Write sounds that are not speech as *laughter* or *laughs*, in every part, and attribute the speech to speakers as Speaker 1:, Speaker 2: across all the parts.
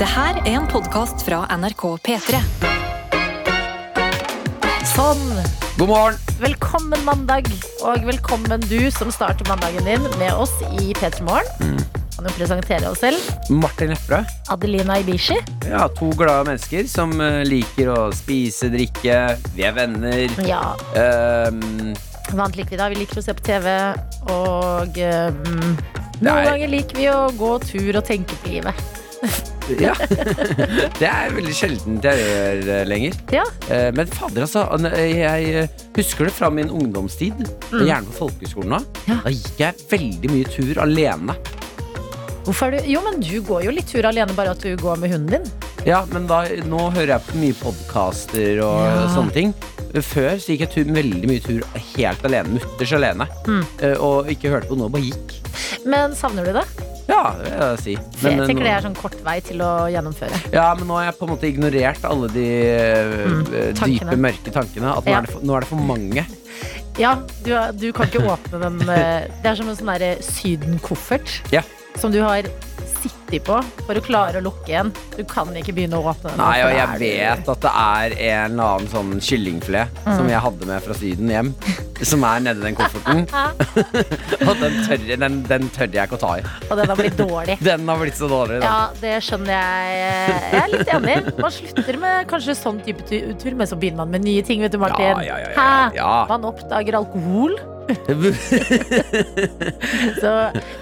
Speaker 1: Det her er en podkast fra NRK P3. Sånn!
Speaker 2: God morgen!
Speaker 3: Velkommen mandag, og velkommen du som starter mandagen din med oss i P3 Morgen.
Speaker 2: Mm.
Speaker 3: Kan jo presentere oss selv.
Speaker 2: Martin Lepperød.
Speaker 3: Adelina Ibishi.
Speaker 2: Ja, to glade mennesker som eh, liker å spise, drikke. Vi er venner.
Speaker 3: Ja,
Speaker 2: Ehm,
Speaker 3: hva annet liker vi da? Vi liker å se på TV, og eh, mm,
Speaker 2: Nei.
Speaker 3: noen ganger liker vi å gå tur og tenke på livet.
Speaker 2: ja. *laughs* Det er veldig sjeldent jeg gjør eh, lenger.
Speaker 3: Ja,
Speaker 2: Eh, Men fader, altså. an- Jeg eh, husker det fra min ungdomstid. Gjerne på folkehøyskolen. Da
Speaker 3: Mm. Ja.
Speaker 2: Da gikk jeg veldig mye tur alene.
Speaker 3: hvorfor er du Jo, men du går jo litt tur alene, bare at du går med hunden din.
Speaker 2: Ja, men da, nå hører jeg på mye podkaster og
Speaker 3: Ja.
Speaker 2: sånne ting. Før så gikk jeg tur, veldig mye tur helt alene, mutters alene.
Speaker 3: Mm.
Speaker 2: Eh, Og ikke hørte på noe, bare gikk.
Speaker 3: Men savner du det?
Speaker 2: Ja, det vil jeg si.
Speaker 3: For jeg
Speaker 2: eh,
Speaker 3: tenker det er
Speaker 2: nå,
Speaker 3: sånn kort vei til å gjennomføre.
Speaker 2: ja, men nå har jeg på en måte ignorert alle de eh, eh,
Speaker 3: Mm, tankene.
Speaker 2: dype, mørke tankene. At nå,
Speaker 3: Ja.
Speaker 2: er det for, nå er det for mange.
Speaker 3: Ja, du, du kan ikke åpne den eh, Det er som en sånn derre sydenkoffert
Speaker 2: Ja.
Speaker 3: som du har sittet på for å klare å lukke igjen. Du kan ikke begynne å åpne den.
Speaker 2: Nei,
Speaker 3: for
Speaker 2: og
Speaker 3: da
Speaker 2: jeg
Speaker 3: er
Speaker 2: vet at det er en eller annen sånn kyllingfilet som
Speaker 3: Mm.
Speaker 2: jeg hadde med fra Syden hjem, som er nedi den kofferten.
Speaker 3: *laughs*
Speaker 2: og den tør, den, den tør jeg ikke å ta i.
Speaker 3: du- Og den har blitt dårlig.
Speaker 2: Den har blitt så dårlig.
Speaker 3: *laughs*
Speaker 2: da.
Speaker 3: Ja, det skjønner jeg. Jeg er litt enig. Man slutter med kanskje sånn type tu- tur, men så begynner man med nye ting, vet du, Martin.
Speaker 2: Ja, ja, ja, ja,
Speaker 3: Hæ?
Speaker 2: ja. *laughs*
Speaker 3: Man oppdager alkohol. Så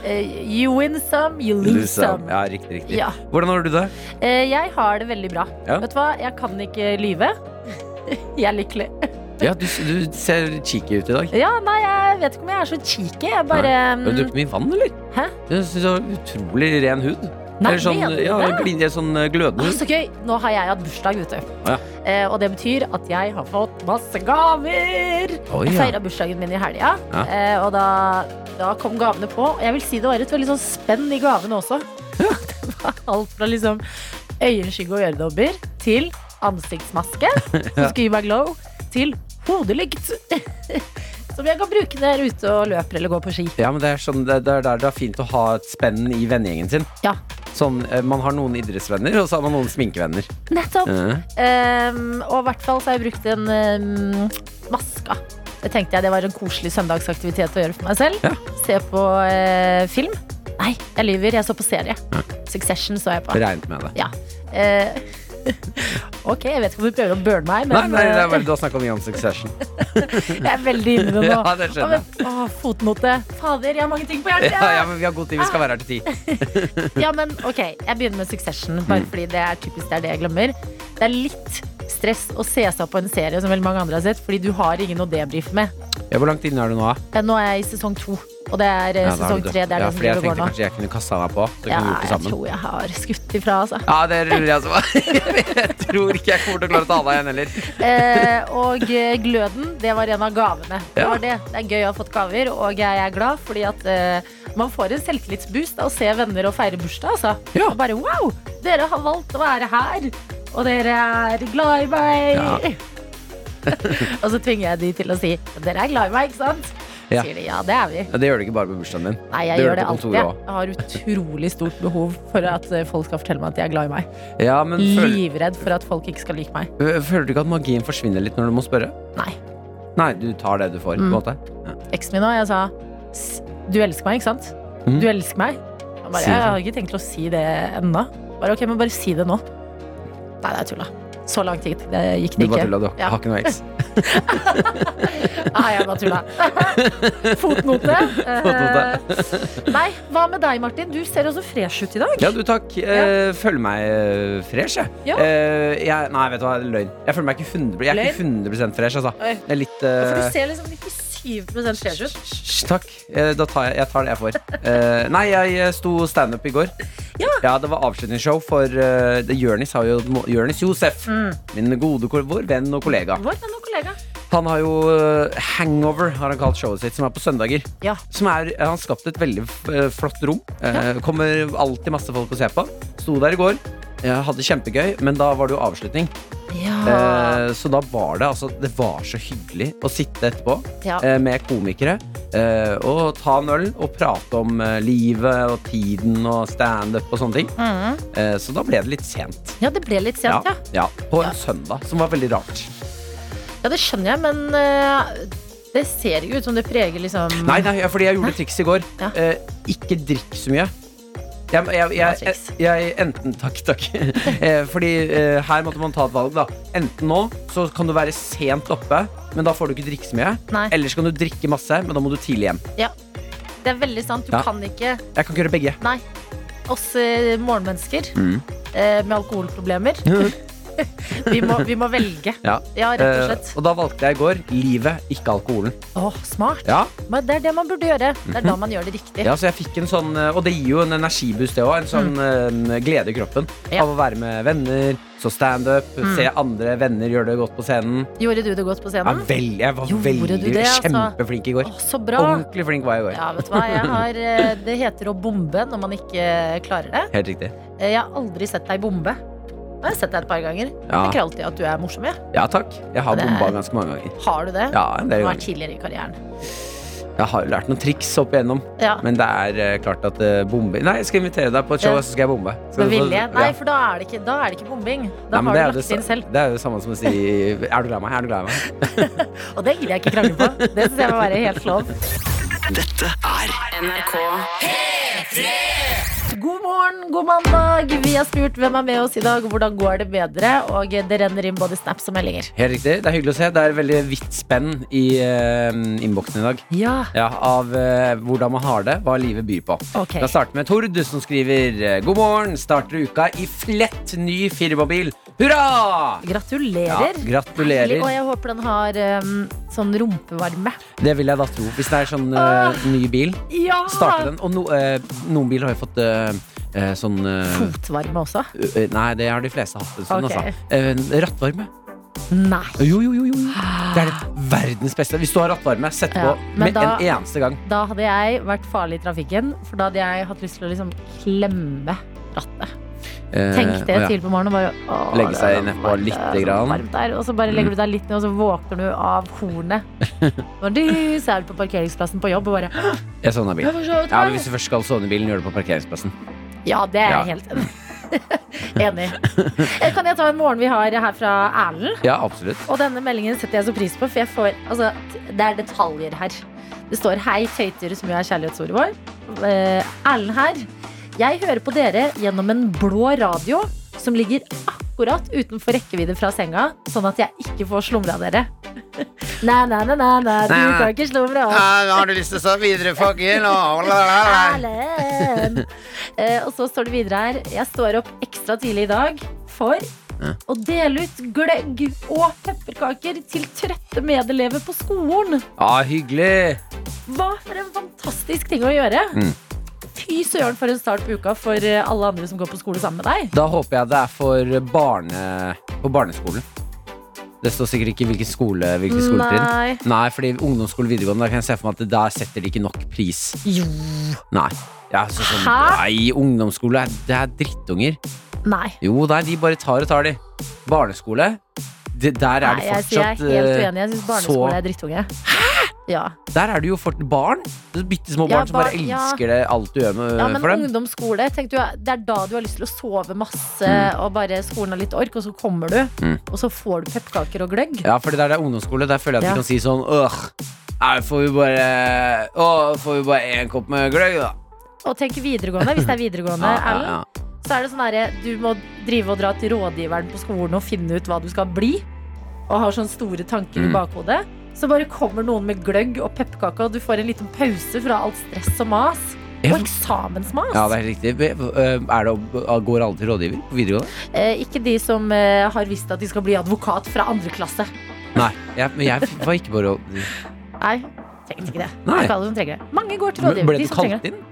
Speaker 3: eh, you win some, you lose
Speaker 2: Liksom.
Speaker 3: some.
Speaker 2: Ja, riktig, riktig.
Speaker 3: Ja.
Speaker 2: Hvordan har du det?
Speaker 3: Eh, jeg har det veldig bra.
Speaker 2: Ja.
Speaker 3: Vet du hva, jeg kan ikke lyve. *laughs* Jeg er lykkelig.
Speaker 2: Ja, du, du ser cheeky ut i dag.
Speaker 3: Ja, nei, jeg vet ikke om jeg er så cheeky. Jeg bare
Speaker 2: Har du
Speaker 3: mm,
Speaker 2: drukket mye vann, eller?
Speaker 3: Hæ?
Speaker 2: Jeg synes du har utrolig ren hud.
Speaker 3: Nei,
Speaker 2: Eller sånn,
Speaker 3: mener du
Speaker 2: ja,
Speaker 3: det?
Speaker 2: glin, sånn eh, glødende
Speaker 3: Å,
Speaker 2: hud.
Speaker 3: Så gøy! Nå har jeg hatt bursdag, vet du.
Speaker 2: Ja.
Speaker 3: Eh, og det betyr at jeg har fått masse gaver!
Speaker 2: Oi,
Speaker 3: Jeg
Speaker 2: ja.
Speaker 3: feira bursdagen min i helga,
Speaker 2: Ja.
Speaker 3: eh, og da, da kom gavene på. Og jeg vil si det var et veldig sånn spenn i gavene også. *laughs* Det var alt fra liksom øyenskygge og øredobber til ansiktsmaske som
Speaker 2: *laughs* Ja.
Speaker 3: skal gi meg glow, til hodelykt. *laughs* Som jeg kan bruke når jeg er ute og løper eller går på ski.
Speaker 2: ja, men det er, sånn, det, det, er der det er fint å ha et spenn i vennegjengen sin.
Speaker 3: Ja,
Speaker 2: Sånn, eh, man har noen idrettsvenner, og så har man noen sminkevenner.
Speaker 3: nettopp.
Speaker 2: Eh,
Speaker 3: Um, og i hvert fall så har jeg brukt en um, maska. Det tenkte jeg det var en koselig søndagsaktivitet å gjøre for meg selv.
Speaker 2: Ja.
Speaker 3: Se på eh, film. Nei, jeg lyver. Jeg så på serie. Succession så jeg på.
Speaker 2: regnet med det.
Speaker 3: Ja. Eh, *laughs* ok, jeg vet ikke om du prøver å burne meg,
Speaker 2: Nei,
Speaker 3: men
Speaker 2: nei, det er
Speaker 3: eh,
Speaker 2: bare du har snakka mye om
Speaker 3: *laughs*
Speaker 2: Succession.
Speaker 3: jeg er veldig inne i det nå.
Speaker 2: *laughs* Ja, det skjønner jeg.
Speaker 3: Å, men- å, fotnote. Fader, jeg har mange ting på hjertet.
Speaker 2: Ja, ja, men vi har god tid. Vi skal være her til ti.
Speaker 3: Ja, men ok, jeg begynner med Succession
Speaker 2: Mm.
Speaker 3: Bare fordi det er typisk det er det jeg glemmer Det er litt stress å se seg på en serie Som veldig mange andre har sett Fordi du har ingen å debrife med
Speaker 2: Ja, hvor langt inne er du nå? da?
Speaker 3: Eh, Nå er jeg i sesong 2 Og det er eh,
Speaker 2: Ja, da er
Speaker 3: sesong
Speaker 2: du-
Speaker 3: 3 Det er
Speaker 2: ja,
Speaker 3: det som
Speaker 2: fordi jeg
Speaker 3: driver og
Speaker 2: tenkte
Speaker 3: går nå
Speaker 2: kanskje jeg kunne kasta meg på. Så
Speaker 3: Ja,
Speaker 2: kunne vi gjort det
Speaker 3: jeg
Speaker 2: sammen.
Speaker 3: tror jeg har skutt ifra altså.
Speaker 2: Ja, det lurer jeg også på. *laughs* Jeg tror ikke jeg kommer til å klare å ta deg igjen heller.
Speaker 3: eh, Og eh, gløden, det var en av gavene Det
Speaker 2: Ja.
Speaker 3: var det, det er gøy å ha fått gaver Og jeg er glad fordi at eh, Man får en selvtillitsboost av å se venner og feire bursdag altså.
Speaker 2: Ja.
Speaker 3: Og bare wow, dere har valgt å være her Og dere er glad i meg
Speaker 2: Ja.
Speaker 3: *laughs*
Speaker 2: *laughs*
Speaker 3: Og så tvinger jeg de til å si Dere er glad i meg, ikke sant?
Speaker 2: Ja.
Speaker 3: Sier de, ja, det er vi
Speaker 2: Ja, det gjør du ikke bare på bursdagen din.
Speaker 3: Nei, jeg
Speaker 2: Det gjør
Speaker 3: gjør det
Speaker 2: du på
Speaker 3: alltid
Speaker 2: kontoret også.
Speaker 3: Jeg har utrolig stort behov for at eh, folk skal fortelle meg at de er glad i meg
Speaker 2: Ja, men føl,
Speaker 3: Livredd for at folk ikke skal like meg
Speaker 2: Eh, føler du ikke at magien forsvinner litt når du må spørre?
Speaker 3: Nei,
Speaker 2: Nei, du tar det du får, på en
Speaker 3: Mm.
Speaker 2: måte. Ja.
Speaker 3: eksen min også, jeg sa "S- Du elsker meg, ikke sant?
Speaker 2: Mhm.
Speaker 3: Du elsker meg Han bare,
Speaker 2: Sier
Speaker 3: jeg
Speaker 2: han.
Speaker 3: har ikke tenkt til å si det enda Bare, ok, men bare si det nå Nei, det er tulla Så lang tid, det gikk
Speaker 2: Du
Speaker 3: det
Speaker 2: bare
Speaker 3: ikke
Speaker 2: tulla, du.
Speaker 3: Ja.
Speaker 2: Har ikke noe
Speaker 3: *laughs*
Speaker 2: eks.
Speaker 3: Nei, jeg bare
Speaker 2: *laughs*
Speaker 3: tulla. Fotnote. Eh, Nei, hva med deg, Martin? Du ser også fresh ut i dag.
Speaker 2: Ja, du, takk. Eh, føler meg eh, fresh, jeg.
Speaker 3: Ja.
Speaker 2: Eh, jeg. Nei, vet du hva, det er løgn. Jeg føler meg ikke 100, jeg er ikke 100 fresh, altså.
Speaker 3: Oi.
Speaker 2: Det er litt
Speaker 3: Ja, For
Speaker 2: eh,
Speaker 3: du ser liksom 97 fresh ut.
Speaker 2: Hysj, takk. Eh, Da tar jeg, jeg tar det jeg får. Eh, nei, jeg eh, sto standup i går.
Speaker 3: Ja.
Speaker 2: Det var avslutningsshow for uh, Jørnis, har jo, Jørnis Josef.
Speaker 3: Mm.
Speaker 2: Min gode ko- vår venn og kollega.
Speaker 3: Vår venn og kollega.
Speaker 2: Han har jo eh, Hangover, har han kalt showet sitt, som er på søndager.
Speaker 3: Ja.
Speaker 2: Som er, Han har skapt et veldig eh, flott rom. Eh, Kommer alltid masse folk å se på. Sto der i går. Jeg hadde kjempegøy, men da var det jo avslutning.
Speaker 3: Ja. Ah.
Speaker 2: Eh, så da var det altså Det var så hyggelig å sitte etterpå
Speaker 3: Ja.
Speaker 2: eh, med komikere eh, og ta en øl og prate om eh, livet og tiden og standup og sånne ting. Eh, så da ble det litt sent.
Speaker 3: Mm. Ja, det ble litt sent, ja.
Speaker 2: ja. På en søndag, som var veldig rart.
Speaker 3: Ja, det skjønner jeg, men eh, det ser ikke ut som det preger liksom
Speaker 2: Nei, nei, fordi jeg gjorde et triks i går.
Speaker 3: Ja.
Speaker 2: Eh, ikke drikk så mye. Jeg, jeg,
Speaker 3: Bra
Speaker 2: jeg, jeg,
Speaker 3: triks.
Speaker 2: jeg, enten Takk, takk. *laughs* Eh, Fordi eh, her måtte man ta et valg, da. Enten nå så kan du være sent oppe, men da får du ikke drikke så mye.
Speaker 3: Nei.
Speaker 2: Eller så kan du drikke masse, men da må du tidlig hjem.
Speaker 3: Det er veldig sant. Du
Speaker 2: Ja.
Speaker 3: kan ikke
Speaker 2: Jeg kan ikke gjøre begge.
Speaker 3: Nei. Oss eh, morgenmennesker
Speaker 2: Mm.
Speaker 3: eh, med alkoholproblemer. *laughs* vi, må, vi må velge.
Speaker 2: Ja.
Speaker 3: Ja, rett og
Speaker 2: Eh,
Speaker 3: slett.
Speaker 2: og da valgte jeg i går livet, ikke alkoholen.
Speaker 3: Å, smart.
Speaker 2: Ja,
Speaker 3: Men det er det man burde gjøre. Det er da man gjør det riktig.
Speaker 2: Mhm. ja så jeg fikk en sånn eh, Og det gir jo en energiboost, det òg. En sånn eh, glede i kroppen
Speaker 3: Mm. Ja.
Speaker 2: av å være med venner, så standup,
Speaker 3: Mm.
Speaker 2: se andre venner gjøre det godt på scenen.
Speaker 3: Gjorde du det godt på
Speaker 2: Ja,
Speaker 3: scenen?
Speaker 2: vel, jeg var
Speaker 3: Gjorde
Speaker 2: veldig
Speaker 3: du det, altså?
Speaker 2: kjempeflink i går.
Speaker 3: Å, så bra.
Speaker 2: Ordentlig flink var jeg i går.
Speaker 3: Ja, vet du hva. Jeg har, eh, det heter å bombe når man ikke klarer det.
Speaker 2: Helt riktig.
Speaker 3: Eh, Jeg har aldri sett deg bombe. Jeg har sett deg et par ganger. Jeg
Speaker 2: Ja.
Speaker 3: tenker alltid at du er morsom. Jeg.
Speaker 2: ja takk. Jeg har
Speaker 3: Det er-
Speaker 2: bomba ganske mange ganger.
Speaker 3: Har du det?
Speaker 2: Ja, en del
Speaker 3: Hva er
Speaker 2: ganger.
Speaker 3: tidligere i karrieren?
Speaker 2: Jeg har jo lært noen triks opp igjennom,
Speaker 3: Ja.
Speaker 2: men det er eh, klart at eh, bombe Nei, jeg skal invitere deg på et show,
Speaker 3: Ja.
Speaker 2: så skal jeg bombe. Skal
Speaker 3: Med
Speaker 2: du få-
Speaker 3: vilje?
Speaker 2: Ja.
Speaker 3: Nei, for da er det ikke, da er det ikke bombing. Da
Speaker 2: Nei, men det
Speaker 3: har
Speaker 2: er
Speaker 3: du
Speaker 2: jo det
Speaker 3: lagt det inn
Speaker 2: sa-
Speaker 3: selv.
Speaker 2: Det er jo det samme som å si Er du glad i meg? Er du glad i meg?
Speaker 3: Og det gidder jeg ikke krangle på. Det syns jeg må være helt lov.
Speaker 4: NRK
Speaker 3: God morgen, god mandag. Vi har spurt hvem er med oss i dag, og hvordan går det med dere? Og det renner inn både snaps og meldinger.
Speaker 2: Helt riktig. Det er hyggelig å se. Det er veldig vidt spenn i eh, innboksen i dag.
Speaker 3: Ja,
Speaker 2: Ja, Av eh, hvordan man har det, hva livet byr på.
Speaker 3: ok.
Speaker 2: Da starter vi med Tord, som skriver eh, God morgen, starter uka i flett ny firmabil. Hurra! Ja,
Speaker 3: Gratulerer. Herlig, Og
Speaker 2: gratulerer.
Speaker 3: jeg håper den har um, sånn rumpevarme.
Speaker 2: Det vil jeg da tro. Hvis det er sånn eh, ny bil,
Speaker 3: Ja!
Speaker 2: starter den. Og no, eh, noen biler har jo fått eh, eh, sånn eh,
Speaker 3: Fotvarme også?
Speaker 2: eh, Nei, det har de fleste hatt. en stund,
Speaker 3: Ok.
Speaker 2: altså. Eh, rattvarme.
Speaker 3: Nei.
Speaker 2: Jo, jo, jo, jo. Ah. Det er det verdens beste. Hvis du har rattvarme, sett
Speaker 3: Ja,
Speaker 2: på
Speaker 3: men
Speaker 2: med
Speaker 3: da-
Speaker 2: en eneste gang.
Speaker 3: Da hadde jeg vært farlig i trafikken, for da hadde jeg hatt lyst til å liksom klemme rattet.
Speaker 2: Eh,
Speaker 3: Tenk det
Speaker 2: å ja.
Speaker 3: tidlig på morgenen. og Bare, å,
Speaker 2: Legge
Speaker 3: det
Speaker 2: seg
Speaker 3: er så
Speaker 2: nedpå
Speaker 3: varmt, det
Speaker 2: lite
Speaker 3: er så
Speaker 2: grann.
Speaker 3: varmt der, Og så bare legger du deg litt ned, og så våkner du av
Speaker 2: *laughs*
Speaker 3: hornet. Når du så er du på parkeringsplassen på jobb og bare
Speaker 2: Jeg sovna i
Speaker 3: «Jeg
Speaker 2: bilen.
Speaker 3: var så
Speaker 2: Ja, men Hvis
Speaker 3: trøtt».
Speaker 2: du først skal sovne i bilen, gjør det på parkeringsplassen.
Speaker 3: Ja, det er
Speaker 2: Ja.
Speaker 3: jeg helt *laughs* enig i. Eh, Kan jeg ta en morgen vi har her fra Erlend?
Speaker 2: Ja, absolutt.
Speaker 3: Og denne meldingen setter jeg så pris på, for jeg får, altså, t- det er detaljer her. Det står 'Hei, tøyter', som jo er kjærlighetsordet vår. Eh, Erlend her. Jeg hører på dere gjennom en blå radio som ligger akkurat utenfor rekkevidde fra senga, sånn at jeg ikke får slumra dere. *laughs* Nei, nei, nei, nei, nei, du
Speaker 2: Nei, nei.
Speaker 3: kan ikke slumre oss.
Speaker 2: har du lyst til å stå videre, fucker? *laughs*
Speaker 3: Erlend! Eh, og så står det videre her Jeg står opp ekstra tidlig i dag for å dele ut gløgg og pepperkaker til trøtte medelever på skolen.
Speaker 2: Ja, hyggelig.
Speaker 3: Hva for en fantastisk ting å gjøre!
Speaker 2: Mm.
Speaker 3: Fy søren for en start på uka for eh, alle andre som går på skole sammen med deg.
Speaker 2: Da håper jeg det er for barne, på barneskolen. Det står sikkert ikke hvilken skole, hvilken skoletrinn.
Speaker 3: Nei.
Speaker 2: Nei, fordi ungdomsskole videregående, da kan jeg se for meg at der setter de ikke nok pris.
Speaker 3: Jo.
Speaker 2: Nei. Ja, så sånn,
Speaker 3: Hæ?
Speaker 2: nei, ungdomsskole, det er drittunger.
Speaker 3: Nei.
Speaker 2: Jo, nei, de bare tar og tar, de. Barneskole, det, der
Speaker 3: Nei,
Speaker 2: er det
Speaker 3: jeg, jeg er
Speaker 2: fortsatt
Speaker 3: helt
Speaker 2: eh,
Speaker 3: uenig. Jeg syns barneskole
Speaker 2: så-
Speaker 3: er drittunge. Ja.
Speaker 2: Der er det jo fort barn. Bitte små
Speaker 3: Ja,
Speaker 2: barn som bare
Speaker 3: barn, ja.
Speaker 2: elsker det, alt du gjør med,
Speaker 3: Ja, men
Speaker 2: eh, for dem.
Speaker 3: ungdomsskole, tenk du, det er da du har lyst til å sove masse og bare skolen har litt ork, og så kommer du,
Speaker 2: Mm.
Speaker 3: og så får du pepperkaker og gløgg.
Speaker 2: Ja, fordi der det er ungdomsskole, der føler jeg at
Speaker 3: Ja.
Speaker 2: de kan si sånn Åh, her får vi bare Å, får vi bare én kopp med gløgg, da?
Speaker 3: Og tenk videregående, hvis det er videregående, Erlend,
Speaker 2: *laughs* ja.
Speaker 3: så er det sånn herre du må drive og dra til rådgiveren på skolen og finne ut hva du skal bli, og har sånne store tanker
Speaker 2: Mm.
Speaker 3: i bakhodet. Så bare kommer noen med gløgg og pepperkake, og du får en liten pause fra alt stress og mas.
Speaker 2: Ja.
Speaker 3: Og eksamensmas.
Speaker 2: Ja, det er helt riktig. eh, Er det, ah, går alle til rådgiver på videregående?
Speaker 3: eh, ikke de som eh, har visst at de skal bli advokat fra andre klasse.
Speaker 2: Nei, jeg, men jeg var ikke på rådgiver.
Speaker 3: Nei, trengte ikke det. Det
Speaker 2: Nei.
Speaker 3: er ikke alle som trenger det. Mange går til
Speaker 2: Men
Speaker 3: rådgiver.
Speaker 2: Ble
Speaker 3: De
Speaker 2: du
Speaker 3: som trenger
Speaker 2: kalt
Speaker 3: det.
Speaker 2: inn?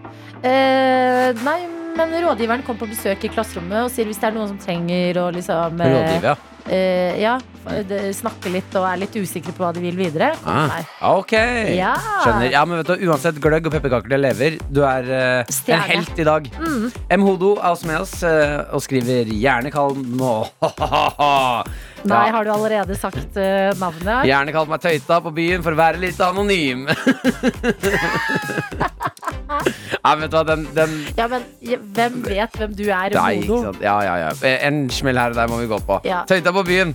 Speaker 3: Eh, nei, men rådgiveren kom på besøk i klasserommet og sier hvis det er noen som trenger å liksom eh,
Speaker 2: Rådgiver, ja.
Speaker 3: eh, ja, det- snakker litt og er litt usikre på hva de vil videre. Kom
Speaker 2: Ah,
Speaker 3: her.
Speaker 2: ok.
Speaker 3: Ja.
Speaker 2: Skjønner. Ja, men vet du, Uansett, gløgg og pepperkaker til lever. Du er eh,
Speaker 3: Stjerne.
Speaker 2: en helt i dag.
Speaker 3: Mm.
Speaker 2: M. Hodo er også med oss eh, og skriver 'gjerne kall *laughs* meg
Speaker 3: Nei,
Speaker 2: Ja.
Speaker 3: har du allerede sagt eh, navnet?
Speaker 2: Gjerne kall meg tøyta på byen for å være
Speaker 3: *laughs*
Speaker 2: litt anonym. Nei, vet du hva, den, den
Speaker 3: Ja, men ja, hvem vet hvem du er,
Speaker 2: Nei, ikke
Speaker 3: Modo? *laughs*
Speaker 2: sant. Ja, ja, ja. Eh, En smell her og der må vi gå på.
Speaker 3: Ja.
Speaker 2: Tøyta på byen.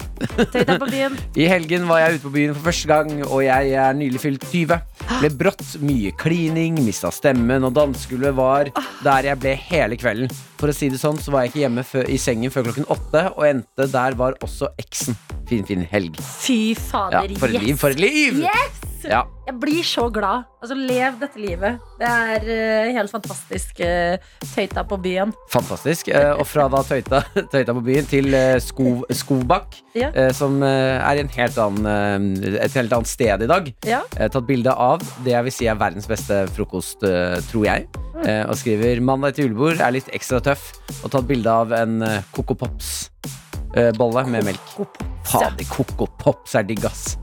Speaker 3: Tøy deg på byen.
Speaker 2: I helgen var jeg ute på byen for første gang, og jeg er nylig fylt 20. Ble brått mye klining, mista stemmen, og dansegulvet var der jeg ble hele kvelden. For å si det sånn, så var jeg ikke hjemme fø- i sengen før klokken åtte, og endte der var også eksen. Fin, fin helg.
Speaker 3: Fy
Speaker 2: Ja,
Speaker 3: fader,
Speaker 2: for et
Speaker 3: yes.
Speaker 2: liv, for et liv!
Speaker 3: Yes!
Speaker 2: Ja.
Speaker 3: Jeg blir så glad. Altså, lev dette livet. Det er eh, helt fantastisk. eh, tøyta på byen.
Speaker 2: Fantastisk. Eh, Og fra da tøyta, *laughs* tøyta på byen til eh, Skov, Skovbakk,
Speaker 3: Ja.
Speaker 2: eh, som eh, er i en helt annen, eh, et helt annet sted i dag.
Speaker 3: Ja.
Speaker 2: Eh, Tatt bilde av det jeg vil si er verdens beste frokost, eh, tror jeg.
Speaker 3: Mm.
Speaker 2: Eh, Og skriver 'Mandag til julebord er litt ekstra tøff'. Og tatt bilde av en eh, Coco Pops-bolle med melk.
Speaker 3: God på-
Speaker 2: Fader, Coco Pops er digg, ass.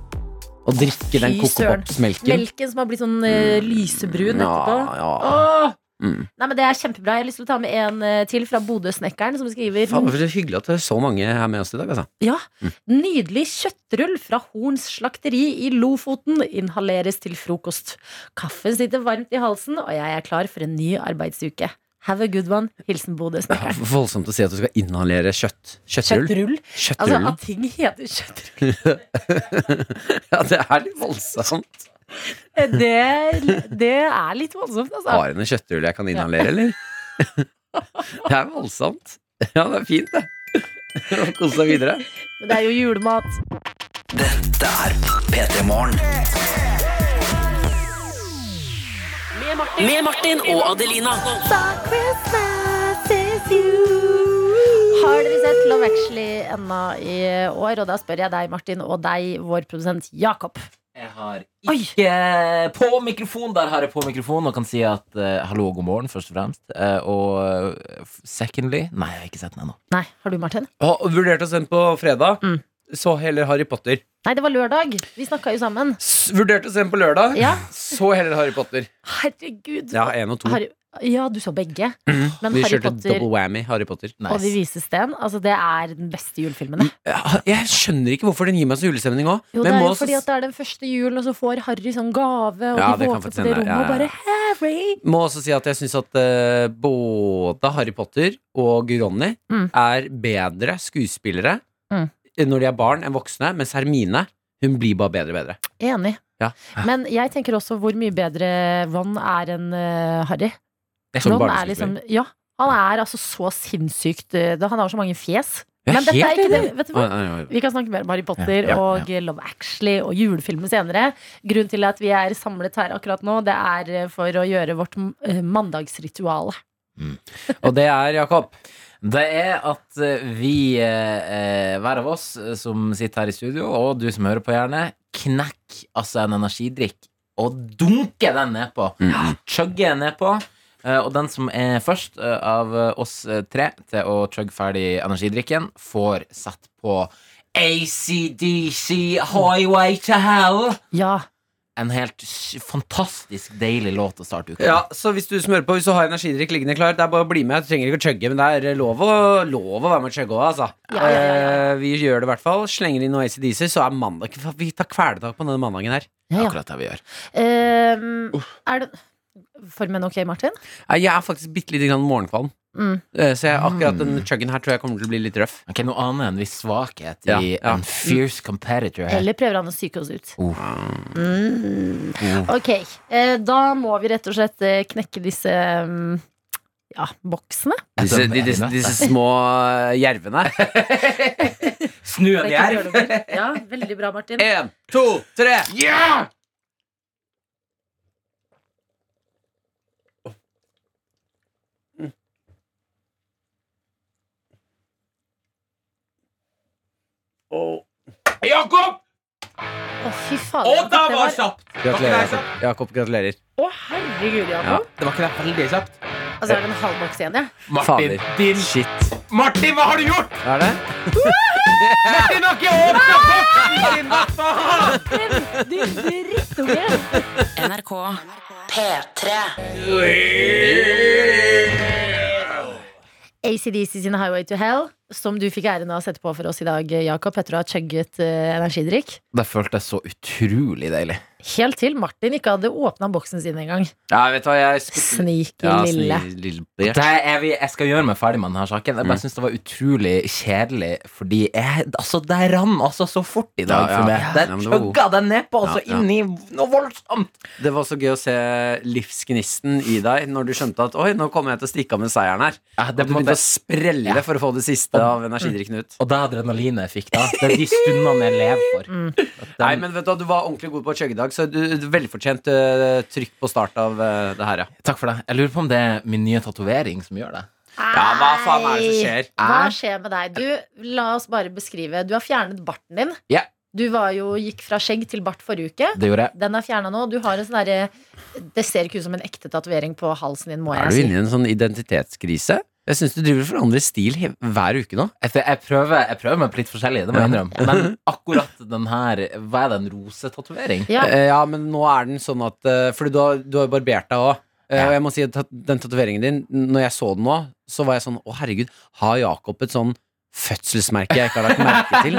Speaker 2: Å drikke den
Speaker 3: Fy
Speaker 2: Coco
Speaker 3: søren.
Speaker 2: Pops-melken.
Speaker 3: Melken som har blitt sånn eh, lysebrun etterpå.
Speaker 2: Mm. ja.
Speaker 3: Åh!
Speaker 2: Mm.
Speaker 3: Nei, men Det er kjempebra. Jeg har lyst til å ta med en eh, til fra Bodø-snekkeren, som skriver
Speaker 2: Fader, for det er hyggelig at det er så mange her med oss i dag, altså.
Speaker 3: Ja. Nydelig kjøttrull fra Horns slakteri i Lofoten inhaleres til frokost. Kaffen sitter varmt i halsen, og jeg er klar for en ny arbeidsuke. Have a good one. Hilsen
Speaker 2: Ja,
Speaker 3: Bodø-snekkeren.
Speaker 2: Voldsomt å si at du skal inhalere kjøtt. Kjøttrull.
Speaker 3: Kjøttrull? Altså,
Speaker 2: Kjøttrullen.
Speaker 3: at ting heter kjøttrull,
Speaker 2: *laughs* Ja, det er litt voldsomt.
Speaker 3: eh, det, det er litt voldsomt, altså.
Speaker 2: Har du noe kjøttrull jeg kan inhalere, eller? *laughs* Det er voldsomt. Ja, det er fint, det. *laughs* Kos deg videre.
Speaker 3: Men det er jo julemat.
Speaker 4: Med Martin og Adelina.
Speaker 3: Har dere sett Love Actually ennå i år? Og da spør jeg deg, Martin, og deg, vår produsent Jakob.
Speaker 5: Jeg har
Speaker 3: Oi.
Speaker 5: ikke på mikrofon. Der har jeg på mikrofon og kan si at eh, hallo og god morgen, først og fremst. Eh, og eh, secondly Nei, jeg har ikke sett den ennå.
Speaker 3: Nei, har du, Martin?
Speaker 2: Og vurderte å sende på fredag.
Speaker 3: Mm.
Speaker 2: Så heller Harry Potter.
Speaker 3: Nei, det var lørdag. Vi snakka jo sammen.
Speaker 2: S vurderte å sende på lørdag.
Speaker 3: Ja.
Speaker 2: Så heller Harry Potter.
Speaker 3: Herregud.
Speaker 2: Ja, én og to.
Speaker 3: Harry, ja, du så begge. Men
Speaker 2: Vi
Speaker 3: Harry
Speaker 2: kjørte
Speaker 3: Potter
Speaker 2: double whammy Harry Potter.
Speaker 3: og De vises sten, altså det er den beste julefilmen. det.
Speaker 2: Ja, Jeg skjønner ikke hvorfor den gir meg så julestemning òg.
Speaker 3: Jo, det er jo fordi at det er den første julen, og så får Harry sånn gave, og
Speaker 2: Ja,
Speaker 3: de
Speaker 2: det kan
Speaker 3: våkner
Speaker 2: faktisk
Speaker 3: på det
Speaker 2: hende.
Speaker 3: rommet
Speaker 2: Ja,
Speaker 3: og bare
Speaker 2: ja,
Speaker 3: Harry!
Speaker 2: Må også si at jeg syns at eh, både Harry Potter og Ronny
Speaker 3: Mm.
Speaker 2: er bedre skuespillere
Speaker 3: Mm.
Speaker 2: når de er barn enn voksne, mens Hermine hun blir bare bedre og bedre.
Speaker 3: Enig.
Speaker 2: Ja.
Speaker 3: Men jeg tenker også hvor mye bedre Vann er enn eh, Harry.
Speaker 2: Som
Speaker 3: Ron er
Speaker 2: barneskuespiller.
Speaker 3: liksom, ja, han er altså så sinnssykt eh, da Han har så mange fjes.
Speaker 2: Jeg
Speaker 3: Men dette er
Speaker 2: helt
Speaker 3: ikke det.
Speaker 2: enig.
Speaker 3: Vet du hva?
Speaker 2: Oi, oi, oi.
Speaker 3: Vi kan snakke mer om Harry Potter
Speaker 2: Ja, ja,
Speaker 3: og Love Actually og julefilmen senere. Grunnen til at vi er samlet her akkurat nå, det er eh, for å gjøre vårt eh, mandagsritual.
Speaker 2: Og det er Jakob.
Speaker 5: Det er at eh, vi, eh, eh, hver av oss eh, som sitter her i studio, og du som hører på gjerne, knekk altså en energidrikk og dunker den nedpå.
Speaker 2: Mm.
Speaker 5: Chugger den nedpå. eh, og den som er først eh, av eh, oss eh, tre til å chugge ferdig energidrikken, får sett på ACDC Highway to Hell.
Speaker 3: Ja.
Speaker 5: En helt s- fantastisk deilig låt å starte uka
Speaker 2: Ja, så hvis du smører på, hvis du har energidrikk liggende klar, det er bare å bli med. Du trenger ikke å chugge, men det er lov å, lov å være med og chugge òg, altså.
Speaker 3: Ja, ja, ja,
Speaker 2: Eh, vi gjør det i hvert fall. Slenger inn noe ACDC, så er mandag Vi tar kvelertak på denne mandagen her.
Speaker 5: med.
Speaker 3: ja, ja.
Speaker 5: Akkurat det vi gjør.
Speaker 3: Ehm, er det Formen ok, Martin?
Speaker 2: Nei, Jeg er faktisk bitte lite grann morgenkvalm.
Speaker 3: Mm.
Speaker 2: Eh, Så jeg, akkurat den chuggen her tror jeg kommer til å bli litt røff.
Speaker 5: Ok, Noe annet enn viss svakhet
Speaker 2: Ja,
Speaker 5: i
Speaker 2: ja.
Speaker 5: en fierce competitor. her.
Speaker 3: Eller prøver han å psyke oss ut?
Speaker 5: Oh.
Speaker 3: Mm.
Speaker 5: Oh.
Speaker 3: Ok, eh, da må vi rett og slett eh, knekke disse mm, ja, boksene.
Speaker 2: Disse, de, disse, disse små eh, jervene.
Speaker 5: Snu
Speaker 3: Det Eh, kan vi gjøre noe med. Ja, veldig bra, Martin.
Speaker 2: Én, to, tre.
Speaker 5: Jakob!
Speaker 3: Å, fy fader. Jakob, det altså. var-
Speaker 5: kjapt!
Speaker 2: Gratulerer, Jakob. Jakob. Gratulerer.
Speaker 3: Å, herregud, Jakob.
Speaker 5: Det var ikke det veldig kjapt.
Speaker 3: Altså, er det en halv boks igjen, ja?
Speaker 5: Martin,
Speaker 2: Fader.
Speaker 5: din
Speaker 2: Shit.
Speaker 5: Martin, hva har du gjort?!
Speaker 2: Hva er det?
Speaker 5: Martin har ikke åpna boksen din!
Speaker 3: *laughs*
Speaker 5: Hva faen?!
Speaker 3: Du drittunge!
Speaker 4: *laughs* NRK P3.
Speaker 3: ACDC sin Highway to Hell, som du fikk æren av å sette på for oss i dag, Jakob, etter å ha chugget eh, energidrikk.
Speaker 5: Det føltes så utrolig deilig.
Speaker 3: Helt til Martin ikke hadde åpna boksen sin engang.
Speaker 2: Ja, vet du hva, jeg skulle-
Speaker 3: Sniker
Speaker 2: Ja, sni-
Speaker 3: lille.
Speaker 2: lille
Speaker 5: Det er vi, jeg skal gjøre meg ferdig med denne saken. Jeg
Speaker 2: Mm.
Speaker 5: bare synes det var utrolig kjedelig, fordi jeg, altså, det rann altså så fort i
Speaker 2: Ja,
Speaker 5: dag
Speaker 2: ja.
Speaker 5: for meg.
Speaker 2: Ja,
Speaker 5: Den
Speaker 2: men det var god.
Speaker 5: chugga den nedpå, altså,
Speaker 2: Ja, ja.
Speaker 5: inn i noe voldsomt.
Speaker 2: Det var så gøy å se livsgnisten i deg når du skjønte at oi, nå kommer jeg til å stikke av med seieren her.
Speaker 5: Ja,
Speaker 2: At
Speaker 5: det
Speaker 2: du
Speaker 5: måtte-
Speaker 2: begynte å sprelle
Speaker 5: Ja.
Speaker 2: for å få det siste av energidrikken ut.
Speaker 5: Og det adrenalinet jeg fikk da, det er de stundene jeg lever for.
Speaker 3: Mm.
Speaker 5: Den-
Speaker 2: Nei, men vet Du hva, du var ordentlig god på chugge i dag, så du, du velfortjent eh, trykk på start av eh, det her, ja.
Speaker 5: Takk for det. Jeg lurer på om det er min nye tatovering som gjør det.
Speaker 2: Ja, Hva faen er det som skjer?
Speaker 3: Hva skjer med deg? Du, la oss bare beskrive. Du har fjernet barten din.
Speaker 5: Ja.
Speaker 3: Du var jo, gikk fra skjegg til bart forrige uke.
Speaker 5: Det gjorde jeg.
Speaker 3: Den er fjerna nå. Du har en sånn derre Det ser ikke ut som en ekte tatovering på halsen din, må jeg si.
Speaker 2: i en sånn identitetskrise? Jeg syns du driver og forandrer stil hver uke nå.
Speaker 5: Jeg, jeg, prøver, jeg prøver meg på litt forskjellig, det må jeg innrømme. Men akkurat den her Hva er det, en rosetatovering?
Speaker 3: Ja.
Speaker 2: Eh, Ja, men nå er den sånn at eh, Fordi du har, du har jo barbert deg òg.
Speaker 5: Ja.
Speaker 2: Og jeg må si at tat- den tatoveringen din, når jeg så den nå, så var jeg sånn Å, herregud, har Jakob et sånn fødselsmerke jeg ikke har lagt merke til?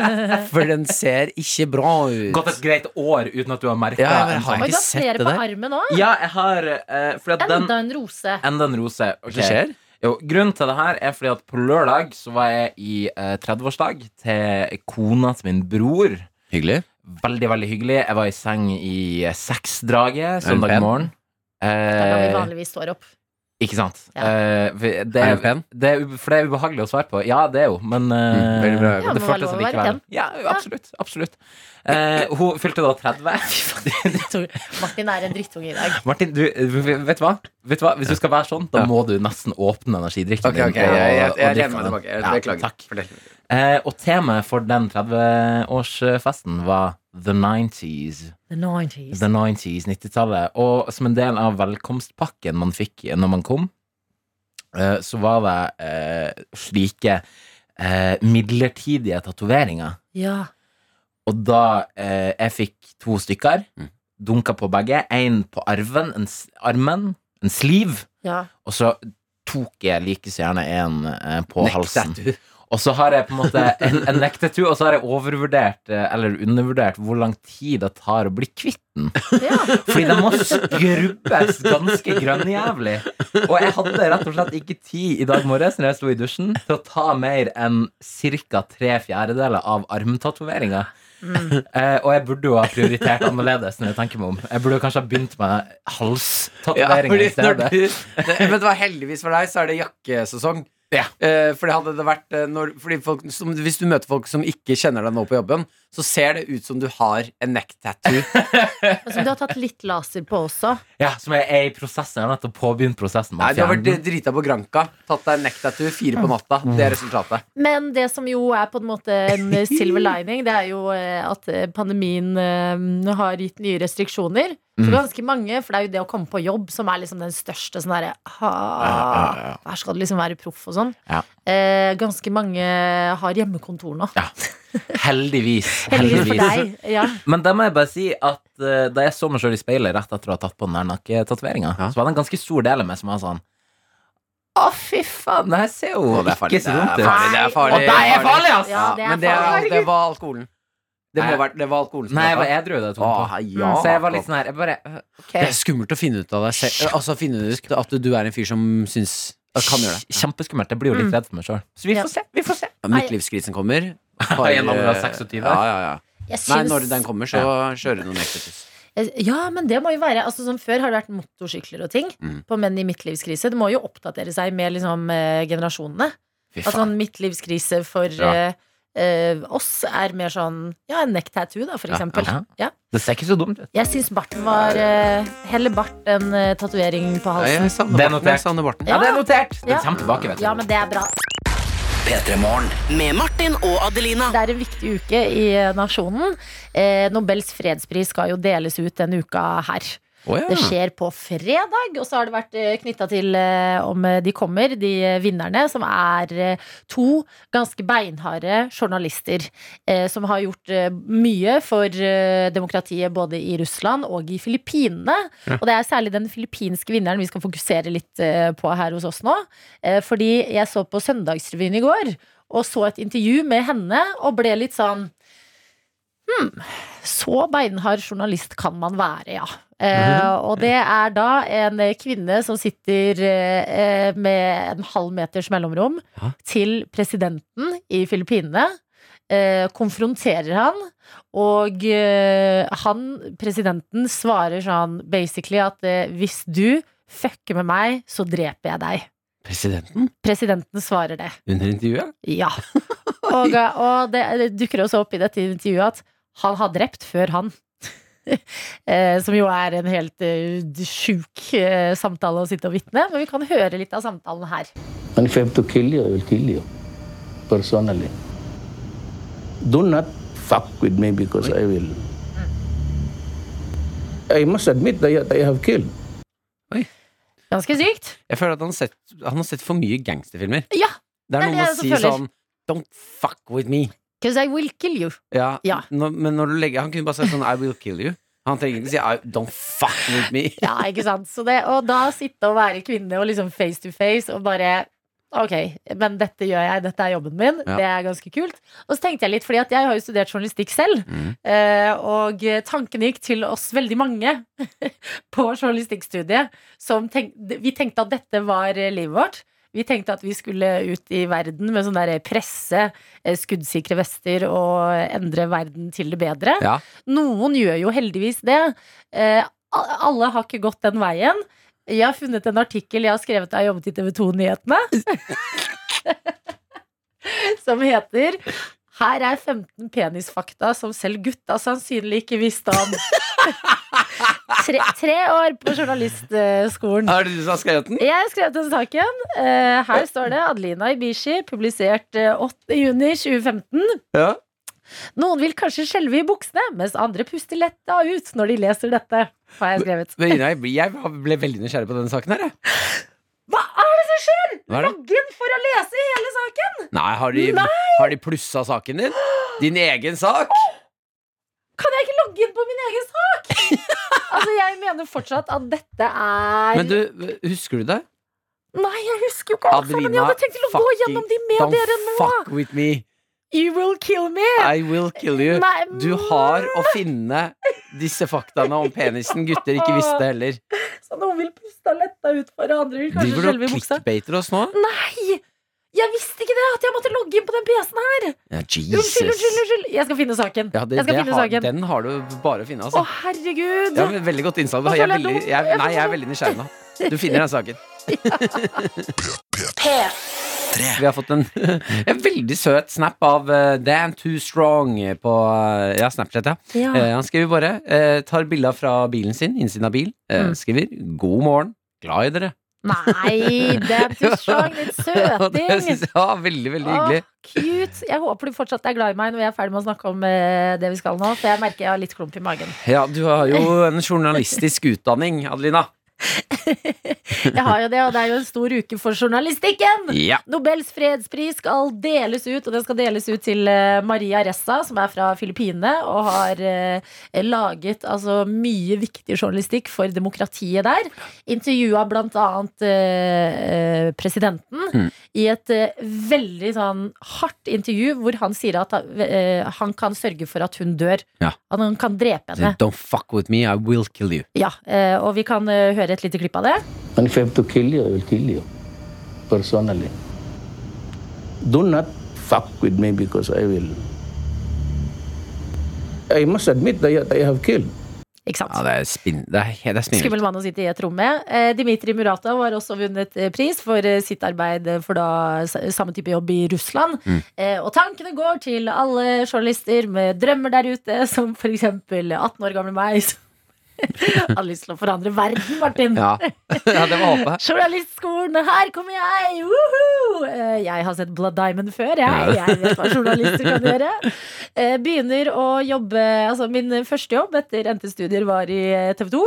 Speaker 2: For den ser ikke bra ut.
Speaker 5: Gått et greit år uten at du har merka
Speaker 2: Ja, men jeg har
Speaker 3: Oi,
Speaker 2: ikke
Speaker 3: du har
Speaker 2: sett
Speaker 3: flere
Speaker 2: det
Speaker 3: på
Speaker 2: der.
Speaker 3: armen òg.
Speaker 5: Ja, jeg har eh, Fordi at den
Speaker 3: Enda en rose.
Speaker 5: Enda en rose. ok.
Speaker 2: Hva skjer?
Speaker 5: Jo, grunnen til det her er fordi at på lørdag så var jeg i eh, 30-årsdag til kona til min bror.
Speaker 2: Hyggelig.
Speaker 5: Veldig, veldig hyggelig. Jeg var i seng i eh, seksdraget
Speaker 2: Er hun
Speaker 5: søndag
Speaker 2: pen?
Speaker 5: morgen.
Speaker 3: Da kan vi
Speaker 5: Eh,
Speaker 3: vanligvis står opp.
Speaker 5: ikke sant?
Speaker 3: Ja.
Speaker 5: Eh, for det,
Speaker 2: Er hun pen?
Speaker 5: Det er, ube- for det er ubehagelig å svare på. Ja, det er jo, men eh,
Speaker 2: Mm, veldig bra.
Speaker 3: Ja,
Speaker 5: det
Speaker 3: må være
Speaker 5: føltes
Speaker 3: lov å være
Speaker 5: likevel.
Speaker 3: pen.
Speaker 5: Ja, absolutt. absolutt. Eh, hun fylte da 30. *laughs*
Speaker 3: Martin er en drittunge i dag.
Speaker 5: Martin, du, vet, du hva? vet du hva? Hvis du skal være sånn, da må du nesten åpne energidrikken
Speaker 2: Ok, ok,
Speaker 5: din. og-
Speaker 2: jeg, jeg,
Speaker 5: og
Speaker 2: jeg
Speaker 5: drikke
Speaker 2: lener meg
Speaker 5: den.
Speaker 2: tilbake. Jeg
Speaker 5: Ja,
Speaker 2: beklager.
Speaker 5: takk.
Speaker 2: Fortell.
Speaker 5: Eh, og temaet for den 30-årsfesten var The 90s.
Speaker 3: The 90s.
Speaker 5: The 90s, 90-tallet. Og som en del av velkomstpakken man fikk når man kom, eh, så var det eh, slike eh, midlertidige tatoveringer.
Speaker 3: Ja.
Speaker 5: Og da eh, jeg fikk to stykker,
Speaker 2: Mm.
Speaker 5: dunka på begge. Én på arven, en, s- armen, en sliv.
Speaker 3: ja.
Speaker 5: Og så tok jeg like så gjerne en eh, på halsen.
Speaker 2: Nektet du?
Speaker 5: Og så har jeg på en måte en, en nektetur, og så har jeg overvurdert eh, eller undervurdert hvor lang tid det tar å bli kvitt den.
Speaker 3: ja.
Speaker 5: Fordi den må skrubbes ganske grønnjævlig. Og jeg hadde rett og slett ikke tid i dag morges når jeg sto i dusjen, til å ta mer enn ca. tre fjerdedeler av armtatoveringa. Eh, og jeg burde jo ha prioritert annerledes. Når Jeg tenker meg om Jeg burde jo kanskje ha begynt med
Speaker 2: Ja,
Speaker 5: halstatoveringer
Speaker 2: fordi
Speaker 5: i
Speaker 2: når
Speaker 5: stedet.
Speaker 2: du, det, men det var heldigvis for deg, så er det jakkesesong.
Speaker 5: Ja.
Speaker 2: Eh, fordi hadde det vært eh, når, fordi folk, som, Hvis du møter folk som ikke kjenner deg nå på jobben, så ser det ut som du har en neck tattoo.
Speaker 3: Og Som Altså, du har tatt litt laser på også.
Speaker 5: Ja, Som jeg er i prosessen. Jeg har nettopp påbegynt prosessen
Speaker 2: *laughs*
Speaker 5: med
Speaker 2: Nei,
Speaker 5: å
Speaker 2: du har
Speaker 5: fjerne
Speaker 2: vært
Speaker 5: den.
Speaker 2: drita på Granka, tatt deg en neck tattoo fire på natta. Det er resultatet.
Speaker 3: Men det som jo er på en måte
Speaker 2: *laughs*
Speaker 3: en silver lining, det er jo eh, at eh, pandemien eh, har gitt nye restriksjoner.
Speaker 2: Mm.
Speaker 3: For ganske mange, for det er jo det å komme på jobb som er liksom den største sånn derre ah, Her skal du liksom være proff og sånn.
Speaker 5: Ja.
Speaker 3: Eh, ganske mange har hjemmekontor nå.
Speaker 5: Ja. Heldigvis.
Speaker 3: *laughs* Heldigvis for deg. Ja.
Speaker 5: Men da må jeg bare si at eh, da jeg så meg sjøl i speilet rett etter å ha tatt på den der nakketatoveringa,
Speaker 2: Ja.
Speaker 5: så var det en ganske stor del av meg som var sånn Å, fy faen, det her ser jo
Speaker 2: Å, det er farlig,
Speaker 5: ikke så dumt
Speaker 2: det
Speaker 5: ut.
Speaker 2: er farlig, det er farlig,
Speaker 5: Og det er farlig, ass!
Speaker 3: Ja, det er
Speaker 2: men det, er-
Speaker 3: farlig.
Speaker 2: det var alkoholen. Det, må
Speaker 5: Nei.
Speaker 2: være, det var alkoholen som
Speaker 5: Nei, jeg
Speaker 2: var
Speaker 5: var edru da jeg tok
Speaker 2: Å,
Speaker 5: den på.
Speaker 2: ja,
Speaker 5: Så jeg var
Speaker 2: Jakob.
Speaker 5: litt sånn her Jeg bare øh, OK.
Speaker 2: Det er skummelt å finne ut av deg selv. Altså finne ut at du er en fyr som syns kan gjøre det.
Speaker 5: Kjempeskummelt. Jeg blir jo litt redd for meg sjøl. Så
Speaker 3: Mm.
Speaker 5: vi
Speaker 3: Ja.
Speaker 5: får se. Vi får se.
Speaker 2: Midtlivskrisen *laughs* kommer.
Speaker 5: I en alder av 26.
Speaker 2: Ja, ja, ja.
Speaker 3: Jeg
Speaker 2: Nei,
Speaker 3: syns-
Speaker 2: når den kommer, så kjører du noen ektetus.
Speaker 3: Jeg- Ja, men det må jo være altså Som før har det vært motorsykler og ting
Speaker 2: Mm.
Speaker 3: på Menn i midtlivskrise. Det må jo oppdatere seg med liksom, eh, generasjonene.
Speaker 5: Fy
Speaker 3: At sånn midtlivskrise for
Speaker 2: Ja.
Speaker 3: eh, eh, oss er mer sånn Ja, en neck tattoo, da, for
Speaker 2: Ja,
Speaker 3: eksempel.
Speaker 5: ja.
Speaker 3: Ja.
Speaker 5: Det ser ikke så dumt ut.
Speaker 3: Jeg syns barten var eh, Heller bart enn eh, tatovering på
Speaker 2: Ja,
Speaker 3: halsen.
Speaker 2: jeg savner
Speaker 5: Det er
Speaker 2: barten,
Speaker 5: notert.
Speaker 2: jeg savner barten.
Speaker 5: Ja, det er notert. Den
Speaker 3: Ja.
Speaker 5: kommer tilbake, vet du.
Speaker 3: Ja, men det er bra.
Speaker 4: Med Martin og Adelina.
Speaker 3: Det er en viktig Eh, uke i nasjonen. Eh, Nobels fredspris skal jo deles ut denne uka her.
Speaker 2: Å, ja.
Speaker 3: Det skjer på fredag, og så har det vært knytta til eh, om eh, de kommer, de eh, vinnerne, som er eh, to ganske beinharde journalister eh, som har gjort eh, mye for eh, demokratiet både i Russland og i Filippinene. Og det er særlig den filippinske vinneren vi skal fokusere litt eh, på her hos oss nå. Eh, Fordi jeg så på Søndagsrevyen i går og så et intervju med henne og ble litt sånn så beinhard journalist kan man være, ja. Eh, og det er da en kvinne som sitter eh, med en halv meters mellomrom
Speaker 2: Ja.
Speaker 3: til presidenten i Filippinene. Eh, konfronterer han, og eh, han, presidenten, svarer sånn basically at eh, hvis du fucker med meg, så dreper jeg deg.
Speaker 2: Presidenten
Speaker 3: Presidenten svarer det.
Speaker 2: under intervjuet?
Speaker 3: Ja. *laughs* Og, og det, det dukker også opp i dette intervjuet at han har drept før han. *laughs* Eh, Som jo er en helt eh, sjuk eh, samtale å sitte og vitne, men vi kan høre litt av samtalen her.
Speaker 6: And if I have to kill you, I will kill you personally. Do not fuck with me because I will. I must admit that I have killed.
Speaker 3: Ganske sykt.
Speaker 2: Jeg føler at han har sett, han har sett for mye gangsterfilmer.
Speaker 3: Ja!
Speaker 2: Det
Speaker 3: det
Speaker 2: er noe med
Speaker 3: jeg
Speaker 2: å
Speaker 3: også
Speaker 2: si
Speaker 3: føler.
Speaker 2: sånn Don't fuck with me.
Speaker 3: Because I will kill you.
Speaker 2: Ja,
Speaker 3: Ja.
Speaker 2: Når, men når du legger Han kunne bare sagt sånn I will kill you. Han trenger ikke si I, Don't fuck with me.
Speaker 3: Ja, ikke sant? Så det, og da sitte og være kvinne og liksom face to face og bare Ok, men dette gjør jeg, dette er jobben min.
Speaker 2: Ja.
Speaker 3: Det er ganske kult. Og så tenkte jeg litt, fordi at jeg har jo studert journalistikk selv.
Speaker 2: Mm.
Speaker 3: eh, Og tanken gikk til oss veldig mange *laughs* på journalistikkstudiet som tenk, Vi tenkte at dette var eh, livet vårt. Vi tenkte at vi skulle ut i verden med sånn der presse, eh, skuddsikre vester og endre verden til det bedre.
Speaker 2: Ja.
Speaker 3: Noen gjør jo heldigvis det. Eh, a- alle har ikke gått den veien. Jeg har funnet en artikkel jeg har skrevet da jeg jobbet i TV 2-nyhetene. *laughs* som heter 'Her er 15 penisfakta som selv gutta sannsynlig ikke visste om'. *laughs* tre, tre år på journalistskolen.
Speaker 2: Er det du som har skrevet den?
Speaker 3: Jeg skrev den saken. Eh, her står det Adelina Ibishi, publisert eh, 8.6.2015.
Speaker 2: Ja.
Speaker 3: Noen vil kanskje skjelve i buksene, mens andre puster letta ut når de leser dette. Har jeg skrevet.
Speaker 2: Men Ina, jeg ble- jeg ble veldig nysgjerrig på denne saken her. jeg.
Speaker 3: Hva er det som skjer?
Speaker 2: Hva er det?
Speaker 3: Loggen for å lese hele saken!
Speaker 2: Nei, har de, har de plussa saken din? Din egen sak?
Speaker 3: Kan jeg ikke logge inn på min egen
Speaker 2: *laughs*
Speaker 3: sak? altså, jeg mener fortsatt at dette er
Speaker 2: Men du, husker du det?
Speaker 3: Nei, jeg husker jo ikke alt sammen. Jeg
Speaker 2: Adelina,
Speaker 3: hadde tenkt til å gå
Speaker 2: fucking-
Speaker 3: gjennom de med
Speaker 2: Don't
Speaker 3: dere nå.
Speaker 2: fuck with me.
Speaker 3: You will kill me.
Speaker 2: I will kill you.
Speaker 3: Nei, mm,
Speaker 2: Du har å finne disse faktaene om penisen gutter ikke visste heller.
Speaker 3: Så noen vil puste letta ut for andre vil kanskje
Speaker 2: Driver du og
Speaker 3: skjelve i buksa.
Speaker 2: clickbaiter oss nå?
Speaker 3: Nei! Jeg visste ikke det, at jeg måtte logge inn på den PC-en her!
Speaker 2: Ja, Jesus.
Speaker 3: Unnskyld, unnskyld, unnskyld! Jeg skal finne saken.
Speaker 2: Ja, det,
Speaker 3: jeg skal
Speaker 2: det
Speaker 3: finne
Speaker 2: har,
Speaker 3: saken.
Speaker 2: den har du bare å finne,
Speaker 3: Å,
Speaker 2: altså.
Speaker 3: herregud!
Speaker 2: Ja, men veldig godt innsalg.
Speaker 3: Hva
Speaker 2: Jeg er
Speaker 3: føler jeg
Speaker 2: veldig,
Speaker 3: nå?
Speaker 2: jeg,
Speaker 3: Jeg
Speaker 2: nei, jeg er
Speaker 3: forstår.
Speaker 2: veldig nysgjerrig nå. Du finner den saken. Vi har fått en, *laughs* en veldig søt snap av eh, Damn Too Strong på eh, ja, Snapchat. Ja.
Speaker 3: Ja.
Speaker 2: Eh, han skriver bare eh, Tar bilder fra bilen sin, innsiden av bil. eh,
Speaker 3: Mm.
Speaker 2: Skriver 'God morgen, glad i dere'.
Speaker 3: Nei,
Speaker 2: *laughs*
Speaker 3: damn too strong, litt
Speaker 2: Og det
Speaker 3: søting.
Speaker 2: synes jeg var veldig,
Speaker 3: Ah.
Speaker 2: veldig hyggelig.
Speaker 3: Åh, cute. Jeg håper du fortsatt er glad i meg når jeg er ferdig med å snakke om eh, det vi skal nå, for jeg merker jeg har litt klump i magen.
Speaker 2: Ja, du har jo en journalistisk utdanning, Adelina.
Speaker 3: Jeg har jo det, og det er jo en stor uke for journalistikken!
Speaker 2: Ja.
Speaker 3: Nobels fredspris skal deles ut, og den skal deles ut til eh, Maria Ressa, som er fra Filippinene, og har eh, laget altså, mye viktig journalistikk for demokratiet der. Intervjua blant annet eh, eh, presidenten
Speaker 2: Mm.
Speaker 3: i et eh, veldig sånn hardt intervju, hvor han sier at eh, han kan sørge for at hun dør.
Speaker 2: Ja.
Speaker 3: At han kan drepe henne.
Speaker 2: Don't fuck with me, I will kill you.
Speaker 3: Ja, eh, og vi kan eh, høre et lite klipp av det.
Speaker 6: And if I have to kill you, I will kill you personally. Do not fuck with me because I will. I must admit that I have killed.
Speaker 3: Ikke sant?
Speaker 2: Ja, det er spinn... Det er, det er spinnvilt.
Speaker 3: Skummel mann å sitte i et rom med. Eh, Dimitri Muratov har også vunnet eh, pris for eh, sitt arbeid eh, for da s- samme type jobb i Russland. Eh, og tankene går til alle journalister med drømmer der ute, som f.eks. 18 år gamle meg. som *laughs* Har lyst til å forandre verden, Martin.
Speaker 2: Ja. *laughs* ja, det var håpet.
Speaker 3: Journalistskolen, her kommer jeg! Woohoo! Eh, Jeg har sett Blood Diamond før, jeg. Jeg vet hva journalister kan gjøre. Eh, eh, Begynner å jobbe Altså, min første jobb etter endte studier var i TV 2.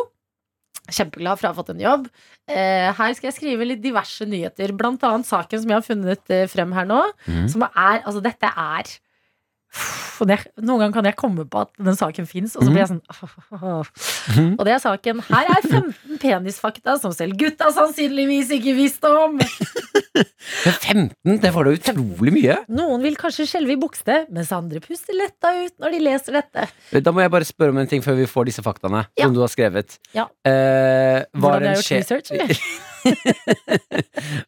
Speaker 3: Kjempeglad for å ha fått en jobb. Eh, her skal jeg skrive litt diverse nyheter. Blant annet saken som jeg har funnet eh, frem her nå. Som er Altså, dette er Uff, og det, Noen ganger kan jeg komme på at den saken fins, og så blir jeg sånn Og det er saken. Her er 15 penisfakta som selv gutta sannsynligvis ikke visste om.
Speaker 2: Men 15, det var da utrolig mye.
Speaker 3: Noen vil kanskje skjelve i bukse, mens andre puster letta ut når de leser dette.
Speaker 2: Da må jeg bare spørre om en ting før vi får disse faktaene
Speaker 3: Ja.
Speaker 2: som du har skrevet.
Speaker 3: Ja.
Speaker 2: Eh, var,
Speaker 3: Hvordan har
Speaker 2: det en
Speaker 3: jeg gjort
Speaker 2: sjef,
Speaker 3: research,
Speaker 2: *laughs*
Speaker 3: eller?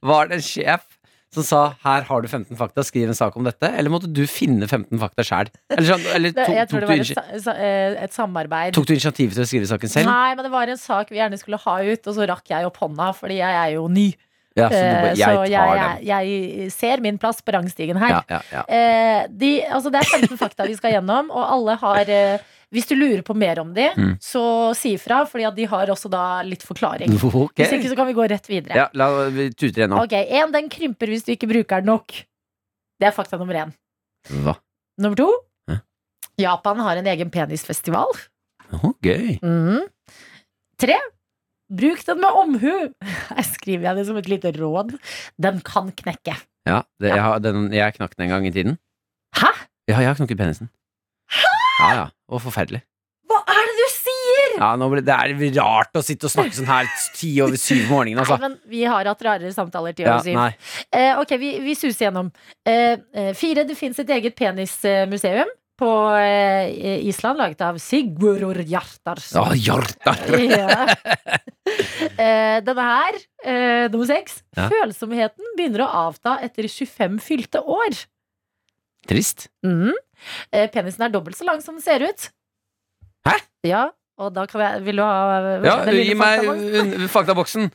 Speaker 2: var det en sjef som sa 'her har du 15 fakta, skriv en sak om dette'? Eller måtte du finne 15 fakta sjæl? Eller, sånn, eller
Speaker 3: *laughs* Det,
Speaker 2: tok,
Speaker 3: jeg tror
Speaker 2: tok,
Speaker 3: det
Speaker 2: du
Speaker 3: var et,
Speaker 2: initi-
Speaker 3: sa- sa- eh, et samarbeid.
Speaker 2: tok du initiativet til å skrive saken selv?
Speaker 3: Nei, men det var en sak vi gjerne skulle ha ut, og så rakk jeg opp hånda, fordi jeg er jo ny.
Speaker 2: Ja, så du
Speaker 3: Eh,
Speaker 2: bare,
Speaker 3: så
Speaker 2: jeg tar
Speaker 3: jeg,
Speaker 2: den.
Speaker 3: jeg ser min plass på rangstigen her.
Speaker 2: Ja, ja, ja.
Speaker 3: Eh, de, altså det er 15 fakta vi skal gjennom, og alle har eh, Hvis du lurer på mer om de,
Speaker 2: Mm.
Speaker 3: så si ifra, fordi at de har også da litt forklaring.
Speaker 2: *laughs* Mm. Ok.
Speaker 3: Hvis ikke så kan vi gå rett videre.
Speaker 2: Ja, la vi tuter igjen nå.
Speaker 3: Ok, en, den krymper hvis du ikke bruker den nok. Det er fakta nummer én.
Speaker 2: Hva?
Speaker 3: Nummer to.
Speaker 2: Hæ?
Speaker 3: Japan har en egen penisfestival.
Speaker 2: Å, gøy.
Speaker 3: Mm. Tre. Bruk den med omhu. *laughs* Her skriver jeg det som et lite råd. Den kan knekke.
Speaker 2: Ja, det, jeg, har, den, jeg knakk den en gang i tiden.
Speaker 3: Hæ?
Speaker 2: Ja, jeg har knukket penisen. Ja, ja. Og forferdelig.
Speaker 3: Hva er det du sier?!
Speaker 2: Ja, nå ble, det er rart å sitte og snakke sånn her ti over syv om morgenen, altså.
Speaker 3: Nei, men vi har hatt rarere samtaler til
Speaker 2: Ja,
Speaker 3: over syv.
Speaker 2: nei.
Speaker 3: Eh, ok, vi, vi suser gjennom. Eh, eh, fire, det fins et eget penismuseum på eh, i- Island, laget av Sigurður Hjartarson.
Speaker 2: Å, hjarta.
Speaker 3: *laughs* ja. eh, denne her, eh, nummer seks.
Speaker 2: Ja.
Speaker 3: Følsomheten begynner å avta etter 25 fylte år.
Speaker 2: Trist.
Speaker 3: Mhm. Eh, penisen er dobbelt så lang som den ser ut.
Speaker 2: Hæ?
Speaker 3: Ja, og da kan jeg Vil du ha
Speaker 2: Ja,
Speaker 3: den lille
Speaker 2: gi meg
Speaker 3: faktaboksen?
Speaker 2: un- faktaboksen.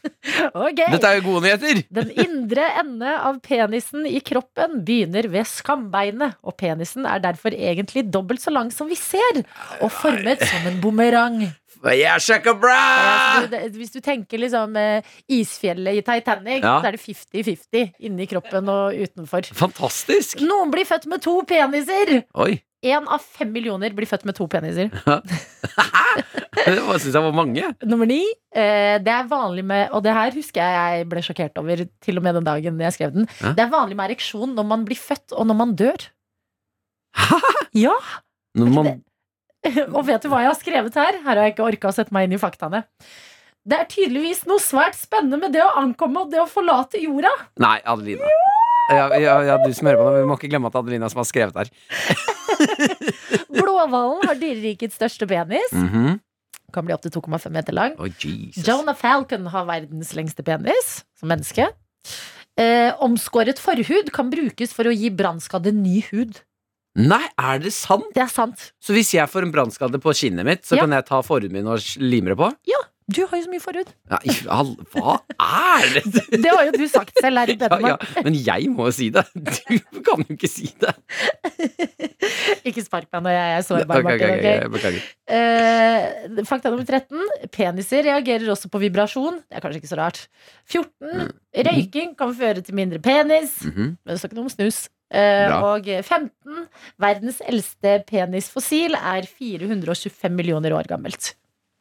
Speaker 3: Ok.
Speaker 2: Dette er jo gode nyheter.
Speaker 3: Den indre ende av penisen i kroppen begynner ved skambeinet, og penisen er derfor egentlig dobbelt så lang som vi ser, og formet som en bumerang.
Speaker 2: Yeah, shaka bra!
Speaker 3: Altså, du- det- Hvis du tenker liksom eh, isfjellet i Titanic,
Speaker 2: Ja.
Speaker 3: så er det 50-50 inni kroppen og utenfor.
Speaker 2: Fantastisk.
Speaker 3: Noen blir født med to peniser!
Speaker 2: Oi. *laughs*
Speaker 3: Én av fem millioner blir født med to peniser.
Speaker 2: Det var- synes jeg var mange.
Speaker 3: Nummer ni. Eh, det er vanlig med Og det her husker jeg jeg ble sjokkert over, til og med den dagen jeg skrev den.
Speaker 2: Hæ?
Speaker 3: Det er vanlig med ereksjon når man blir født, og når man dør. Ja!
Speaker 2: Når man,
Speaker 3: Og vet du hva jeg har skrevet her? Her har jeg ikke orka å sette meg inn i faktaene. Det er tydeligvis noe svært spennende med det å ankomme og det å forlate jorda.
Speaker 2: nei, Adelina. Ja, ja, ja, du som hører på nå, vi må ikke glemme at det er Adelina som har skrevet her.
Speaker 3: Blåhvalen har dyrerikets største penis.
Speaker 2: Mhm.
Speaker 3: Kan bli opptil 2,5 meter lang.
Speaker 2: Å, Jesus.
Speaker 3: Jonah Falcon har verdens lengste penis som menneske. Eh, omskåret forhud kan brukes for å gi brannskadde ny hud.
Speaker 2: Nei, er det sant?
Speaker 3: Det er sant.
Speaker 2: Så hvis jeg får en brannskade på kinnet mitt, så
Speaker 3: Ja.
Speaker 2: kan jeg ta forhuden min og lime det på?
Speaker 3: Du har jo så mye forhud.
Speaker 2: Ja, i all, hva er det?!
Speaker 3: *laughs* Det har jo du sagt selv her i
Speaker 2: Ja,
Speaker 3: Bedemar.
Speaker 2: ja, men jeg må jo si det. *laughs* Du kan jo ikke si det.
Speaker 3: Ikke spark meg når jeg er
Speaker 2: Ok,
Speaker 3: sårbar,
Speaker 2: ok, ok,
Speaker 3: Martin. ok?
Speaker 2: jeg beklager.
Speaker 3: Eh, fakta nummer 13. Peniser reagerer også på vibrasjon. Det er kanskje ikke så rart. 14.
Speaker 2: Mm.
Speaker 3: Røyking kan føre til mindre penis.
Speaker 2: Mhm.
Speaker 3: Men det står ikke noe om snus. Eh,
Speaker 2: Bra.
Speaker 3: og 15. Verdens eldste penisfossil er 425 millioner år gammelt.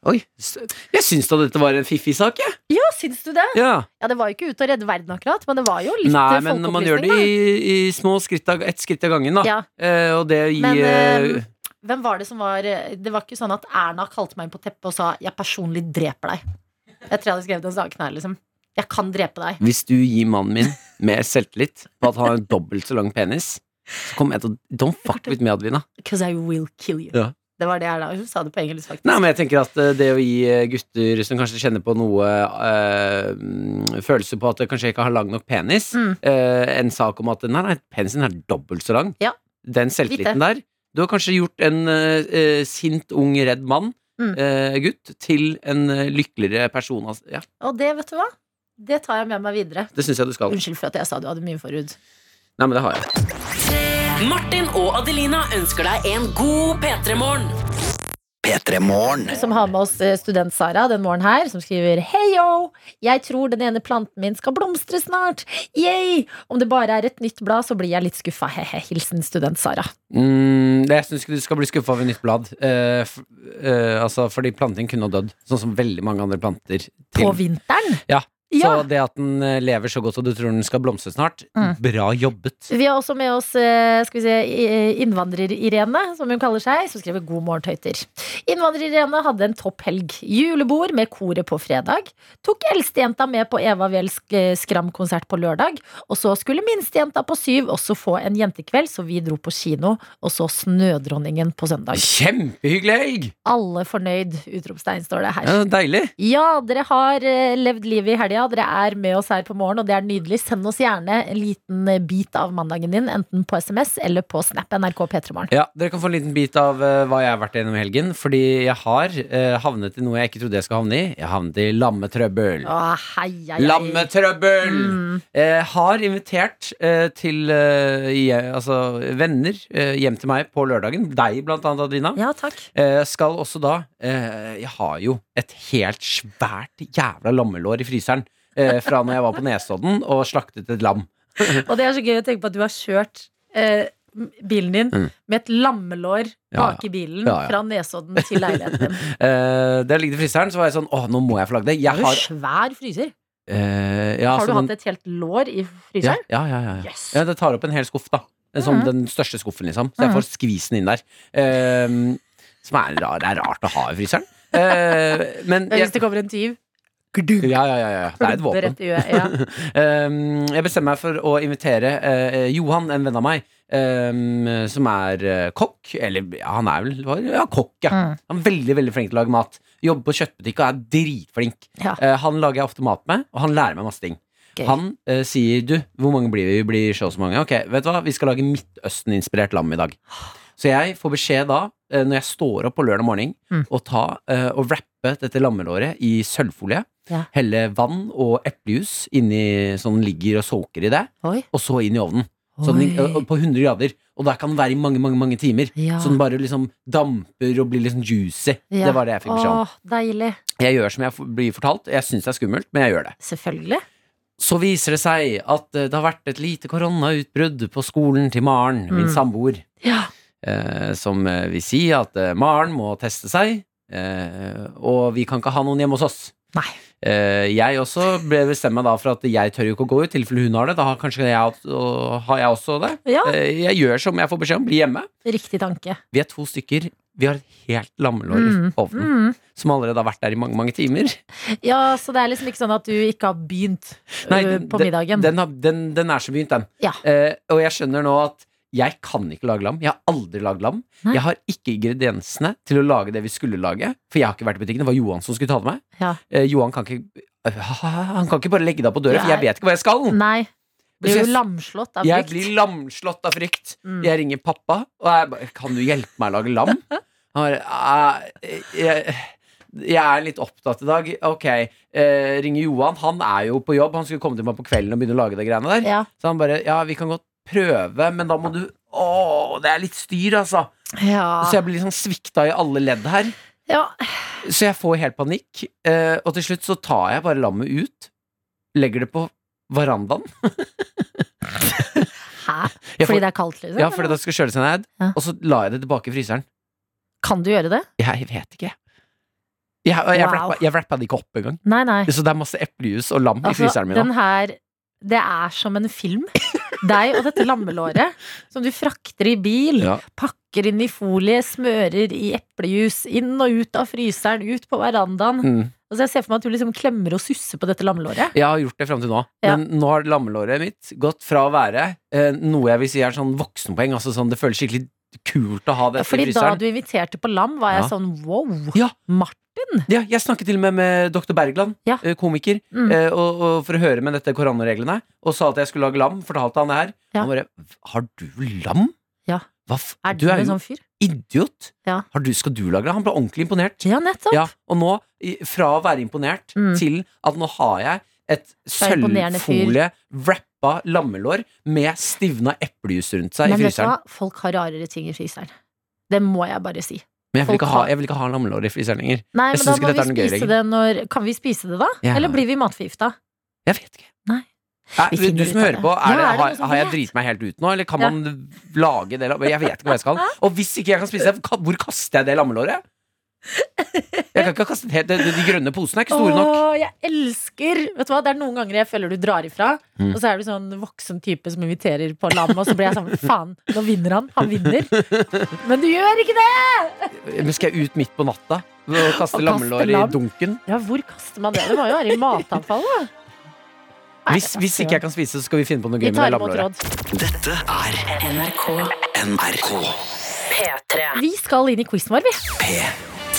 Speaker 2: Oi, s- jeg syns da dette var en fiffig sak,
Speaker 3: *laughs*
Speaker 2: jeg.
Speaker 3: Ja, syns du det?
Speaker 2: Ja.
Speaker 3: Ja, Det var jo ikke ute å redde verden akkurat, men det var jo litt
Speaker 2: Nei,
Speaker 3: eh,
Speaker 2: men man gjør det
Speaker 3: folkeopplysning,
Speaker 2: i, i små skritt av, ett skritt av gangen, da.
Speaker 3: da. Ja.
Speaker 2: Eh, og det i
Speaker 3: Men,
Speaker 2: eh,
Speaker 3: eh, Hvem var det som var eh, Det var ikke sånn at Erna kalte meg inn på teppet og sa 'jeg personlig dreper deg'. Jeg tror jeg hadde skrevet den saken her, liksom. Jeg kan drepe deg.
Speaker 2: Hvis du gir mannen
Speaker 3: *laughs*
Speaker 2: min mer selvtillit på at han har en dobbelt så lang penis, så kommer jeg til å Don't fuck with me, Adelina.
Speaker 3: Because I will kill you.
Speaker 2: Ja.
Speaker 3: Det var det Erna Hun sa det på engelsk, faktisk.
Speaker 2: Nei, men jeg tenker at eh, det å gi eh, gutter som kanskje kjenner på noe eh, mm, følelse på at det kanskje ikke har lang nok penis,
Speaker 3: Mm.
Speaker 2: eh, en sak om at nei, nei, penisen er dobbelt så lang,
Speaker 3: Ja.
Speaker 2: den selvtilliten der Du har kanskje gjort en eh, eh, sint, ung, redd mann,
Speaker 3: Mm.
Speaker 2: eh, gutt, til en eh, lykkeligere person. altså. Ja,
Speaker 3: Og det, vet du hva? Det tar jeg med meg videre.
Speaker 2: det syns jeg du skal.
Speaker 3: Unnskyld for at jeg sa du hadde mye forhud.
Speaker 2: Nei, men det har jeg.
Speaker 4: Martin og Adelina ønsker deg en god P3-morgen.
Speaker 3: som har med oss eh, student Sara den morgenen her, som skriver Hei yo, jeg tror den ene planten min skal blomstre snart. Yay! Om det bare er et nytt blad, så blir jeg litt skuffa. Hehe. Hilsen student Sara.
Speaker 2: Mm, det- jeg syns ikke du skal bli skuffa over nytt blad. Eh, f eh, altså, fordi planting kunne ha dødd, sånn som veldig mange andre planter.
Speaker 3: På
Speaker 2: Til.
Speaker 3: vinteren.
Speaker 2: Ja.
Speaker 3: Ja.
Speaker 2: Så det at den eh, lever så godt og du tror den skal blomstre snart,
Speaker 3: Mm.
Speaker 2: bra jobbet.
Speaker 3: Vi har også med oss eh, skal vi se, i- innvandrer-Irene, som hun kaller seg, som skriver 'God morgen, tøyter'. Innvandrer-Irene hadde en topp helg. Julebord med koret på fredag. Tok eldstejenta med på Eva Wels eh, Skram-konsert på lørdag. Og så skulle minstejenta på syv også få en jentekveld, så vi dro på kino og så Snødronningen på søndag.
Speaker 2: Kjempehyggelig helg!
Speaker 3: Alle fornøyd! Utropstegn står det her.
Speaker 2: Ja, deilig.
Speaker 3: Ja, dere har eh, levd livet i helga. Dere er med oss her på morgen, og det er nydelig. Send oss gjerne en liten eh, bit av mandagen din, enten på SMS eller på Snap NRK P3morgen.
Speaker 2: Ja, Dere kan få en liten bit av eh, hva jeg har vært gjennom i helgen. Fordi jeg har eh, havnet i noe jeg ikke trodde jeg skulle havne i. Jeg havnet i lammetrøbbel.
Speaker 3: Å, hei, hei, hei.
Speaker 2: Lammetrøbbel!
Speaker 3: Mm.
Speaker 2: Eh, har invitert eh, til eh, je- altså, venner eh, hjem til meg på lørdagen. Deg, blant annet, Adelina.
Speaker 3: Ja, takk.
Speaker 2: Eh, skal også da eh, Jeg har jo et helt svært jævla lammelår i fryseren. Eh, fra når jeg var på Nesodden og slaktet et lam.
Speaker 3: Og det er så gøy å tenke på at du har kjørt eh, bilen din
Speaker 2: Mm.
Speaker 3: med et lammelår
Speaker 2: Ja,
Speaker 3: bak i bilen
Speaker 2: Ja, ja.
Speaker 3: fra Nesodden til leiligheten
Speaker 2: *laughs*
Speaker 3: din.
Speaker 2: Eh, da jeg ligger i fryseren, så var jeg sånn Å, nå må jeg flagge det.
Speaker 3: Du
Speaker 2: Jeg
Speaker 3: har
Speaker 2: har,
Speaker 3: svær fryser.
Speaker 2: eh, ja,
Speaker 3: Har du
Speaker 2: så den-
Speaker 3: hatt et helt lår i
Speaker 2: Ja,
Speaker 3: fryseren?
Speaker 2: ja, ja, ja, ja.
Speaker 3: Yes.
Speaker 2: ja Det tar opp en hel skuff, da. Som
Speaker 3: Mhm.
Speaker 2: den største skuffen, liksom. Så jeg får skvisen inn der. Ehm, som er, ra- det er rart å ha i fryseren. Eh, men
Speaker 3: Men Hvis
Speaker 2: jeg,
Speaker 3: det kommer en tyv,
Speaker 2: ja, ja, ja, ja. Det er et
Speaker 3: klubber
Speaker 2: våpen.
Speaker 3: rett i øyet. *laughs* Ja.
Speaker 2: Ehm, jeg bestemmer meg for å invitere eh, Johan, en venn av meg, ehm, som er eh, kokk. Eller ja, han er vel hva- ja, kokk, ja.
Speaker 3: Mm.
Speaker 2: Han er veldig veldig flink til å lage mat. Jobber på kjøttbutikk og er dritflink. *laughs*
Speaker 3: Ja.
Speaker 2: Eh, han lager jeg ofte mat med, og han lærer meg masse ting.
Speaker 3: Gøy.
Speaker 2: Han eh, sier 'du, hvor mange blir vi? Vi blir så og så mange'. Ok, vet du hva, vi skal lage Midtøsten-inspirert lam i dag. Så jeg får beskjed da, eh, når jeg står opp på lørdag morgen,
Speaker 3: Mm.
Speaker 2: å ta eh, og wrappe dette lammelåret i sølvfolie.
Speaker 3: Ja.
Speaker 2: Helle vann og eplejus inni så den ligger og soaker i det,
Speaker 3: Oi.
Speaker 2: og så inn i ovnen. Så den,
Speaker 3: Oi.
Speaker 2: eh, på 100 grader. Og der kan den være i mange, mange mange timer.
Speaker 3: Ja.
Speaker 2: Så den bare liksom damper og blir liksom juicy.
Speaker 3: Ja.
Speaker 2: Det var det jeg fikk beskjed om.
Speaker 3: Åh, deilig.
Speaker 2: Jeg gjør som jeg f- blir fortalt. Jeg syns det er skummelt, men jeg gjør det.
Speaker 3: Selvfølgelig.
Speaker 2: Så viser det seg at eh, det har vært et lite koronautbrudd på skolen til Maren, min
Speaker 3: Mm.
Speaker 2: samboer.
Speaker 3: Ja.
Speaker 2: Eh, som eh, vil si at eh, Maren må teste seg, eh, og vi kan ikke ha noen hjemme hos oss.
Speaker 3: Nei.
Speaker 2: Eh, jeg også ble bestemmer meg da for at jeg tør jo ikke å gå ut, i tilfelle hun har det. Da har kanskje jeg, hatt- og har jeg også det.
Speaker 3: Ja,
Speaker 2: Eh, jeg gjør som jeg får beskjed om, bli hjemme.
Speaker 3: riktig tanke.
Speaker 2: Vi er to stykker. Vi har et helt lammelår i
Speaker 3: Mm.
Speaker 2: ovnen som allerede har vært der i mange, mange timer.
Speaker 3: Ja, så det er liksom ikke sånn at du ikke har begynt
Speaker 2: Nei,
Speaker 3: øh, på
Speaker 2: den-
Speaker 3: middagen.
Speaker 2: Den, har, den, den er så begynt, den.
Speaker 3: Ja.
Speaker 2: Eh, og jeg skjønner nå at jeg kan ikke lage lam. Jeg har aldri lagd lam.
Speaker 3: Nei.
Speaker 2: Jeg har ikke ingrediensene til å lage det vi skulle lage. For jeg har ikke vært i butikken. Det var Johan som skulle ta det med.
Speaker 3: Ja.
Speaker 2: Eh, Johan kan ikke *laughs* Han kan ikke bare legge deg på døra, for
Speaker 3: Nei.
Speaker 2: jeg vet ikke hva jeg skal.
Speaker 3: Nei. Du
Speaker 2: Så
Speaker 3: er
Speaker 2: jeg-
Speaker 3: jo lamslått av
Speaker 2: Jeg
Speaker 3: frykt.
Speaker 2: blir lamslått av frykt.
Speaker 3: Mm.
Speaker 2: Jeg ringer pappa, og jeg bare Kan du hjelpe meg å lage lam?
Speaker 3: *laughs*
Speaker 2: Han bare «Eh, jeg, jeg er litt opptatt i dag. Ok. Eh, ringer Johan. Han er jo på jobb. Han skulle komme til meg på kvelden og begynne å lage de greiene der.
Speaker 3: Ja.
Speaker 2: Så han bare Ja, vi kan godt prøve, men da må du Å, det er litt styr, altså. Så
Speaker 3: Ja.
Speaker 2: jeg blir liksom svikta i alle ledd her.
Speaker 3: ja.
Speaker 2: Så jeg får helt panikk. Eh, og til slutt så tar jeg bare lammet ut, legger det på verandaen.
Speaker 3: Hæ?
Speaker 2: Jeg får-
Speaker 3: Fordi det er kaldt, liksom?
Speaker 2: Ja, fordi det skal kjøle seg ned.
Speaker 3: Ja.
Speaker 2: Og så la jeg det tilbake i fryseren.
Speaker 3: Kan du gjøre det?
Speaker 2: Jeg vet ikke. Jeg, og jeg,
Speaker 3: Wow.
Speaker 2: wrappa, jeg wrappa det ikke opp engang.
Speaker 3: Nei, nei.
Speaker 2: Så det er masse eplejus og lam i
Speaker 3: Altså,
Speaker 2: fryseren min
Speaker 3: den
Speaker 2: nå.
Speaker 3: her Det er som en film. Deg og dette lammelåret som du frakter i bil.
Speaker 2: Ja.
Speaker 3: Pakker inn i folie, smører i eplejus, inn og ut av fryseren, ut på verandaen.
Speaker 2: Mm.
Speaker 3: Altså jeg ser for meg at du liksom klemmer og susser på dette lammelåret.
Speaker 2: Jeg har gjort det fram til nå,
Speaker 3: Ja.
Speaker 2: men nå har lammelåret mitt gått fra å være eh, noe jeg vil si er sånn voksenpoeng, altså sånn det føles skikkelig kult å ha det i
Speaker 3: Fordi da
Speaker 2: fryseren.
Speaker 3: du inviterte på lam, var jeg
Speaker 2: Ja.
Speaker 3: sånn wow.
Speaker 2: Ja.
Speaker 3: Martin.
Speaker 2: Ja, jeg snakket til og med med dr. Bergland,
Speaker 3: Ja.
Speaker 2: eh, komiker,
Speaker 3: Mm.
Speaker 2: eh, og, og for å høre med dette koronareglene, og sa at jeg skulle lage lam, fortalte han det her.
Speaker 3: Ja.
Speaker 2: Han bare Har du lam?
Speaker 3: Ja.
Speaker 2: Hva f...
Speaker 3: Er
Speaker 2: du er
Speaker 3: en
Speaker 2: jo
Speaker 3: sånn fyr?
Speaker 2: idiot!
Speaker 3: Ja.
Speaker 2: Har du, skal du lage det? Han ble ordentlig imponert.
Speaker 3: Ja, nettopp.
Speaker 2: Ja, og nå, i- fra å være imponert
Speaker 3: Mm.
Speaker 2: til at nå har jeg et
Speaker 3: er imponerende fyr.
Speaker 2: sølvfolie wrappa lammelår med stivna eplejus rundt seg
Speaker 3: Men
Speaker 2: i
Speaker 3: vet du
Speaker 2: fryseren.
Speaker 3: hva, folk har rarere ting i fryseren. Det må jeg bare si.
Speaker 2: Men jeg vil
Speaker 3: Folk
Speaker 2: ikke ha,
Speaker 3: har-
Speaker 2: jeg vil ikke ha lammelårriflis lenger.
Speaker 3: Nei, men
Speaker 2: Jeg synes
Speaker 3: da
Speaker 2: ikke
Speaker 3: må
Speaker 2: dette
Speaker 3: vi
Speaker 2: er noe gøy
Speaker 3: spise
Speaker 2: lenger.
Speaker 3: det når Kan vi spise det, da?
Speaker 2: Ja.
Speaker 3: Eller blir vi matforgifta?
Speaker 2: Jeg vet ikke.
Speaker 3: Nei.
Speaker 2: Er,
Speaker 3: Vi
Speaker 2: du,
Speaker 3: finner
Speaker 2: du
Speaker 3: ut
Speaker 2: som
Speaker 3: av
Speaker 2: hører
Speaker 3: det.
Speaker 2: på,
Speaker 3: Ja,
Speaker 2: er det,
Speaker 3: er det
Speaker 2: har,
Speaker 3: noen som
Speaker 2: har jeg
Speaker 3: vet?
Speaker 2: driti meg helt ut nå, eller kan
Speaker 3: Ja.
Speaker 2: man lage det lam- Jeg vet ikke
Speaker 3: *laughs*
Speaker 2: hva jeg skal. Og hvis ikke jeg kan spise det, ka- hvor kaster jeg det lammelåret? Jeg kan ikke kaste det helt, de, de grønne posene er ikke store nok.
Speaker 3: Åh, jeg elsker Vet du hva, det er noen ganger jeg føler du drar ifra
Speaker 2: Mm.
Speaker 3: Og så er du sånn voksen type som inviterer på lam Og så blir jeg sånn, *laughs* faen, nå vinner han Han
Speaker 2: *laughs*
Speaker 3: vinner Men du gjør ikke det
Speaker 2: Men skal jeg ut midt på natta og kaste
Speaker 3: Og kaste
Speaker 2: lammelår i
Speaker 3: lam.
Speaker 2: dunken?
Speaker 3: Ja, hvor kaster man det? Det må jo være i matavfall da Nei,
Speaker 2: Hvis, hvis ikke jeg kan spise det, så skal vi finne på noe
Speaker 3: Vi
Speaker 2: gøy med det
Speaker 3: tar imot
Speaker 2: lammelåret.
Speaker 3: råd
Speaker 7: Dette er
Speaker 4: NRK
Speaker 7: NRK
Speaker 4: P3.
Speaker 3: Vi skal inn i quizen vår, vi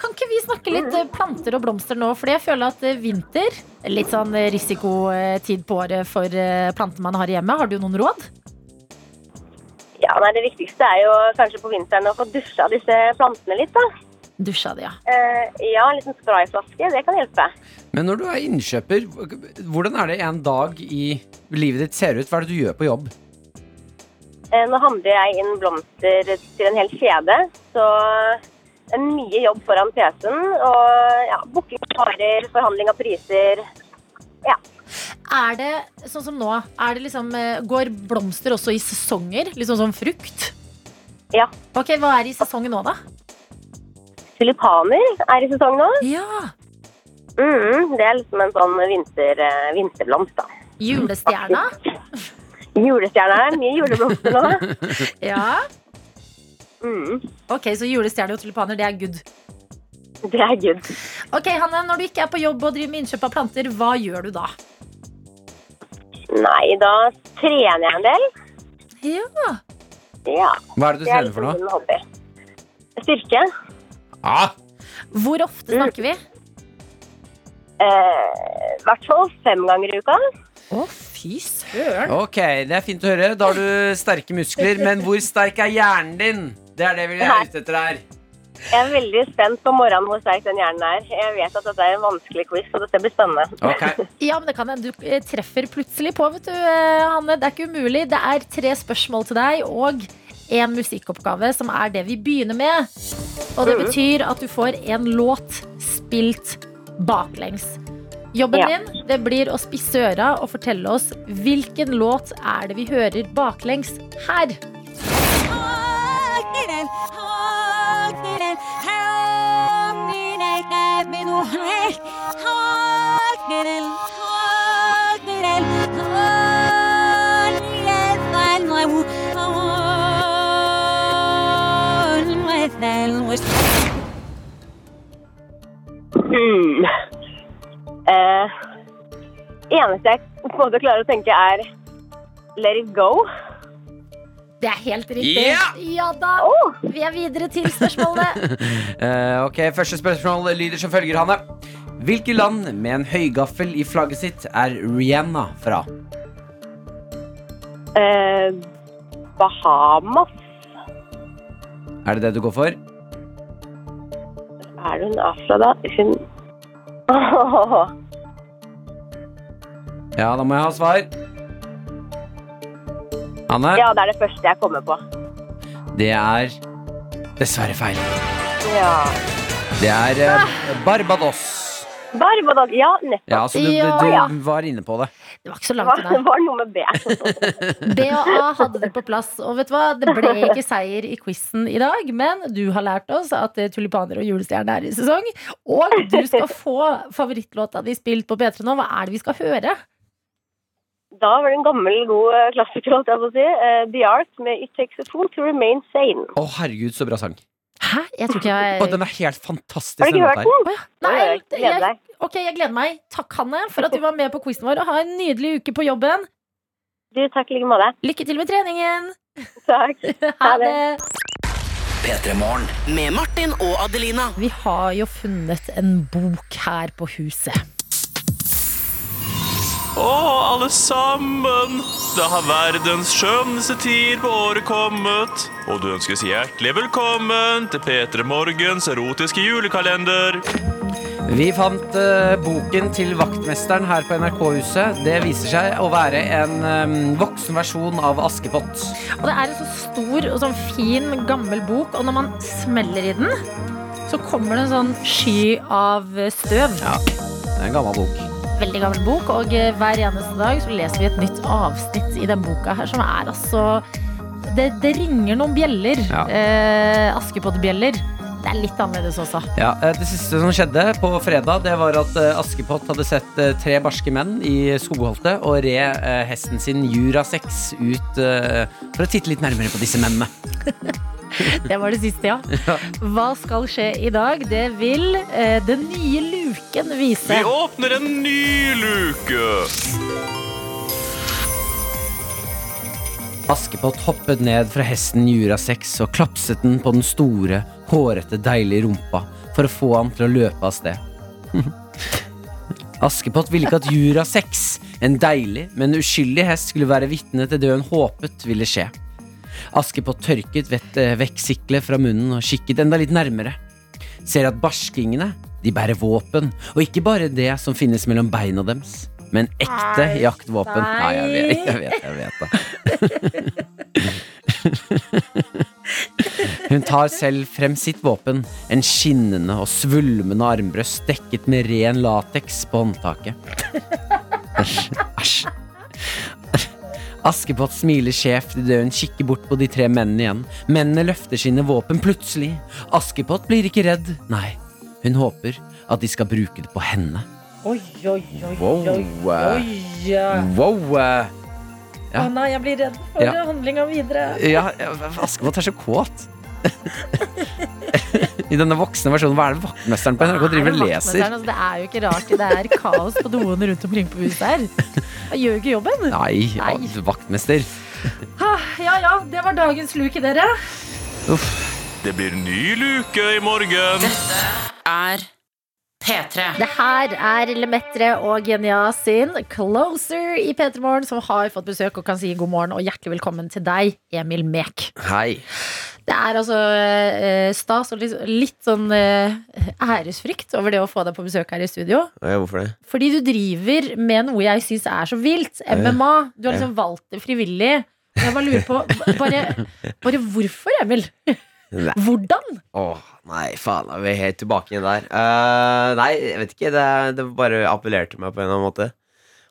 Speaker 3: Kan ikke vi snakke litt eh, planter og blomster nå? Fordi jeg føler at eh, vinter Litt sånn eh, risikotid på året for eh, planter man har hjemme. Har du noen råd?
Speaker 8: Ja, nei, Det viktigste er jo kanskje på vinteren å få dusja disse plantene litt. da.
Speaker 3: Dusja di, ja.
Speaker 8: Eh, ja, en liten sprayflaske, det kan hjelpe.
Speaker 2: Men når du er innkjøper, hvordan er det en dag i livet ditt ser ut? Hva er det du gjør på jobb?
Speaker 8: Eh, nå handler jeg inn blomster til en hel kjede, så det er mye jobb foran PC-en. Og ja, booking av varer, forhandling av priser.
Speaker 3: Er det sånn som nå? Er det liksom, eh, går blomster også i sesonger? Liksom som frukt?
Speaker 8: Ja.
Speaker 3: Ok, Hva er i sesongen nå, da?
Speaker 8: Tulipaner er i sesong nå.
Speaker 3: Ja,
Speaker 8: Mm, det er liksom en sånn vinter, eh, vinterblomst, da.
Speaker 3: Julestjerna?
Speaker 8: Julestjerna er mye juleblomster nå.
Speaker 3: Ja.
Speaker 8: Mm,
Speaker 3: Ok, Så julestjerne og tulipaner, det er good.
Speaker 8: det er good.
Speaker 3: Ok, Hanne, Når du ikke er på jobb og driver med innkjøp av planter, hva gjør du da?
Speaker 8: Nei, da trener jeg en del.
Speaker 3: Ja,
Speaker 8: Ja,
Speaker 2: Hva er det du
Speaker 8: det
Speaker 2: trener
Speaker 8: er liksom
Speaker 2: for noe?
Speaker 8: min hobby. Styrke.
Speaker 2: Ah,
Speaker 3: Hvor ofte snakker vi?
Speaker 8: Eh, I hvert fall fem ganger i uka.
Speaker 3: Å, fy søren!
Speaker 2: ok, det er fint å høre. Da har du sterke muskler, men hvor sterk er hjernen din? Det er det vi er ute etter her.
Speaker 8: Jeg er veldig spent på morgenen hvor sterk den hjernen er. Jeg vet at dette er en vanskelig quiz, og dette blir spennende. *clears throat*
Speaker 2: Ok,
Speaker 3: Ja, men det kan hende du eh, treffer plutselig på, vet du, eh, Hanne. Det er ikke umulig. Det er tre spørsmål til deg og en musikkoppgave, som er det vi begynner med. Og det betyr at du får en låt spilt baklengs. Jobben
Speaker 8: Ja.
Speaker 3: din det blir å spisse øra og fortelle oss hvilken låt er det vi hører baklengs her.
Speaker 8: Hmm. Eh, eneste jeg på en måte klarer å tenke, er let it go.
Speaker 3: Det er helt riktig.
Speaker 2: Ja!
Speaker 3: Ja da!
Speaker 8: Oh,
Speaker 3: Vi er videre til spørsmålet. *laughs*
Speaker 2: Eh, ok, Første spørsmål lyder som følger, Hanne. Hvilke land med en høygaffel i flagget sitt er Rihanna fra?
Speaker 8: eh, Bahamas.
Speaker 2: Er det det du går for?
Speaker 8: Hva er det hun er fra, da? Hun *laughs* Åh,
Speaker 2: Ja, da må jeg ha svar. Hanne,
Speaker 8: Ja, det er det første jeg kommer på.
Speaker 2: det er dessverre feil.
Speaker 8: Ja.
Speaker 2: Det er eh, Barbados.
Speaker 8: Barbados. Ja, nettopp.
Speaker 2: Ja, altså, så du,
Speaker 3: Ja,
Speaker 2: du,
Speaker 8: ja.
Speaker 2: du var inne på det.
Speaker 3: Det var ikke så
Speaker 8: Det
Speaker 3: langt
Speaker 8: var, det
Speaker 3: unna.
Speaker 8: *laughs* var noe med B.
Speaker 3: B og A hadde det på plass. Og vet du hva, det ble ikke seier i quizen i dag, men du har lært oss at eh, tulipaner og julestjerne er i sesong. Og du skal få favorittlåta di spilt på P3 nå. Hva er det vi skal høre?
Speaker 8: Da var det en gammel, god eh, klassiker, holdt jeg på å si. Eh, The Ark med It Takes a Fool to Remain Sane.
Speaker 2: Å, herregud, så bra sang.
Speaker 3: Hæ? Jeg tror ikke
Speaker 2: Å,
Speaker 3: jeg
Speaker 2: den er helt fantastisk.
Speaker 8: Har du ikke
Speaker 2: den
Speaker 8: hørt
Speaker 2: låta her.
Speaker 8: den?
Speaker 3: Å ja. Nei,
Speaker 8: Nei, gleder
Speaker 3: jeg,
Speaker 8: deg.
Speaker 3: ok, jeg gleder meg. Takk, Hanne, for at du var med på quizen vår. Og ha en nydelig uke på jobben.
Speaker 8: Du, takk i like måte.
Speaker 3: Lykke til med treningen.
Speaker 8: Takk.
Speaker 3: Ha
Speaker 8: Ha det.
Speaker 3: det.
Speaker 7: P3morgen.
Speaker 4: Med Martin og Adelina.
Speaker 3: Vi har jo funnet en bok her på huset.
Speaker 9: Å, alle sammen! Da har verdens skjønneste tid på året kommet. Og du ønskes hjertelig velkommen til P3 Morgens erotiske julekalender.
Speaker 2: Vi fant eh, boken til vaktmesteren her på NRK-huset. Det viser seg å være en eh, voksen versjon av Askepott.
Speaker 3: Og det er en så stor og sånn fin, gammel bok, og når man smeller i den, så kommer det en sånn sky av støv.
Speaker 2: Det er en gammel bok.
Speaker 3: Veldig gammel bok, og eh, hver eneste dag så leser vi et nytt avsnitt i den boka her, som er altså Det, det ringer noen bjeller.
Speaker 2: Ja.
Speaker 3: Eh, Askepott-bjeller. Det er litt annerledes også.
Speaker 2: Ja, eh, Det siste som skjedde på fredag, det var at eh, Askepott hadde sett eh, tre barske menn i skogholtet og red eh, hesten sin Jurasex ut eh, for å titte litt nærmere på disse mennene.
Speaker 3: Det var det siste, ja. Hva skal skje i dag? Det vil eh, den nye luken vise.
Speaker 9: Vi åpner en ny luke.
Speaker 2: Askepott hoppet ned fra hesten Jurasex og klapset den på den store, hårete, deilige rumpa for å få ham til å løpe av sted. *laughs* Askepott ville ikke at Jurasex, en deilig, men uskyldig hest, skulle være vitne til det hun håpet ville skje. Askepott tørket vett- eh, vekk siklet fra munnen og kikket enda litt nærmere. Ser at barskingene, de bærer våpen, og ikke bare det som finnes mellom beina deres, men ekte
Speaker 3: Nei,
Speaker 2: jaktvåpen. Nei, jeg vet,
Speaker 3: nei.
Speaker 2: jeg vet, jeg vet det. *laughs* Hun tar selv frem sitt våpen, en skinnende og svulmende armbrøst dekket med ren lateks på håndtaket. Æsj, æsj. Askepott smiler skjevt idet hun kikker bort på de tre mennene igjen. Mennene løfter sine våpen plutselig. Askepott blir ikke redd, nei. Hun håper at de skal bruke det på henne.
Speaker 3: Oi, oi, oi,
Speaker 2: Wow.
Speaker 3: oi, oi.
Speaker 2: Wow! eh, Ja.
Speaker 3: Å nei, jeg blir redd for
Speaker 2: Ja.
Speaker 3: handlinga videre.
Speaker 2: Ja, ja, Askepott er så kåt. *laughs* I denne voksne versjonen, hva er det vaktmesteren på NRK driver og
Speaker 3: Er det
Speaker 2: leser?
Speaker 3: vaktmesteren? Altså, det er jo ikke rart det er kaos på doen rundt omkring på huset her. Jeg gjør jo ikke jobben.
Speaker 2: Nei, ja,
Speaker 3: Nei.
Speaker 2: vaktmester.
Speaker 3: Ah, Ja ja, det var dagens luke, dere.
Speaker 9: Det blir ny luke i morgen.
Speaker 4: er P3.
Speaker 3: Det her er Lemetre og Genia sin Closer i P3 Morgen, som har fått besøk og kan si god morgen og hjertelig velkommen til deg, Emil Mek.
Speaker 2: Hei.
Speaker 3: Det er altså eh, stas og litt, litt sånn eh, æresfrykt over det å få deg på besøk her i studio.
Speaker 2: Hvorfor det?
Speaker 3: Fordi du driver med noe jeg syns er så vilt. MMA. Du har liksom valgt det frivillig. Og Jeg bare lurer på Bare, bare hvorfor, Emil?
Speaker 10: Nei.
Speaker 3: Hvordan?
Speaker 10: Åh, nei, faen, da er vi helt tilbake igjen der. Eh, nei, jeg vet ikke. Det, det bare appellerte meg på en eller annen måte.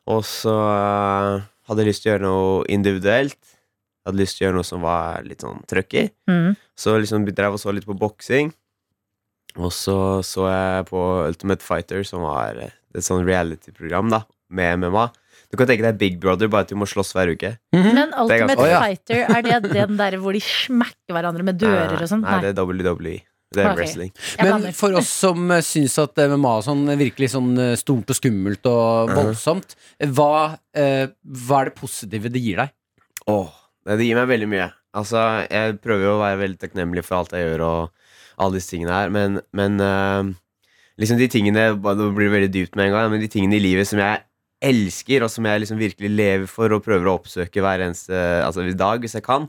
Speaker 10: Og så eh, hadde jeg lyst til å gjøre noe individuelt. Jeg hadde lyst til å gjøre noe som var litt sånn trøkk i. Så liksom begynte jeg å så litt på boksing. Og så så jeg på Ultimate Fighter, som var eh, et sånn reality-program da, med MMA. Du kan tenke deg Big Brother, bare at du må slåss hver uke.
Speaker 2: Mhm.
Speaker 3: Men Ultimate
Speaker 10: ganske-
Speaker 2: Å, ja.
Speaker 3: Fighter, er det den der hvor de smakker hverandre med dører og sånt?
Speaker 10: Eh, Nei,
Speaker 3: Nei,
Speaker 10: det er WWE. Det er
Speaker 3: Ok.
Speaker 10: wrestling.
Speaker 3: jeg
Speaker 2: Men
Speaker 3: blander.
Speaker 2: for oss som eh, syns at eh, MMA og sånn virkelig sånn eh, stort og skummelt og
Speaker 10: Mhm.
Speaker 2: voldsomt, hva, eh, hva er det positive det gir deg?
Speaker 10: Åh, nei, det gir meg veldig mye. Altså, jeg prøver jo å være veldig takknemlig for alt jeg gjør og alle disse tingene her, men, men eh, liksom de tingene bare- Nå blir det veldig dypt med en gang, men de tingene i livet som jeg elsker, og som jeg liksom virkelig lever for og prøver å oppsøke hver eneste altså, i dag, hvis jeg kan,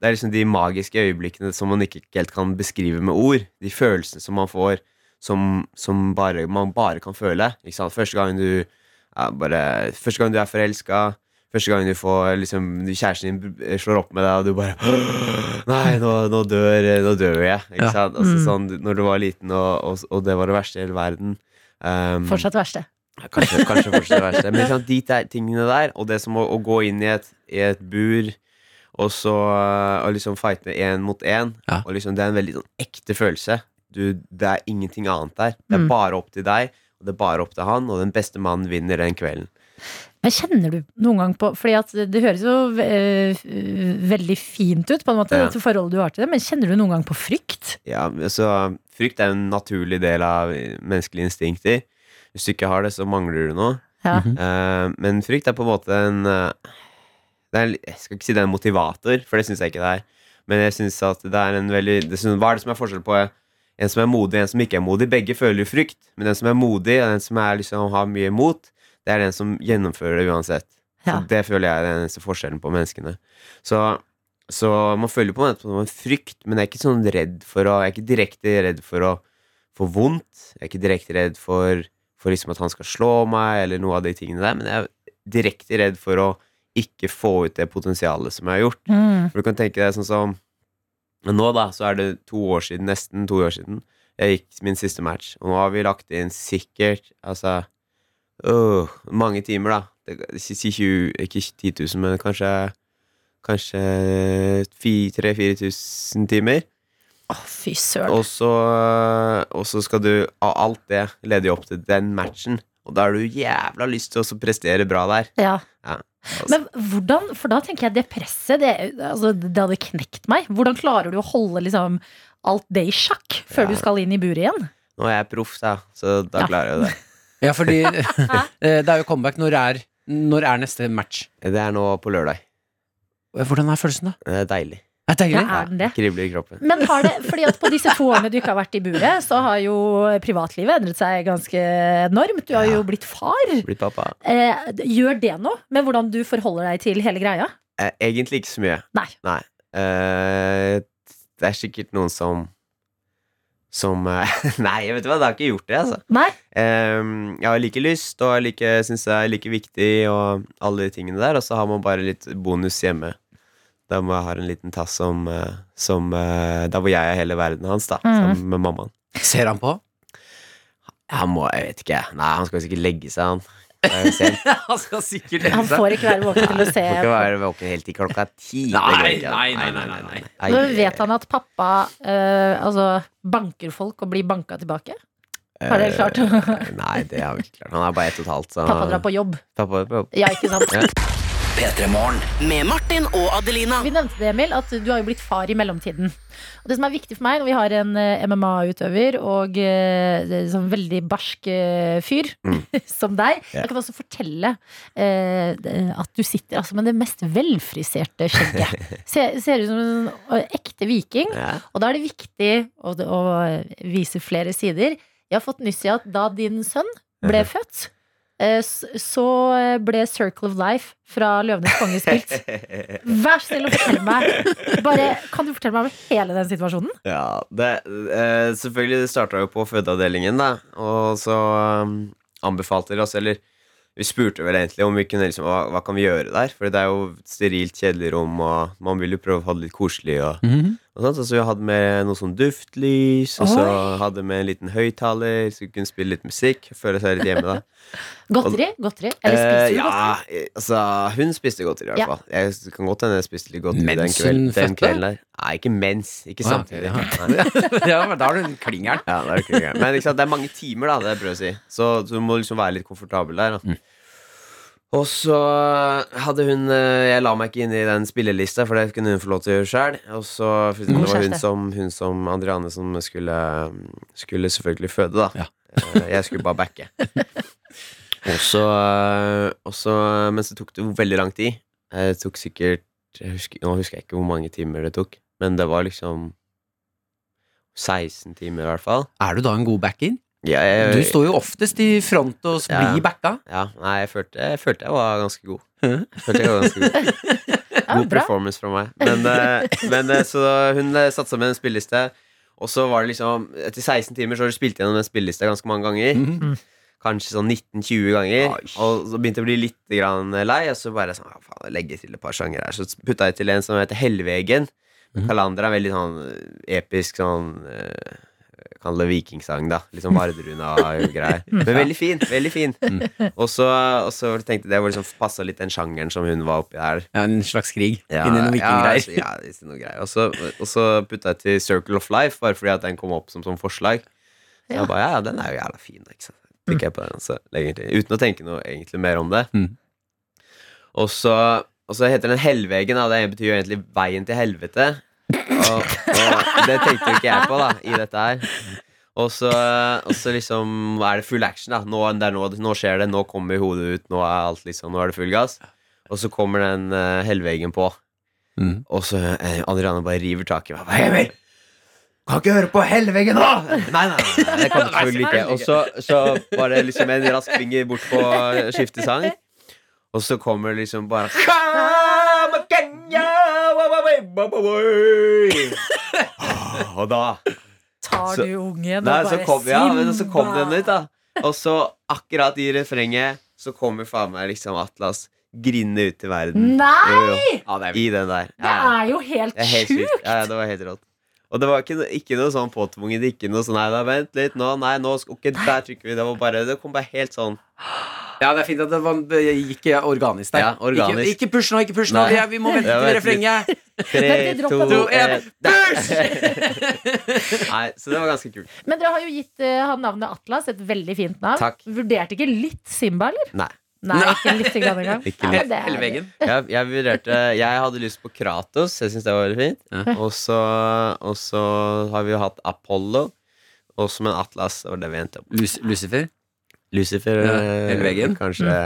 Speaker 10: det er liksom de magiske øyeblikkene som man ikke helt kan beskrive med ord. De følelsene som man får, som, som bare, man bare kan føle. Ikke sant? Første gang du er, bare, første gang du er forelska, Første gang du får liksom, kjæresten din slår opp med deg, og du bare *gasps* Nei, nå, nå, dør, nå dør jeg. Ikke
Speaker 2: Ja.
Speaker 10: sant? Altså,
Speaker 3: Mm.
Speaker 10: sånn, når du var liten, og, og, og det var det verste i hele verden. Um,
Speaker 3: Fortsatt verste.
Speaker 10: Kanskje, kanskje fortsatt det verste. Men ikke sant, de der, tingene der, og det som å, å gå inn i et, i et bur og så øh, og liksom fighte én mot én,
Speaker 2: Ja.
Speaker 10: og liksom, det er en veldig sånn ekte følelse. Du, det er ingenting annet der. Det
Speaker 3: Mm.
Speaker 10: er bare opp til deg, og det er bare opp til han, og den beste mannen vinner den kvelden.
Speaker 3: Men kjenner du noen gang på Fordi at det høres jo eh, veldig fint ut, på en måte,
Speaker 10: Ja.
Speaker 3: dette forholdet du har til det, men kjenner du noen gang på frykt?
Speaker 10: Ja, altså, frykt er en naturlig del av menneskelige instinkter. Hvis du ikke har det, så mangler du noe.
Speaker 3: Ja.
Speaker 2: Mhm.
Speaker 10: Eh, men frykt er på en måte en eh, det er, Jeg skal ikke si det er en motivator, for det syns jeg ikke det er. Men jeg synes at det er en veldig det synes, Hva er det som er forskjell på eh, en som er modig, og en som ikke er modig? Begge føler jo frykt, men den som er modig, og den som er, liksom, har mye mot, det er den som gjennomfører det uansett.
Speaker 3: Ja.
Speaker 10: Så det føler jeg er den eneste forskjellen på menneskene. Så, så man føler på en måte på en frykt, men jeg er ikke sånn redd for å Jeg er ikke direkte redd for å få vondt. Jeg er ikke direkte redd for, for liksom at han skal slå meg, eller noe av de tingene der, men jeg er direkte redd for å ikke få ut det potensialet som jeg har gjort.
Speaker 3: Mm.
Speaker 10: For du kan tenke deg sånn som men nå, da, så er det to år siden, nesten to år siden, jeg gikk min siste match. Og nå har vi lagt inn sikkert altså øh, mange timer, da. Det, si- si 20, ikke 10 000, men kanskje Kanskje 3000-4000 timer.
Speaker 3: Fy søren.
Speaker 10: Og så, eh, og så skal du av alt det lede opp til den matchen. Og da har du jævla lyst til å så prestere bra der.
Speaker 3: Ja.
Speaker 10: Ja, altså.
Speaker 3: Men hvordan, for da tenker jeg det presset, det, altså, det hadde knekt meg. Hvordan klarer du å holde liksom, alt det i sjakk før
Speaker 10: Ja.
Speaker 3: du skal inn i buret igjen?
Speaker 10: Nå er jeg proff, da, så da
Speaker 3: Ja.
Speaker 10: klarer jeg det.
Speaker 3: *laughs*
Speaker 2: Ja,
Speaker 10: *laughs*
Speaker 2: fordi *laughs* eh, det er jo comeback. Når er, når er neste match? Eh,
Speaker 10: Det er nå på lørdag.
Speaker 2: Hvordan er følelsen, da?
Speaker 10: Det er deilig.
Speaker 2: Det er deilig.
Speaker 3: Ja, er den det?
Speaker 10: Kribler i kroppen.
Speaker 3: Men har det, fordi at på disse to årene du ikke har vært i buret, så har jo privatlivet endret seg ganske enormt. Du har jo blitt far.
Speaker 10: Blitt pappa.
Speaker 3: Eh, gjør det noe med hvordan du forholder deg til hele greia?
Speaker 10: Eh, Egentlig ikke så mye.
Speaker 3: Nei.
Speaker 10: Eh, det er sikkert noen som Som eh, *laughs* Nei, vet du hva, det har ikke gjort det, altså.
Speaker 3: Nei?
Speaker 10: Eh, jeg har like lyst, og jeg like, syns det er like viktig, og alle de tingene der. Og så har man bare litt bonus hjemme. Da må jeg ha en liten tass som, eh, som eh, Der hvor jeg er hele verden hans, da.
Speaker 3: Mm.
Speaker 10: Sammen med mammaen.
Speaker 2: Ser han på? *laughs*
Speaker 10: Han må Jeg vet ikke. Nei, han skal sikkert legge seg, *laughs* han. Det er jo sent.
Speaker 5: Han skal sikkert
Speaker 3: Han får ikke være våken til å se.
Speaker 10: Må ikke være våken helt til klokka ti. Det går
Speaker 5: Nei,
Speaker 10: ikke.
Speaker 5: nei, nei, nei, nei.
Speaker 10: Nei.
Speaker 3: Nå vet han at pappa eh, altså, banker folk og blir banka tilbake. Har dere klart å-
Speaker 10: Eh, Nei, det har vi ikke klart. Han er bare ett og et halvt. Så
Speaker 3: Pappa drar på jobb.
Speaker 10: Pappa drar på jobb.
Speaker 3: Ja, ikke sant?
Speaker 10: Ah. Ja.
Speaker 7: P3morgen.
Speaker 4: Med Martin og Adelina.
Speaker 3: Vi nevnte det, Emil, at du har jo blitt far i mellomtiden. Og det som er viktig for meg når vi har en eh, MMA-utøver og eh, det er sånn veldig barsk eh, fyr *laughs* som deg
Speaker 10: Mm. Ja.
Speaker 3: Jeg kan også fortelle eh, det- at du sitter altså, med det mest velfriserte skjegget.
Speaker 10: *laughs*
Speaker 3: Ser, ser ut som en eh, ekte viking.
Speaker 10: Ja.
Speaker 3: Og da er det viktig å, å vise flere sider. Jeg har fått nyss i at da din sønn ble
Speaker 10: Mhm.
Speaker 3: født, eh, s- så ble Circle of Life fra Løvenes konge
Speaker 10: *laughs*
Speaker 3: spilt. Vær så snill å fortelle meg Bare, Kan du fortelle meg om hele den situasjonen?
Speaker 10: Ja, det, eh, selvfølgelig det starta jo på fødeavdelingen, da. Og så um, anbefalte de oss, eller vi spurte vel egentlig om vi kunne liksom, hva, hva kan vi gjøre der? For det er jo et sterilt, kjedelig rom, og man vil jo prøve å ha det litt koselig. Og,
Speaker 2: Mhm.
Speaker 10: og sånt, og så vi hadde med noe sånn duftlys, og så hadde med en liten høyttaler, så vi kunne spille litt musikk. Føle seg litt hjemme, da.
Speaker 3: Godteri? godteri Eller spiser
Speaker 10: Eh,
Speaker 3: du
Speaker 10: ja,
Speaker 3: godteri?
Speaker 10: eh, altså Hun spiste godteri, i hvert
Speaker 3: Ja.
Speaker 10: fall. Jeg s- kan godt hende jeg spiste litt godteri den,
Speaker 2: Mens
Speaker 10: kveld,
Speaker 2: hun
Speaker 10: den
Speaker 2: fødte?
Speaker 10: kvelden der. Nei, ikke mens.
Speaker 2: Å,
Speaker 10: Ikke
Speaker 2: ja,
Speaker 10: samtidig.
Speaker 2: ja.
Speaker 10: Nei.
Speaker 2: ja, men da har du en klingeren.
Speaker 10: Ja, det er ikke greit. Men ikke sant, det er mange timer, da. Det er prøver å si. Så så du må liksom være litt komfortabel der. Da.
Speaker 2: Mm.
Speaker 10: Og så hadde hun eh, Jeg la meg ikke inn i den spillelista, for det kunne hun få lov til å gjøre sjøl. Og så
Speaker 3: God
Speaker 10: for det var
Speaker 3: kjæreste.
Speaker 10: hun som, hun som Andriane som skulle, skulle selvfølgelig føde, da.
Speaker 2: Ja.
Speaker 10: Eh, Jeg skulle bare backe.
Speaker 2: *laughs*
Speaker 10: Og så, eh, og så- Men så tok det jo veldig lang tid. Eh, Det tok sikkert jeg husker, Nå husker jeg ikke hvor mange timer det tok, men det var liksom 16 timer, i hvert fall.
Speaker 2: Er du da en god back-in?
Speaker 10: Ja, jeg,
Speaker 2: Du står jo oftest i front og
Speaker 10: Ja, Eh, ja.
Speaker 2: blir backa.
Speaker 10: ja, nei, jeg følte, jeg følte jeg var ganske god. Jeg følte jeg var ganske god.
Speaker 3: *laughs* Ja,
Speaker 10: God
Speaker 3: bra.
Speaker 10: performance fra meg. Men,
Speaker 3: *laughs*
Speaker 10: eh, men eh, så hun eh, satte seg med en spilleliste, og så var det liksom Etter 16 timer så har du spilt gjennom den spillelista ganske mange ganger.
Speaker 2: Mhm.
Speaker 10: Kanskje sånn 19-20 ganger. Og så begynte jeg å bli litt grann lei, og så bare sånn, ja, faen, jeg legger til et par sjanger her. Så putta jeg til en som heter Hellvegen. Kalander er veldig sånn eh, episk sånn eh, Kall det vikingsang, da. Litt sånn Vardruna-greier. Men veldig fin. veldig fin Og så, og så tenkte jeg det var liksom passa litt den sjangeren som hun var oppi der.
Speaker 2: Ja, en slags krig inni noen
Speaker 10: Ja,
Speaker 2: vikinggreier.
Speaker 10: altså, ja, hvis det er noe greier. Og så, og så putta jeg til Circle of Life, bare fordi at den kom opp som sånn forslag. Så
Speaker 3: Ja.
Speaker 10: jeg bare, ja, den er jo jævla fin, da, ikke sant. Klikker jeg på den, og så legger jeg den til. Uten å tenke noe egentlig mer om det.
Speaker 2: Mm.
Speaker 10: Og så, og så heter den Hellvegen, da. Det betyr jo egentlig Veien til helvete. Og, og det tenkte jo ikke jeg på, da, i dette her. Og så, og så liksom er det full action, da. Nå, det er nå, nå skjer det, nå kommer hodet ut, nå er alt liksom, nå er det full gass. Og så kommer den eh, Hellvegen på.
Speaker 2: Mm.
Speaker 10: Og så eh, Adriana bare river tak i meg. Bare, Emil!
Speaker 2: Kan ikke høre på Helleveggen nå! Nei, nei, nei, nei,
Speaker 10: Det kan du selvfølgelig ikke. Og så, så var det liksom en rask finger bort på å skifte sang. Og så kommer liksom bare Og da
Speaker 3: Tar
Speaker 10: Så-
Speaker 3: du ungen og
Speaker 10: Nei, så
Speaker 3: bare
Speaker 10: kom, ja, men så kom
Speaker 3: Simba!
Speaker 10: den ut, da. Og så akkurat i refrenget så kommer faen meg liksom Atlas grinende ut til verden.
Speaker 3: Nei!
Speaker 10: Jo, jo. I den der.
Speaker 3: Det er jo helt,
Speaker 10: Det er helt
Speaker 3: sjukt!
Speaker 10: sykt. Ja, ja, det var helt rått. Og det var ikke, no- ikke noe sånn påtvunget. Ikke noe sånn Nei da, vent litt nå. Nei, nå skal Ok, der trykker vi. Det var bare Det kom bare helt sånn.
Speaker 2: Ja, det er fint at det var, det gikk ja, organisk der.
Speaker 10: Ja, organisk.
Speaker 2: Ikke, ikke push nå, ikke push nå.
Speaker 10: Nei.
Speaker 2: Vi, er- vi *laughs* må vente
Speaker 10: Ja,
Speaker 2: til
Speaker 10: vent litt.
Speaker 2: refrenget.
Speaker 10: Tre,
Speaker 3: Vent, vi dropper
Speaker 10: to,
Speaker 2: den.
Speaker 10: en
Speaker 2: Push!
Speaker 10: *laughs* Nei, så det var ganske kult.
Speaker 3: Men dere har jo gitt eh, han navnet Atlas, et veldig fint navn.
Speaker 10: Takk.
Speaker 3: Vurderte ikke litt Simba, eller?
Speaker 10: Nei.
Speaker 3: Nei, ikke
Speaker 10: *laughs*
Speaker 3: litt grann engang.
Speaker 10: Ikke
Speaker 3: Ja,
Speaker 10: litt.
Speaker 3: men det er-
Speaker 2: Helleveggen.
Speaker 10: Jeg, jeg vurderte Jeg hadde lyst på Kratos. Jeg syns det var veldig fint. Og så og så har vi jo hatt Apollo. Og som en Atlas. Det var det vi endte opp med.
Speaker 2: Lucifer?
Speaker 10: Lucifer.
Speaker 2: Ja,
Speaker 10: eh,
Speaker 2: Elveggen.
Speaker 10: Kanskje,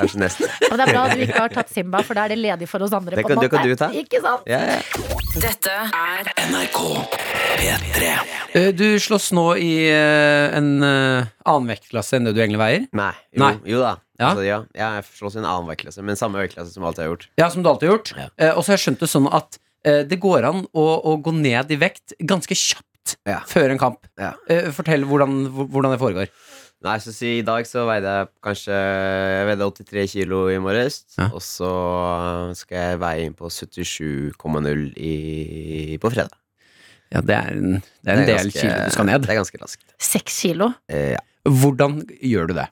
Speaker 10: kanskje *laughs* neste.
Speaker 3: Men det er bra at du ikke har tatt Simba, for da er det ledig for oss andre.
Speaker 10: Det
Speaker 3: på
Speaker 10: kan-
Speaker 3: en
Speaker 10: det kan
Speaker 3: måte.
Speaker 10: du ta.
Speaker 3: Ikke sant?
Speaker 10: Ja, ja.
Speaker 4: Dette er
Speaker 7: NRK P3
Speaker 2: Eh, Du slåss nå i eh, en eh, annen vektklasse enn det du egentlig veier.
Speaker 10: Nei. Jo,
Speaker 2: Nei.
Speaker 10: jo da.
Speaker 2: Ja.
Speaker 10: Altså, ja, ja, jeg slåss i en annen vektklasse, men samme vektklasse som alt jeg har gjort.
Speaker 2: Ja, som du alltid har gjort.
Speaker 10: Ja.
Speaker 2: Eh, Og så har jeg skjønt det sånn at eh, det går an å, å gå ned i vekt ganske kjapt
Speaker 10: Ja.
Speaker 2: før en kamp.
Speaker 10: Ja.
Speaker 2: Eh, Fortell hvordan, hvordan det foregår.
Speaker 10: Nei, så si I dag så veide jeg kanskje Jeg veide 83 kilo i morges,
Speaker 2: Ja.
Speaker 10: og så skal jeg veie inn på 77,0 i- på fredag.
Speaker 2: Ja, det er en, det er en del
Speaker 10: ganske-
Speaker 2: kilo du skal ned.
Speaker 10: Det er ganske raskt.
Speaker 3: Seks kilo.
Speaker 10: Eh, ja.
Speaker 2: Hvordan gjør du det?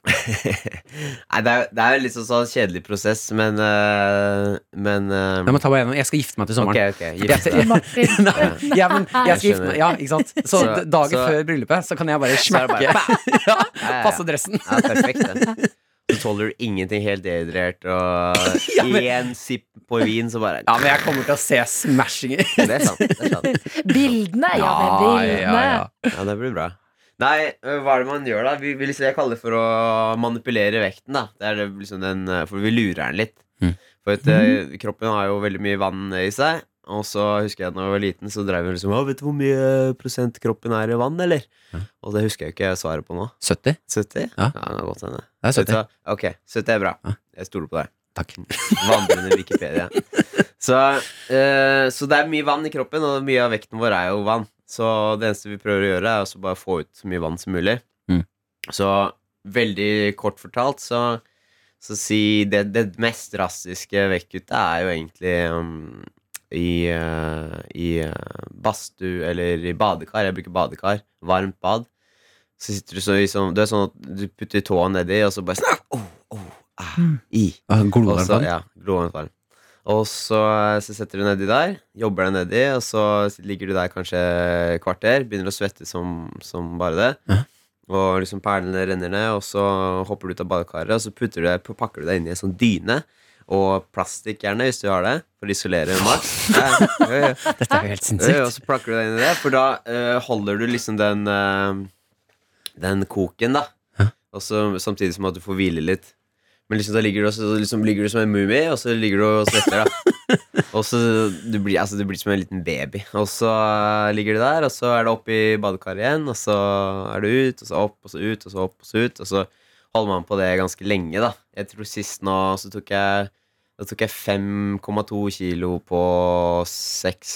Speaker 10: Nei, det er, det er litt sånn sånn kjedelig prosess, men eh, Men eh,
Speaker 2: Jeg må ta meg gjennom. Jeg skal gifte meg til sommeren.
Speaker 10: Ok, ok. Gift deg.
Speaker 3: Martin.
Speaker 2: *laughs* Nei, ja, men jeg skal
Speaker 10: Jeg
Speaker 2: gifte meg. Ja, ikke sant? Så,
Speaker 10: Så-
Speaker 2: d- dagen
Speaker 10: så-
Speaker 2: før bryllupet så kan jeg bare
Speaker 10: Så er
Speaker 2: smekke.
Speaker 10: det bare-
Speaker 2: *laughs* ja,
Speaker 10: Ja, ja, ja.
Speaker 2: passe dressen.
Speaker 10: Ja, perfekt den. Så tåler du ingenting helt dehydrert, og
Speaker 2: *laughs* Ja, men-
Speaker 10: én sipp på vin, så bare
Speaker 2: Ja, men jeg kommer til å se smashinger.
Speaker 10: Det er sant. Det er sant.
Speaker 3: Bildene, ja, det er bildene.
Speaker 10: Ja, det blir bra. Nei, øh, hva er det man gjør da? Vi, vi liksom, jeg kaller det for å manipulere vekten, da. Det er det liksom den, øh, for vi lurer den litt.
Speaker 2: Mm.
Speaker 10: For at, øh, kroppen har jo veldig mye vann i seg. Og så husker jeg da jeg var liten, så drev vi liksom «Å, 'Vet du hvor mye prosent kroppen er i vann, eller?' Og det husker jeg jo ikke svaret på nå.
Speaker 2: 70?
Speaker 10: 70?
Speaker 2: Ja.
Speaker 10: det kan godt hende.
Speaker 2: Det er
Speaker 10: Vet du
Speaker 2: 70.
Speaker 10: hva? Ok, 70 er bra.
Speaker 2: Ja.
Speaker 10: Jeg stoler på deg.
Speaker 2: Takk.
Speaker 10: Vandrende Wikipedia. Så, eh, så det er mye vann i kroppen, og mye av vekten vår er jo vann. Så det eneste vi prøver å gjøre, er også bare å få ut så mye vann som mulig.
Speaker 2: Mm.
Speaker 10: Så veldig kort fortalt, så, så si det, det mest drastiske vektkuttet er jo egentlig um, i, eh, i eh, badstue eller i badekar. Jeg bruker badekar. Varmt bad. Så sitter du så i sånn Du er sånn at du putter tåa nedi, og så bare snakk! Oh, oh, ah, i. Og så, ja, glovarmt vann. Og så, eh, så setter du nedi der, jobber deg nedi, og så ligger du der kanskje et kvarter, begynner å svette som, som bare det.
Speaker 2: Ja.
Speaker 10: Og liksom perlene renner ned, og så hopper du ut av badekaret, og så putter du deg, pakker du deg inn i en sånn dyne. Og plastikk gjerne, hvis du har det, for å isolere maks. Ja, ja, ja.
Speaker 2: Dette er jo helt
Speaker 10: Ja, Og
Speaker 2: sinnssykt.
Speaker 10: så plakker du deg inn i det, for da eh, holder du liksom den eh, Den koken, da. Og så, samtidig som at du får hvile litt. Men liksom da ligger du, også, så liksom ligger du som en mumie, og så ligger du og svetter, da. Og så du blir altså, du blir som en liten baby. Og så eh, ligger du der, og så er det opp i badekaret igjen, og så er du ut, og så opp, og så ut, og så opp, og så ut. Og så holder man på det ganske lenge, da. Jeg tror sist nå så tok jeg da tok jeg 5,2 kilo på 6,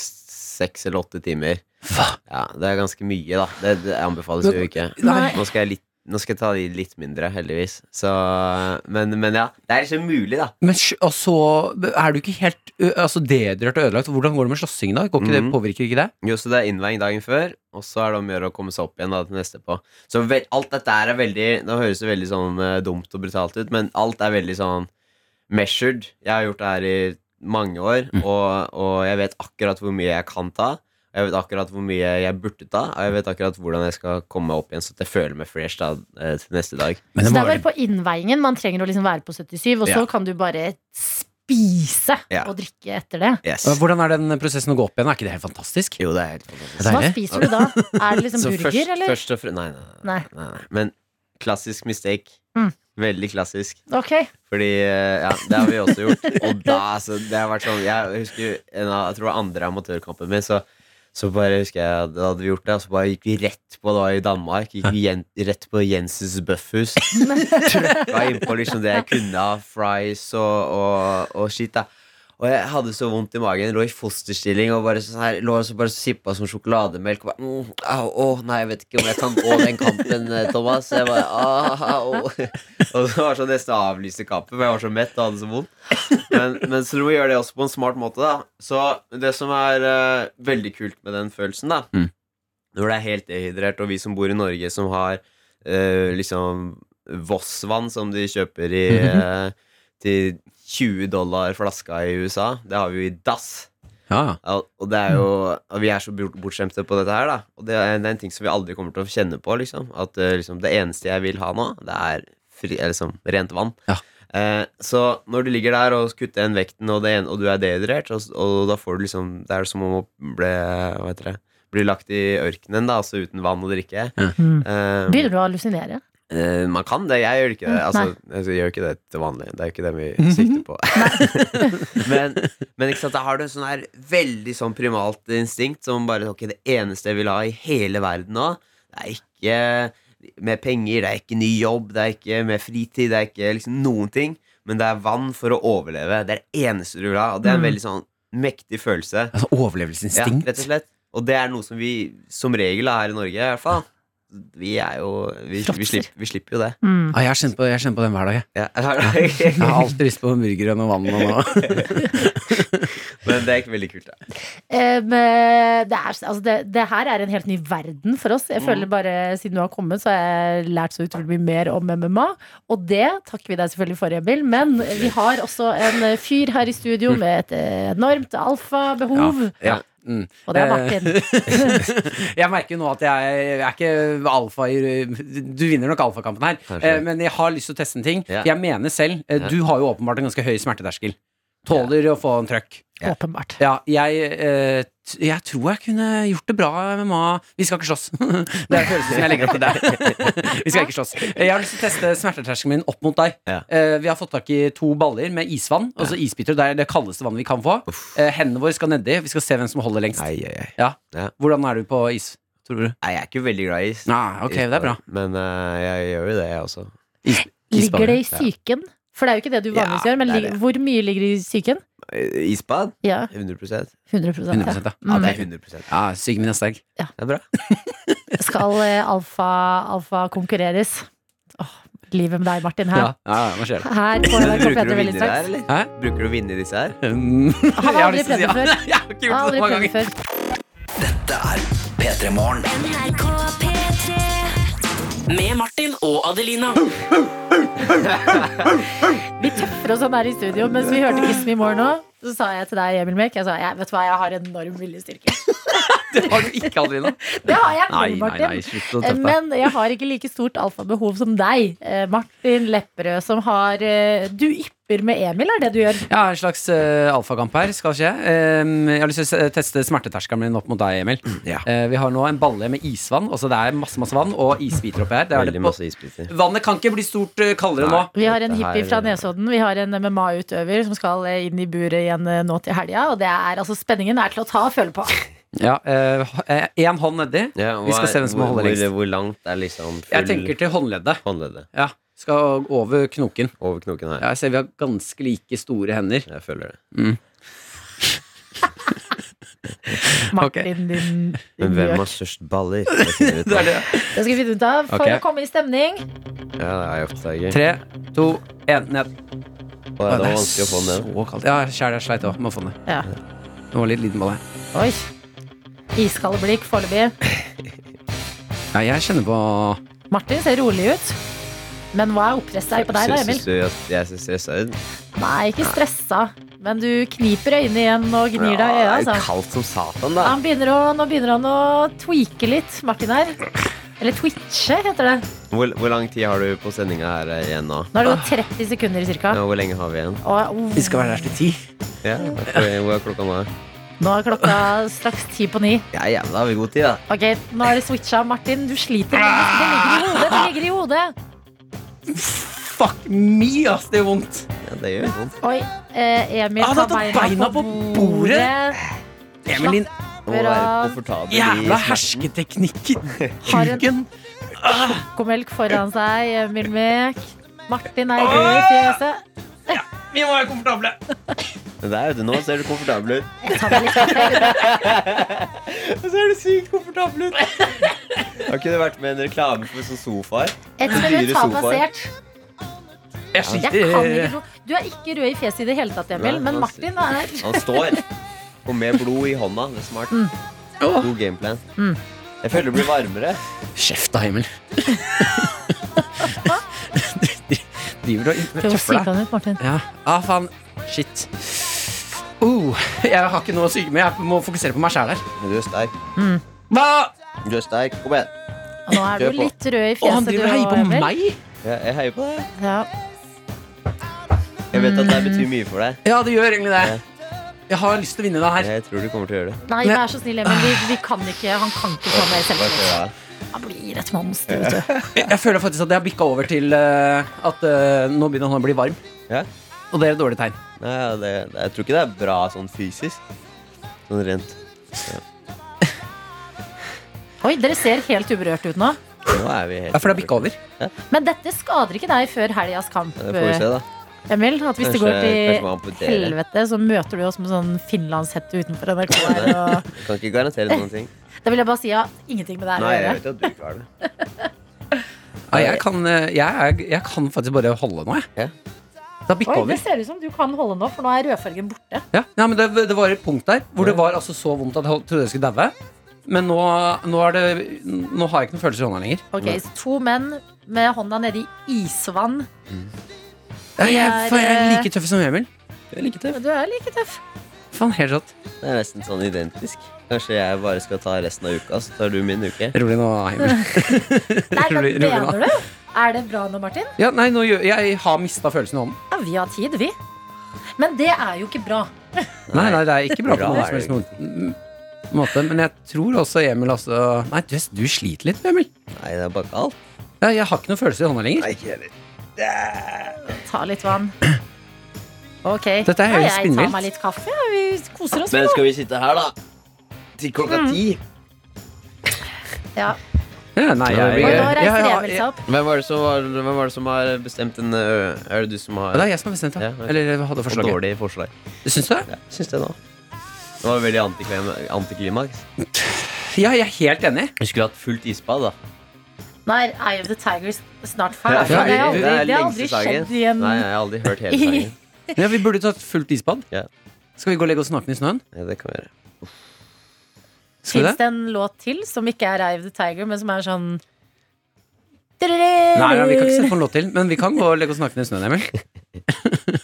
Speaker 10: eller 8 timer.
Speaker 2: Hva?
Speaker 10: Ja, det er ganske mye, da. Det, det anbefales jo ikke.
Speaker 2: Nei.
Speaker 10: Nå skal, jeg litt, nå skal jeg ta de litt mindre, heldigvis. Så, men, men ja, det er liksom mulig, da.
Speaker 2: Men sj- og så er du ikke helt ø, altså, dehydrert og ødelagt. Hvordan går det med slåssingen, da? Går ikke det,
Speaker 10: Mhm.
Speaker 2: påvirker ikke det?
Speaker 10: Jo, så det er innveiing dagen før, og så er det om å gjøre å komme seg opp igjen da, til neste på. Så vel, alt dette her er veldig Nå høres det veldig sånn eh, dumt og brutalt ut, men alt er veldig sånn measured. Jeg har gjort det her i mange år,
Speaker 3: Mm.
Speaker 10: og, og jeg vet akkurat hvor mye jeg kan ta. og Jeg vet akkurat hvor mye jeg burde ta, og jeg vet akkurat hvordan jeg skal komme meg opp igjen. Så at jeg føler meg fresh da, eh, til neste dag.
Speaker 2: Men
Speaker 3: Så
Speaker 2: det
Speaker 3: det
Speaker 2: må
Speaker 3: er bare på innveiingen. Man trenger å liksom være på 77, og så
Speaker 10: Ja.
Speaker 3: kan du bare spise
Speaker 10: Ja.
Speaker 3: og drikke etter det.
Speaker 10: Yes.
Speaker 2: være- Hvordan er den prosessen å gå opp igjen? Er ikke det helt fantastisk?
Speaker 10: Jo, det er helt fantastisk.
Speaker 2: Det er
Speaker 3: Hva
Speaker 2: det.
Speaker 3: spiser du da? Er det liksom
Speaker 10: Så
Speaker 3: burger,
Speaker 10: først,
Speaker 3: eller?
Speaker 10: Først og fre- nei, nei, nei,
Speaker 3: Nei.
Speaker 10: nei, nei. Men klassisk mistake.
Speaker 3: Mm.
Speaker 10: Veldig klassisk.
Speaker 3: Ok.
Speaker 10: Fordi eh, ja, det har vi også gjort. Og da, altså, det har vært sånn Jeg husker en av, jeg tror det var andre amatørkampen min, så, Så bare husker jeg Da hadde vi gjort det, og så bare gikk vi rett på da i Danmark. Gikk vi jen, rett på Jensens Bøffhus. Trøkka innpå liksom det jeg kunne av fries og, og, og shit. da og jeg hadde så vondt i magen. Lå i fosterstilling og bare sånn her Lå og så bare sippa som sjokolademelk. Og bare, mm, au, å, nei, jeg vet ikke om jeg kan gå den kampen, eh, Thomas. Jeg bare, ah, au. *laughs* Og så var det sånn nesten å avlyse kampen, for jeg var så mett og hadde så vondt. Men, men så du må gjøre det også på en smart måte, da. Så det som er eh, veldig kult med den følelsen, da,
Speaker 2: Mm.
Speaker 10: når det er helt dehydrert, og vi som bor i Norge, som har eh, liksom Voss-vann som de kjøper i eh, til 20 dollar flaska i USA. Det har vi jo i dass.
Speaker 2: Ja.
Speaker 10: Ja, Og det er jo og Vi er så bort- bortskjemte på dette her, da. Og det er, det er en ting som vi aldri kommer til å kjenne på, liksom. At eh, liksom, det eneste jeg vil ha nå, det er fri, eh, liksom, rent vann. Eh, så når du ligger der og kutter igjen vekten, og, det en, og du er dehydrert, og, og da får du liksom Det er som om å bli Hva heter det? Bli lagt i ørkenen, da, altså uten vann og drikke.
Speaker 3: Mm.
Speaker 10: Eh,
Speaker 3: Begynner du å hallusinere?
Speaker 10: Eh, man kan det. Jeg gjør ikke det.
Speaker 3: Mm,
Speaker 10: Altså,
Speaker 3: nei.
Speaker 10: altså, jeg gjør ikke det til vanlig. Det er jo ikke det vi sikter
Speaker 3: *laughs*
Speaker 10: på. *laughs* men, men ikke sant, da har du en sånn her veldig sånn primalt instinkt som bare Ok, det eneste jeg vil ha i hele verden nå, det er ikke mer penger, det er ikke ny jobb, det er ikke mer fritid, det er ikke liksom noen ting, men det er vann for å overleve. Det er det eneste du vil ha, og det er en
Speaker 2: Mm.
Speaker 10: veldig sånn mektig følelse.
Speaker 2: Altså overlevelsesinstinkt.
Speaker 10: Ja, rett og slett. Og det er noe som vi som regel er her i Norge, i hvert fall. Vi er jo Vi, vi,
Speaker 2: Fråtser.
Speaker 10: slipper, vi slipper jo det.
Speaker 3: Mm.
Speaker 2: Ah, jeg har kjent på, jeg har kjent på den hver dag, jeg. *laughs*
Speaker 10: Ja, har du det?
Speaker 2: Jeg har alltid lyst på burgeren og vann og
Speaker 3: *laughs*
Speaker 2: noe.
Speaker 10: *laughs* Men det er ikke veldig kult, da.
Speaker 3: Em, eh, det, er, altså det, det her er en helt ny verden for oss. Jeg
Speaker 10: Mm.
Speaker 3: føler bare Siden du har kommet, så har jeg lært så utrolig mye mer om MMA. Og det takker vi deg selvfølgelig for, Emil. Men vi har også en eh, fyr her i studio
Speaker 10: Mm.
Speaker 3: med et eh, enormt alfabehov.
Speaker 2: Ja. Mm.
Speaker 3: Og det
Speaker 10: Eh,
Speaker 3: er Martin.
Speaker 10: *laughs*
Speaker 2: *laughs* jeg merker jo nå at jeg, jeg er ikke alfa i Du vinner nok alfakampen her, eh, men jeg har lyst til å teste en ting. Jeg mener selv eh,
Speaker 10: Ja.
Speaker 2: Du har jo åpenbart en ganske høy smerteterskel. Tåler å få en trøkk.
Speaker 3: Åpenbart.
Speaker 2: Ja, jeg, eh, t- jeg tror jeg kunne gjort det bra med ma... Vi skal ikke slåss. *laughs* Det er følelsen jeg legger opp til
Speaker 10: *laughs*
Speaker 2: der. Vi skal ikke slåss. Jeg har lyst til å teste smerteterskelen min opp mot deg. Eh, Vi har fått tak i to baller med isvann, altså isbiter. Det er det kaldeste vannet vi kan få. Eh, Hendene våre skal nedi. Vi skal se hvem som holder lengst. Ja. Hvordan er du på is, tror du?
Speaker 10: Nei, jeg er ikke veldig glad i is.
Speaker 2: Nei, ok, det er bra.
Speaker 10: Men eh, jeg gjør jo det, jeg også.
Speaker 3: Ligger det i psyken? For det er jo ikke det du vanligvis gjør, men
Speaker 10: det er
Speaker 3: lig- hvor mye ligger i psyken?
Speaker 10: Ja. Eh, Isbad?
Speaker 3: Ja.
Speaker 10: 100
Speaker 3: 100, ja.
Speaker 2: Ja,
Speaker 10: det
Speaker 2: det
Speaker 10: er 100
Speaker 2: Mm. Ja, Psyken min er sterk.
Speaker 10: Det er bra.
Speaker 3: Skal eh, alfa, alfa konkurreres? Åh, livet med deg, Martin, her.
Speaker 2: Ja, ja, ja, hva skjer?
Speaker 3: Her på
Speaker 10: Men
Speaker 3: NRK
Speaker 10: Bruker du
Speaker 3: P3
Speaker 10: å
Speaker 3: veldig
Speaker 10: vinne det
Speaker 3: straks.
Speaker 10: her, eller?
Speaker 2: Hæ?
Speaker 10: Bruker du å vinne disse her?
Speaker 2: *laughs*
Speaker 3: Han har aldri prøvd det før.
Speaker 2: Jeg
Speaker 3: Han har
Speaker 2: har ikke gjort det
Speaker 3: aldri
Speaker 2: mange
Speaker 3: prøvd det
Speaker 2: ganger.
Speaker 3: før.
Speaker 7: P3 Morgen.
Speaker 4: Med Martin og Adelina.
Speaker 3: Vi tøffer oss sånn her i studio mens vi hørte Kiss Me More nå. Så sa jeg til deg, Emil Mek, jeg sa jeg, vet du hva, jeg har enorm
Speaker 2: *laughs*
Speaker 3: viljestyrke.
Speaker 2: Det har du ikke, Adelina.
Speaker 3: Det har jeg,
Speaker 2: Nei, nei,
Speaker 3: Martin. Eh,
Speaker 2: nei, slutt å tøffe deg.
Speaker 3: Men jeg har ikke like stort alfabehov som deg, eh, Martin Lepperød, som har eh, Du ypper med Emil, er det du gjør?
Speaker 2: Ja, en slags eh, alfakamp her skal skje. Em, jeg har lyst til å se- teste smerteterskelen min opp mot deg, Emil.
Speaker 3: Mm,
Speaker 2: Eh, vi har nå en balle med isvann. Altså det er masse masse vann og isbiter oppi her. Det er det
Speaker 10: Veldig
Speaker 2: på.
Speaker 10: masse isbiter.
Speaker 2: Vannet kan ikke bli stort eh, kaldere nå.
Speaker 3: Vi har en
Speaker 10: Dette
Speaker 3: hippie
Speaker 10: her-
Speaker 3: fra Nesodden, vi har en MMA-utøver som skal eh, inn i buret igjen eh, nå til helga. Og det er, altså, spenningen er til å ta og
Speaker 2: *laughs*
Speaker 3: føle på.
Speaker 2: Ja, Én hånd nedi.
Speaker 10: Ja,
Speaker 2: vi skal
Speaker 10: hva-
Speaker 2: se hvem som
Speaker 10: hvor-
Speaker 2: holder lengst.
Speaker 10: Hvor, hvor langt er liksom full
Speaker 2: Jeg tenker til håndleddet.
Speaker 10: håndleddet?
Speaker 2: Ja, Skal over knoken.
Speaker 10: Over knoken her.
Speaker 2: Ja, jeg ser vi har ganske like store hender.
Speaker 10: Jeg føler det.
Speaker 3: Martin, din,
Speaker 10: Men
Speaker 3: din
Speaker 10: hvem
Speaker 3: gjøk.
Speaker 10: har størst baller? *laughs* *laughs* Det finner vi ut av.
Speaker 3: Det skal vi finne ut av for
Speaker 2: Ok.
Speaker 3: å komme i stemning.
Speaker 10: Ja, det er jo ofte gøy.
Speaker 2: Tre, to, én, ned.
Speaker 10: Og
Speaker 2: Å,
Speaker 10: det var
Speaker 2: er
Speaker 10: vanskelig å få den ned.
Speaker 2: Så kaldt. Ja, kjære, jeg sleit òg med å få den ned.
Speaker 3: Ja.
Speaker 2: Det var litt liten ball her.
Speaker 3: Oi. Iskalde blikk foreløpig.
Speaker 2: Ja, jeg kjenner på
Speaker 3: Martin ser rolig ut. Men hva er oppresset her på deg, da,
Speaker 10: Syns-
Speaker 3: Emil?
Speaker 10: Syns du at jeg ser stressa ut?
Speaker 3: Nei, ikke stressa. Men du kniper øynene igjen og gnir deg i øya.
Speaker 10: Ja, det er jo
Speaker 3: Altså.
Speaker 10: kaldt som satan, da.
Speaker 3: Han begynner å, nå begynner han å tweake litt, Martin her. Eller twitche, heter det.
Speaker 10: Hvor, hvor lang tid har du på sendinga her eh, igjen nå?
Speaker 3: Nå er det gått 30 sekunder ca.
Speaker 10: Ja, hvor lenge har vi igjen?
Speaker 3: oh,
Speaker 2: Vi skal være der til ti.
Speaker 10: Ja, hvor- hvor er klokka nå?
Speaker 3: Nå er klokka straks ti på ni.
Speaker 10: Ja, ja, da har vi god tid, da.
Speaker 3: Ok, Nå er det switcha. Martin, du sliter. Det ligger i hodet. Det ligger i hodet.
Speaker 2: Fuck me, ass, det gjør vondt.
Speaker 10: Ja, det gjør vondt.
Speaker 3: Oi, eh, Emil
Speaker 2: Ah, han
Speaker 3: tar
Speaker 2: har tatt
Speaker 3: beina,
Speaker 2: beina
Speaker 3: på
Speaker 2: på
Speaker 3: bordet.
Speaker 2: Emil, din
Speaker 3: dråper av
Speaker 2: Jævla hersketeknikken!
Speaker 3: Har en-
Speaker 2: Kuken!
Speaker 3: sjokomelk foran seg. Milmek. Martin er rød i fjeset.
Speaker 2: Vi må være komfortable.
Speaker 10: Men der, vet du, nå ser du komfortabel ut. *laughs*
Speaker 2: Og så er du sykt komfortabel ut.
Speaker 10: Har ikke det vært med en reklame for sånne sofaer?
Speaker 3: Ett minutt har passert.
Speaker 2: Jeg
Speaker 3: Jeg
Speaker 2: sliter.
Speaker 3: kan ikke tro Du er ikke rød i fjeset i det hele tatt, Emil,
Speaker 10: Nei,
Speaker 3: men
Speaker 10: han-
Speaker 3: Martin er
Speaker 10: *laughs* Han står. Og med blod i hånda. Det er smart. God gameplan.
Speaker 3: Mm.
Speaker 10: Jeg føler det blir varmere.
Speaker 2: Kjeft da, Emil. *laughs* Driver du og
Speaker 3: Prøv å
Speaker 2: tøffer
Speaker 3: psyke
Speaker 2: deg?
Speaker 3: han ut, Martin.
Speaker 2: Ja. Ah, faen. Shit. Oh, jeg har ikke noe å syke med. Jeg må fokusere på meg sjæl her.
Speaker 10: Men du er sterk.
Speaker 3: Mm.
Speaker 2: Hva?
Speaker 10: Du er sterk. Kom igjen.
Speaker 3: Og Nå er
Speaker 10: Kjør
Speaker 3: du
Speaker 10: på.
Speaker 3: litt rød i
Speaker 2: Å, han
Speaker 3: fjeset, du
Speaker 2: driver og
Speaker 3: òg,
Speaker 2: heier på
Speaker 3: Emil.
Speaker 2: meg?
Speaker 10: Jeg, jeg heier på deg.
Speaker 3: Ja.
Speaker 10: Jeg vet at det
Speaker 3: Mm.
Speaker 10: betyr mye for deg.
Speaker 2: Ja, det gjør egentlig det. Jeg har lyst til å vinne den her.
Speaker 10: Jeg tror du kommer til å gjøre det.
Speaker 3: Nei,
Speaker 2: Men-
Speaker 3: vær så snill, Emil. Vi, vi kan ikke, han kan ikke ta mer
Speaker 10: Bare
Speaker 3: selvtillit.
Speaker 10: kjør av.
Speaker 3: Han blir et monster, vet du.
Speaker 2: Jeg, jeg føler faktisk at jeg har bikka over til eh, at eh, nå begynner han å bli varm.
Speaker 10: Ja.
Speaker 2: Og det er et dårlig tegn.
Speaker 10: Nei, ja, det, det- jeg tror ikke det er bra sånn fysisk. Sånn rent.
Speaker 3: Oi, dere ser helt uberørt ut nå.
Speaker 10: Nå er vi helt
Speaker 2: Ja, for det har bikka over.
Speaker 3: Men dette skader ikke deg før helgas kamp,
Speaker 10: Ja, Det får vi se, da.
Speaker 3: Emil. At hvis det går
Speaker 10: Kanskje- kanskje man
Speaker 3: til
Speaker 10: amputerer.
Speaker 3: helvete, så møter du oss med sånn finlandshette utenfor NRK.
Speaker 10: *laughs*
Speaker 3: Her, og
Speaker 10: Jeg kan ikke garantere noen ting.
Speaker 3: da vil jeg bare si *laughs* ja, ingenting med det her å
Speaker 10: Nei, jeg
Speaker 3: gjøre.
Speaker 10: vet jo at du klarer det.
Speaker 2: Ja, jeg, kan, eh, jeg, er- jeg kan faktisk bare holde nå, jeg.
Speaker 10: Ja.
Speaker 2: Det har bikka
Speaker 3: Oi,
Speaker 2: over.
Speaker 3: det ser ut som du kan holde nå, for nå er rødfargen borte.
Speaker 2: Ja, ja men det, det var et punkt der hvor det var altså så vondt at jeg holdt- trodde jeg skulle daue. Men nå, nå, er det, nå har jeg ikke noen følelser i hånda lenger.
Speaker 3: Ok, så To menn med hånda nede i isvann.
Speaker 2: Ja, jeg,
Speaker 3: er,
Speaker 2: for jeg er
Speaker 3: eh,
Speaker 2: like tøff som Emil.
Speaker 3: Du er like
Speaker 10: *laughs*
Speaker 3: tøff.
Speaker 2: Faen, helt rått.
Speaker 10: Det er nesten sånn identisk. Kanskje jeg bare skal ta resten av uka, så tar du min uke.
Speaker 2: Rolig nå,
Speaker 3: *laughs*
Speaker 2: Emil.
Speaker 3: Nei, men
Speaker 2: Rolig- rolig nå.
Speaker 3: mener du? Er det bra nå, Martin?
Speaker 2: Ja, nei, nå, gjør- jeg har mista følelsen i hånden.
Speaker 3: Ja, vi har tid, vi. Men det er jo ikke bra.
Speaker 2: Nei, nei, det er ikke bra på
Speaker 10: Bra
Speaker 2: noen som
Speaker 10: er det
Speaker 2: helst måte. måte. Men jeg tror også Emil altså Nei, du, du sliter litt, Emil.
Speaker 10: Nei, det er bare galt.
Speaker 2: Ja, jeg har ikke noen følelser i hånda lenger.
Speaker 10: Nei, ikke heller.
Speaker 3: Ta litt vann. Ok.
Speaker 2: Dette er
Speaker 3: Ja,
Speaker 2: helt
Speaker 3: jeg tar
Speaker 2: spinnvilt.
Speaker 3: meg litt kaffe. ja, Vi Mm. koser oss.
Speaker 10: Men skal vi sitte her, da? Til klokka ti?
Speaker 3: Ja.
Speaker 2: Ja, nei, jeg,
Speaker 10: Ja, det
Speaker 3: Og
Speaker 10: blir gøy.
Speaker 3: nå
Speaker 2: ja,
Speaker 3: reiser
Speaker 2: ja,
Speaker 3: Emil
Speaker 2: ja.
Speaker 3: seg opp.
Speaker 10: Hvem var, det som var, hvem var det som har bestemt en ø, Er det du som
Speaker 2: Ja,
Speaker 10: har
Speaker 2: Det er jeg som har bestemt det.
Speaker 10: Ja, ok.
Speaker 2: Eller jeg hadde
Speaker 10: et
Speaker 2: forslaget.
Speaker 10: dårlig forslag?
Speaker 2: Syns du?
Speaker 10: Ja, syns det nå. Det var veldig antiklim- antiklimaks.
Speaker 2: Ja, jeg er helt enig.
Speaker 10: Vi skulle hatt fullt isbad, da.
Speaker 3: Nå er Eye of the Tigers snart
Speaker 10: Ja,
Speaker 3: ferdig. Det har aldri,
Speaker 10: det er
Speaker 3: det har
Speaker 10: lengste
Speaker 3: aldri
Speaker 10: sangen.
Speaker 3: skjedd i en
Speaker 10: Nei, jeg har aldri
Speaker 3: *laughs*
Speaker 10: hørt hele sangen.
Speaker 2: Ja, vi burde tatt fullt isbad.
Speaker 10: Ja.
Speaker 2: Skal vi gå og legge oss nakne i snøen?
Speaker 10: Ja, det kan vi gjøre.
Speaker 2: Skal vi
Speaker 3: Fins
Speaker 2: det?
Speaker 3: det en låt til som ikke er Eye of the Tiger, men som er sånn
Speaker 2: Nei, nei, vi kan ikke sette på en låt til, men vi kan gå og legge oss nakne i snøen, Emil. *laughs*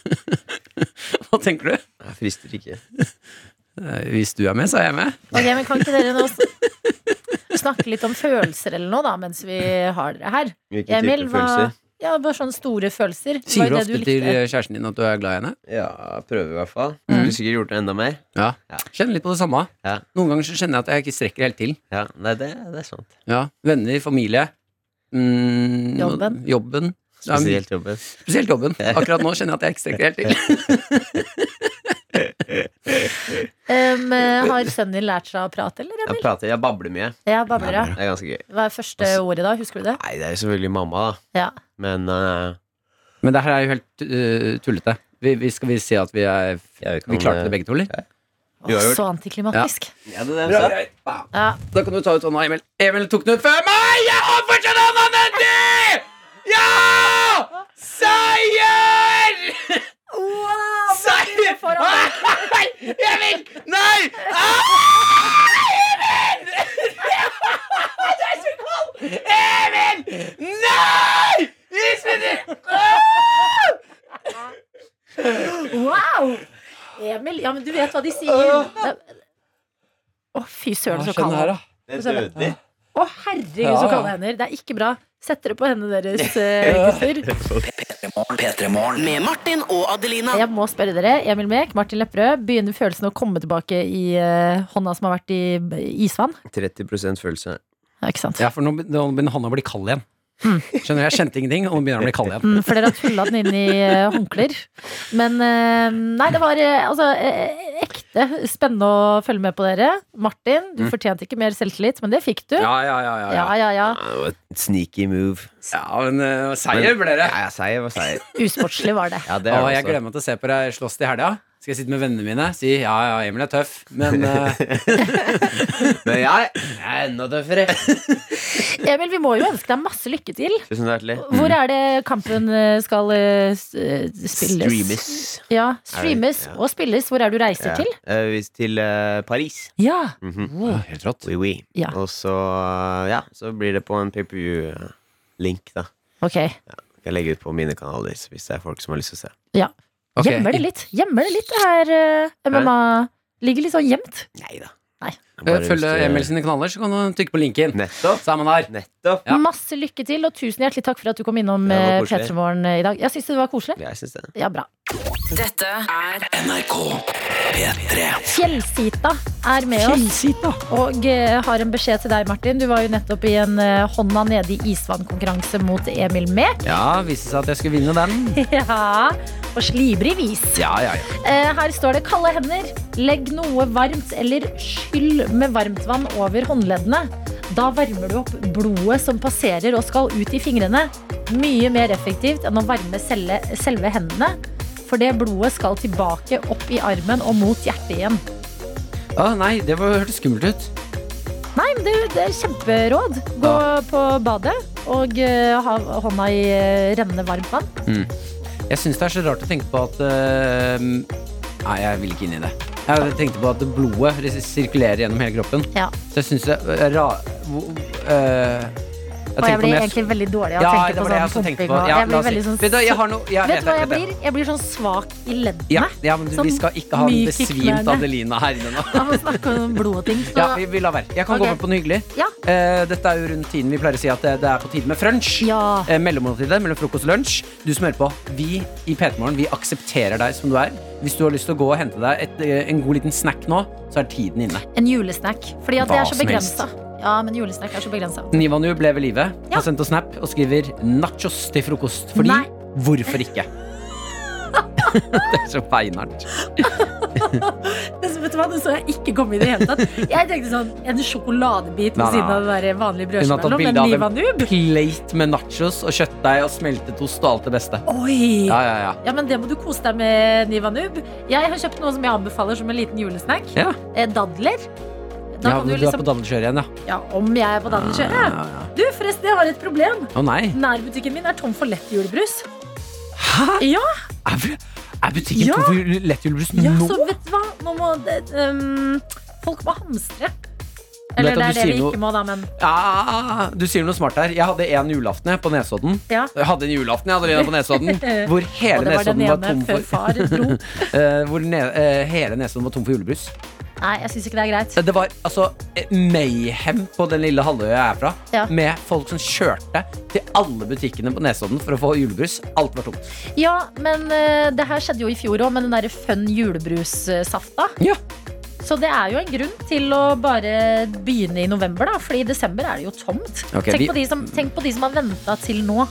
Speaker 2: Hva tenker du?
Speaker 10: Jeg frister ikke.
Speaker 2: Eh, Hvis du er med, så er jeg med.
Speaker 3: Ok, men Kan ikke dere nå s- snakke litt om følelser eller noe, da, mens vi har dere her?
Speaker 10: Hvilken
Speaker 3: Emil,
Speaker 10: type
Speaker 3: hva
Speaker 10: følelser?
Speaker 3: Ja, bare sånne store følelser. Det var
Speaker 2: Sier
Speaker 3: jo
Speaker 2: du
Speaker 3: det
Speaker 2: ofte til eh, kjæresten din at du er glad i henne?
Speaker 10: Ja, jeg prøver i hvert fall.
Speaker 3: Mm.
Speaker 10: Skulle sikkert gjort det enda mer.
Speaker 2: Ja. Kjenner litt på det samme.
Speaker 10: Ja.
Speaker 2: Noen ganger så kjenner jeg at jeg ikke strekker helt til.
Speaker 10: Ja, Nei, det, det er sant.
Speaker 2: Ja. Venner, familie. Mm,
Speaker 3: Jobben.
Speaker 2: jobben. Det er mye-
Speaker 10: Spesielt jobben.
Speaker 2: Spesielt *laughs* jobben. Akkurat nå kjenner jeg at jeg ikke strekker helt til.
Speaker 3: Um, eh, har sønnen din lært seg å prate, eller?
Speaker 10: Jeg prater, jeg babler mye.
Speaker 3: Ja, babler, ja.
Speaker 10: Det er ganske gøy.
Speaker 3: Hva er første
Speaker 10: Altså-
Speaker 3: ordet, da? Husker du det?
Speaker 10: Nei, det er jo selvfølgelig mamma, da.
Speaker 3: Ja.
Speaker 10: Men eh,
Speaker 2: Men det her er jo helt eh, tullete. Vi, vi skal vi si at vi, er,
Speaker 10: Ja, vi kan,
Speaker 2: vi klarte
Speaker 10: eh,
Speaker 2: det begge to, eller?
Speaker 10: Vi har
Speaker 3: Å,
Speaker 10: gjort-
Speaker 3: så antiklimatisk.
Speaker 10: ja, det er det.
Speaker 3: Ja.
Speaker 2: Da kan du ta ut hånda, Emil. Emil tok den ut før meg! Jeg har fortsatt hånda nedi! Ja! Seier!
Speaker 3: Wow,
Speaker 2: Seier!
Speaker 3: for
Speaker 2: Nei! Emil! Nei! Ah! Emil! Det er så kaldt! Emil! Nei! Is minutter!
Speaker 3: wow! Emil, ja, men du vet hva de sier. Det- Å, fy søren, så kald han er.
Speaker 10: Det er dødelig.
Speaker 3: Å, herregud, så kalde hender. Det er ikke bra. Sett dere på hendene
Speaker 2: *laughs*
Speaker 3: deres, eh, gutter.
Speaker 7: P3-morgen.
Speaker 4: Med Martin og Adelina.
Speaker 3: Jeg må spørre dere. Emil Mek, Martin Lepperød. Begynner følelsen å komme tilbake i eh, hånda som har vært i i isvann?
Speaker 10: 30 følelse.
Speaker 3: Ja, ikke sant?
Speaker 2: Ja, for nå begynner hånda å bli kald igjen.
Speaker 3: Hmm.
Speaker 2: Skjønner, Jeg kjente ingenting, og nå begynner den å bli kald igjen.
Speaker 3: Mm, for dere har tulla den inn i eh, håndklær. Men eh, nei, det var eh, altså eh, ekte Det er spennende å følge med på dere. Martin, du
Speaker 10: Mm.
Speaker 3: fortjente ikke mer selvtillit, men det fikk du.
Speaker 2: Ja, ja, ja. ja, ja.
Speaker 3: ja, ja, ja.
Speaker 10: Det var et sneaky move.
Speaker 2: ja men eh, seier ble det.
Speaker 10: Ja, ja, seier var seier.
Speaker 3: Usportslig var det.
Speaker 10: Ja, altså. det
Speaker 2: Å,
Speaker 10: er
Speaker 2: jeg gleder meg til å se på deg slåss til helga. Skal jeg sitte med vennene mine si ja, ja, Emil er tøff, men eh,
Speaker 10: Men jeg er enda tøffere.
Speaker 3: Emil, vi må jo ønske deg masse lykke til.
Speaker 10: Tusen hjertelig.
Speaker 3: Hvor er det kampen eh, skal eh, s- eh, spilles?
Speaker 10: Streames.
Speaker 3: Ja, streames
Speaker 10: ja.
Speaker 3: og spilles. Hvor er du reiser
Speaker 10: Ja.
Speaker 3: til?
Speaker 10: Eh, vi- Til eh, Paris.
Speaker 3: Ja.
Speaker 10: Mhm.
Speaker 3: Wow.
Speaker 2: Helt rått.
Speaker 10: Oui, oui.
Speaker 3: Ja.
Speaker 10: Og så, eh, ja, så blir det på en PPU-link, da.
Speaker 3: Ok.
Speaker 10: Jeg legger ut på mine kanaler så hvis det er folk som har lyst til å se.
Speaker 2: Ok.
Speaker 3: Gjemmer det litt. Gjemmer det litt, det her eh, MMA. Ligger litt sånn gjemt.
Speaker 10: Nei da.
Speaker 3: Nei.
Speaker 2: Eh, Følg Emil sine kanaler, så kan du trykke på linken.
Speaker 10: Nettopp.
Speaker 2: Så er man der.
Speaker 10: Nettopp.
Speaker 2: Ja.
Speaker 3: Masse lykke til, og tusen hjertelig takk for at du kom innom
Speaker 10: Det var
Speaker 3: eh,
Speaker 10: koselig.
Speaker 3: P3 Morgen eh, i dag. Jeg syns det var koselig.
Speaker 10: Jeg syns det.
Speaker 3: Ja, bra.
Speaker 11: Dette er
Speaker 7: NRK P3
Speaker 3: Fjellsita er med oss. Og eh, har en beskjed til deg, Martin. Du var jo nettopp i en eh, hånda nede i isvannkonkurranse mot Emil Mek. *laughs*
Speaker 2: Ja, viste seg at jeg skulle vinne den.
Speaker 3: Ja, på slibrig vis.
Speaker 2: Ja, ja, ja.
Speaker 3: Eh, her står det 'kalde hender'. Legg noe varmt eller skyll med varmtvann over håndleddene. Da varmer du opp blodet som passerer og skal ut i fingrene. Mye mer effektivt enn å varme selve, selve hendene. For det blodet skal tilbake opp i armen og mot hjertet igjen.
Speaker 2: Å, nei, det var- hørtes skummelt ut.
Speaker 3: Nei, men det, det er kjemperåd. Gå på badet og eh, ha hånda i eh, rennende varmt vann.
Speaker 2: Jeg syns det er så rart å tenke på at eh, Nei, jeg vil ikke inn i det. Jeg tenkte på at blodet res- sirkulerer gjennom hele kroppen.
Speaker 3: Ja.
Speaker 2: Så jeg syns det er eh, rart
Speaker 3: Og jeg blir egentlig veldig dårlig av å
Speaker 2: ja,
Speaker 3: tenke
Speaker 2: det
Speaker 3: på
Speaker 2: var det jeg
Speaker 3: sånn
Speaker 2: også tenkte
Speaker 3: pumping.
Speaker 2: på.
Speaker 3: og-
Speaker 2: Ja,
Speaker 3: jeg
Speaker 2: la
Speaker 3: blir
Speaker 2: oss si-
Speaker 3: veldig sånn
Speaker 2: Vet du hva, jeg har noe jeg
Speaker 3: Vet du hva jeg
Speaker 2: vet det.
Speaker 3: blir? Jeg blir sånn svak i leddene.
Speaker 2: Ja, ja, men du, vi
Speaker 3: Sånn
Speaker 2: skal ikke ha
Speaker 3: myk i
Speaker 2: besvimt
Speaker 3: knærne.
Speaker 2: Adelina her inne nå.
Speaker 3: *laughs* Av å snakke om blod og ting. Så,
Speaker 2: Ja, vi, vi lar være. Jeg kan
Speaker 3: Ok.
Speaker 2: gå med på noe hyggelig.
Speaker 3: Ja.
Speaker 2: Eh, dette er jo rundt tiden vi pleier å si at det, det er på tide med frunch.
Speaker 3: Ja.
Speaker 2: Eh, mellommåltidet mellom frokost og lunsj. Du som hører på, vi i P3 Morgen vi aksepterer deg som du er. Hvis du har lyst til å gå og hente deg et, eh, en god liten snack nå, så er tiden inne.
Speaker 3: En julesnack. Fordi at det
Speaker 2: Hva
Speaker 3: er så
Speaker 2: som
Speaker 3: begrensa. Ja, men julesnack er så begrensa.
Speaker 2: Nivanu ble ved live,
Speaker 3: Ja.
Speaker 2: har sendt oss snap og skriver 'nachos til frokost'. Fordi
Speaker 3: Nei.
Speaker 2: hvorfor
Speaker 3: *laughs*
Speaker 2: ikke? *laughs* det er så beinhardt.
Speaker 3: *laughs* Vet du hva, det så jeg ikke komme i det hele tatt. Jeg tenkte sånn en sjokoladebit ved
Speaker 2: Nei,
Speaker 3: siden
Speaker 2: nei.
Speaker 3: av det der vanlige
Speaker 2: Hun har tatt
Speaker 3: brødskiva, men
Speaker 2: bilde
Speaker 3: Liva
Speaker 2: av en
Speaker 3: Noob
Speaker 2: plate med nachos og kjøttdeig og smeltet ost og alt det beste.
Speaker 3: Oi!
Speaker 2: Ja, ja, ja.
Speaker 3: Ja, men Det må du kose deg med, Niva Noob. Jeg har kjøpt noe som jeg anbefaler som en liten julesnack.
Speaker 2: Ja.
Speaker 3: Eh, Dadler. Da
Speaker 2: ja
Speaker 3: kan
Speaker 2: du,
Speaker 3: du
Speaker 2: er på
Speaker 3: liksom,
Speaker 2: daddelkjøret igjen, ja.
Speaker 3: ja, Om jeg er på daddelkjøret?
Speaker 2: Ja, ja.
Speaker 3: Du, forresten, jeg har et problem.
Speaker 2: Å nei.
Speaker 3: Nærbutikken min er tom for lett julebrus.
Speaker 2: Er, er butikken
Speaker 3: Ja.
Speaker 2: tom for lett julebrus
Speaker 3: Ja,
Speaker 2: nå?
Speaker 3: så vet du hva? Nå må det, ehm, folk må hamstre.
Speaker 2: Vet
Speaker 3: Eller
Speaker 2: du
Speaker 3: det
Speaker 2: at
Speaker 3: er det
Speaker 2: du
Speaker 3: vi
Speaker 2: sier noe-
Speaker 3: ikke må, da, men
Speaker 2: Ja, Ah, du sier noe smart der. Jeg hadde en julaften jeg, på Nesodden.
Speaker 3: ja.
Speaker 2: Jeg hadde en julaften jeg hadde en
Speaker 3: *laughs*
Speaker 2: på Nesodden hvor
Speaker 3: Og
Speaker 2: hele
Speaker 3: det var den
Speaker 2: Nesodden var
Speaker 3: ene
Speaker 2: tom
Speaker 3: før
Speaker 2: for
Speaker 3: far
Speaker 2: *laughs*
Speaker 3: dro.
Speaker 2: Eh, Hvor ne, eh, hele Nesodden var tom for julebrus.
Speaker 3: Nei, jeg syns ikke det er greit.
Speaker 2: Det var altså eh, mayhem på den lille halvøya jeg er fra,
Speaker 3: Ja.
Speaker 2: med folk som kjørte til alle butikkene på Nesodden for å få julebrus. Alt var tomt.
Speaker 3: Ja, men eh, det her skjedde jo i fjor òg, med den derre fun julebrussafta.
Speaker 2: Ja.
Speaker 3: Så det er jo en grunn til å bare begynne i november, da. Fordi i desember er det jo tomt.
Speaker 2: Ok,
Speaker 3: tenk,
Speaker 2: vi-
Speaker 3: på de som, tenk på de som har venta til nå.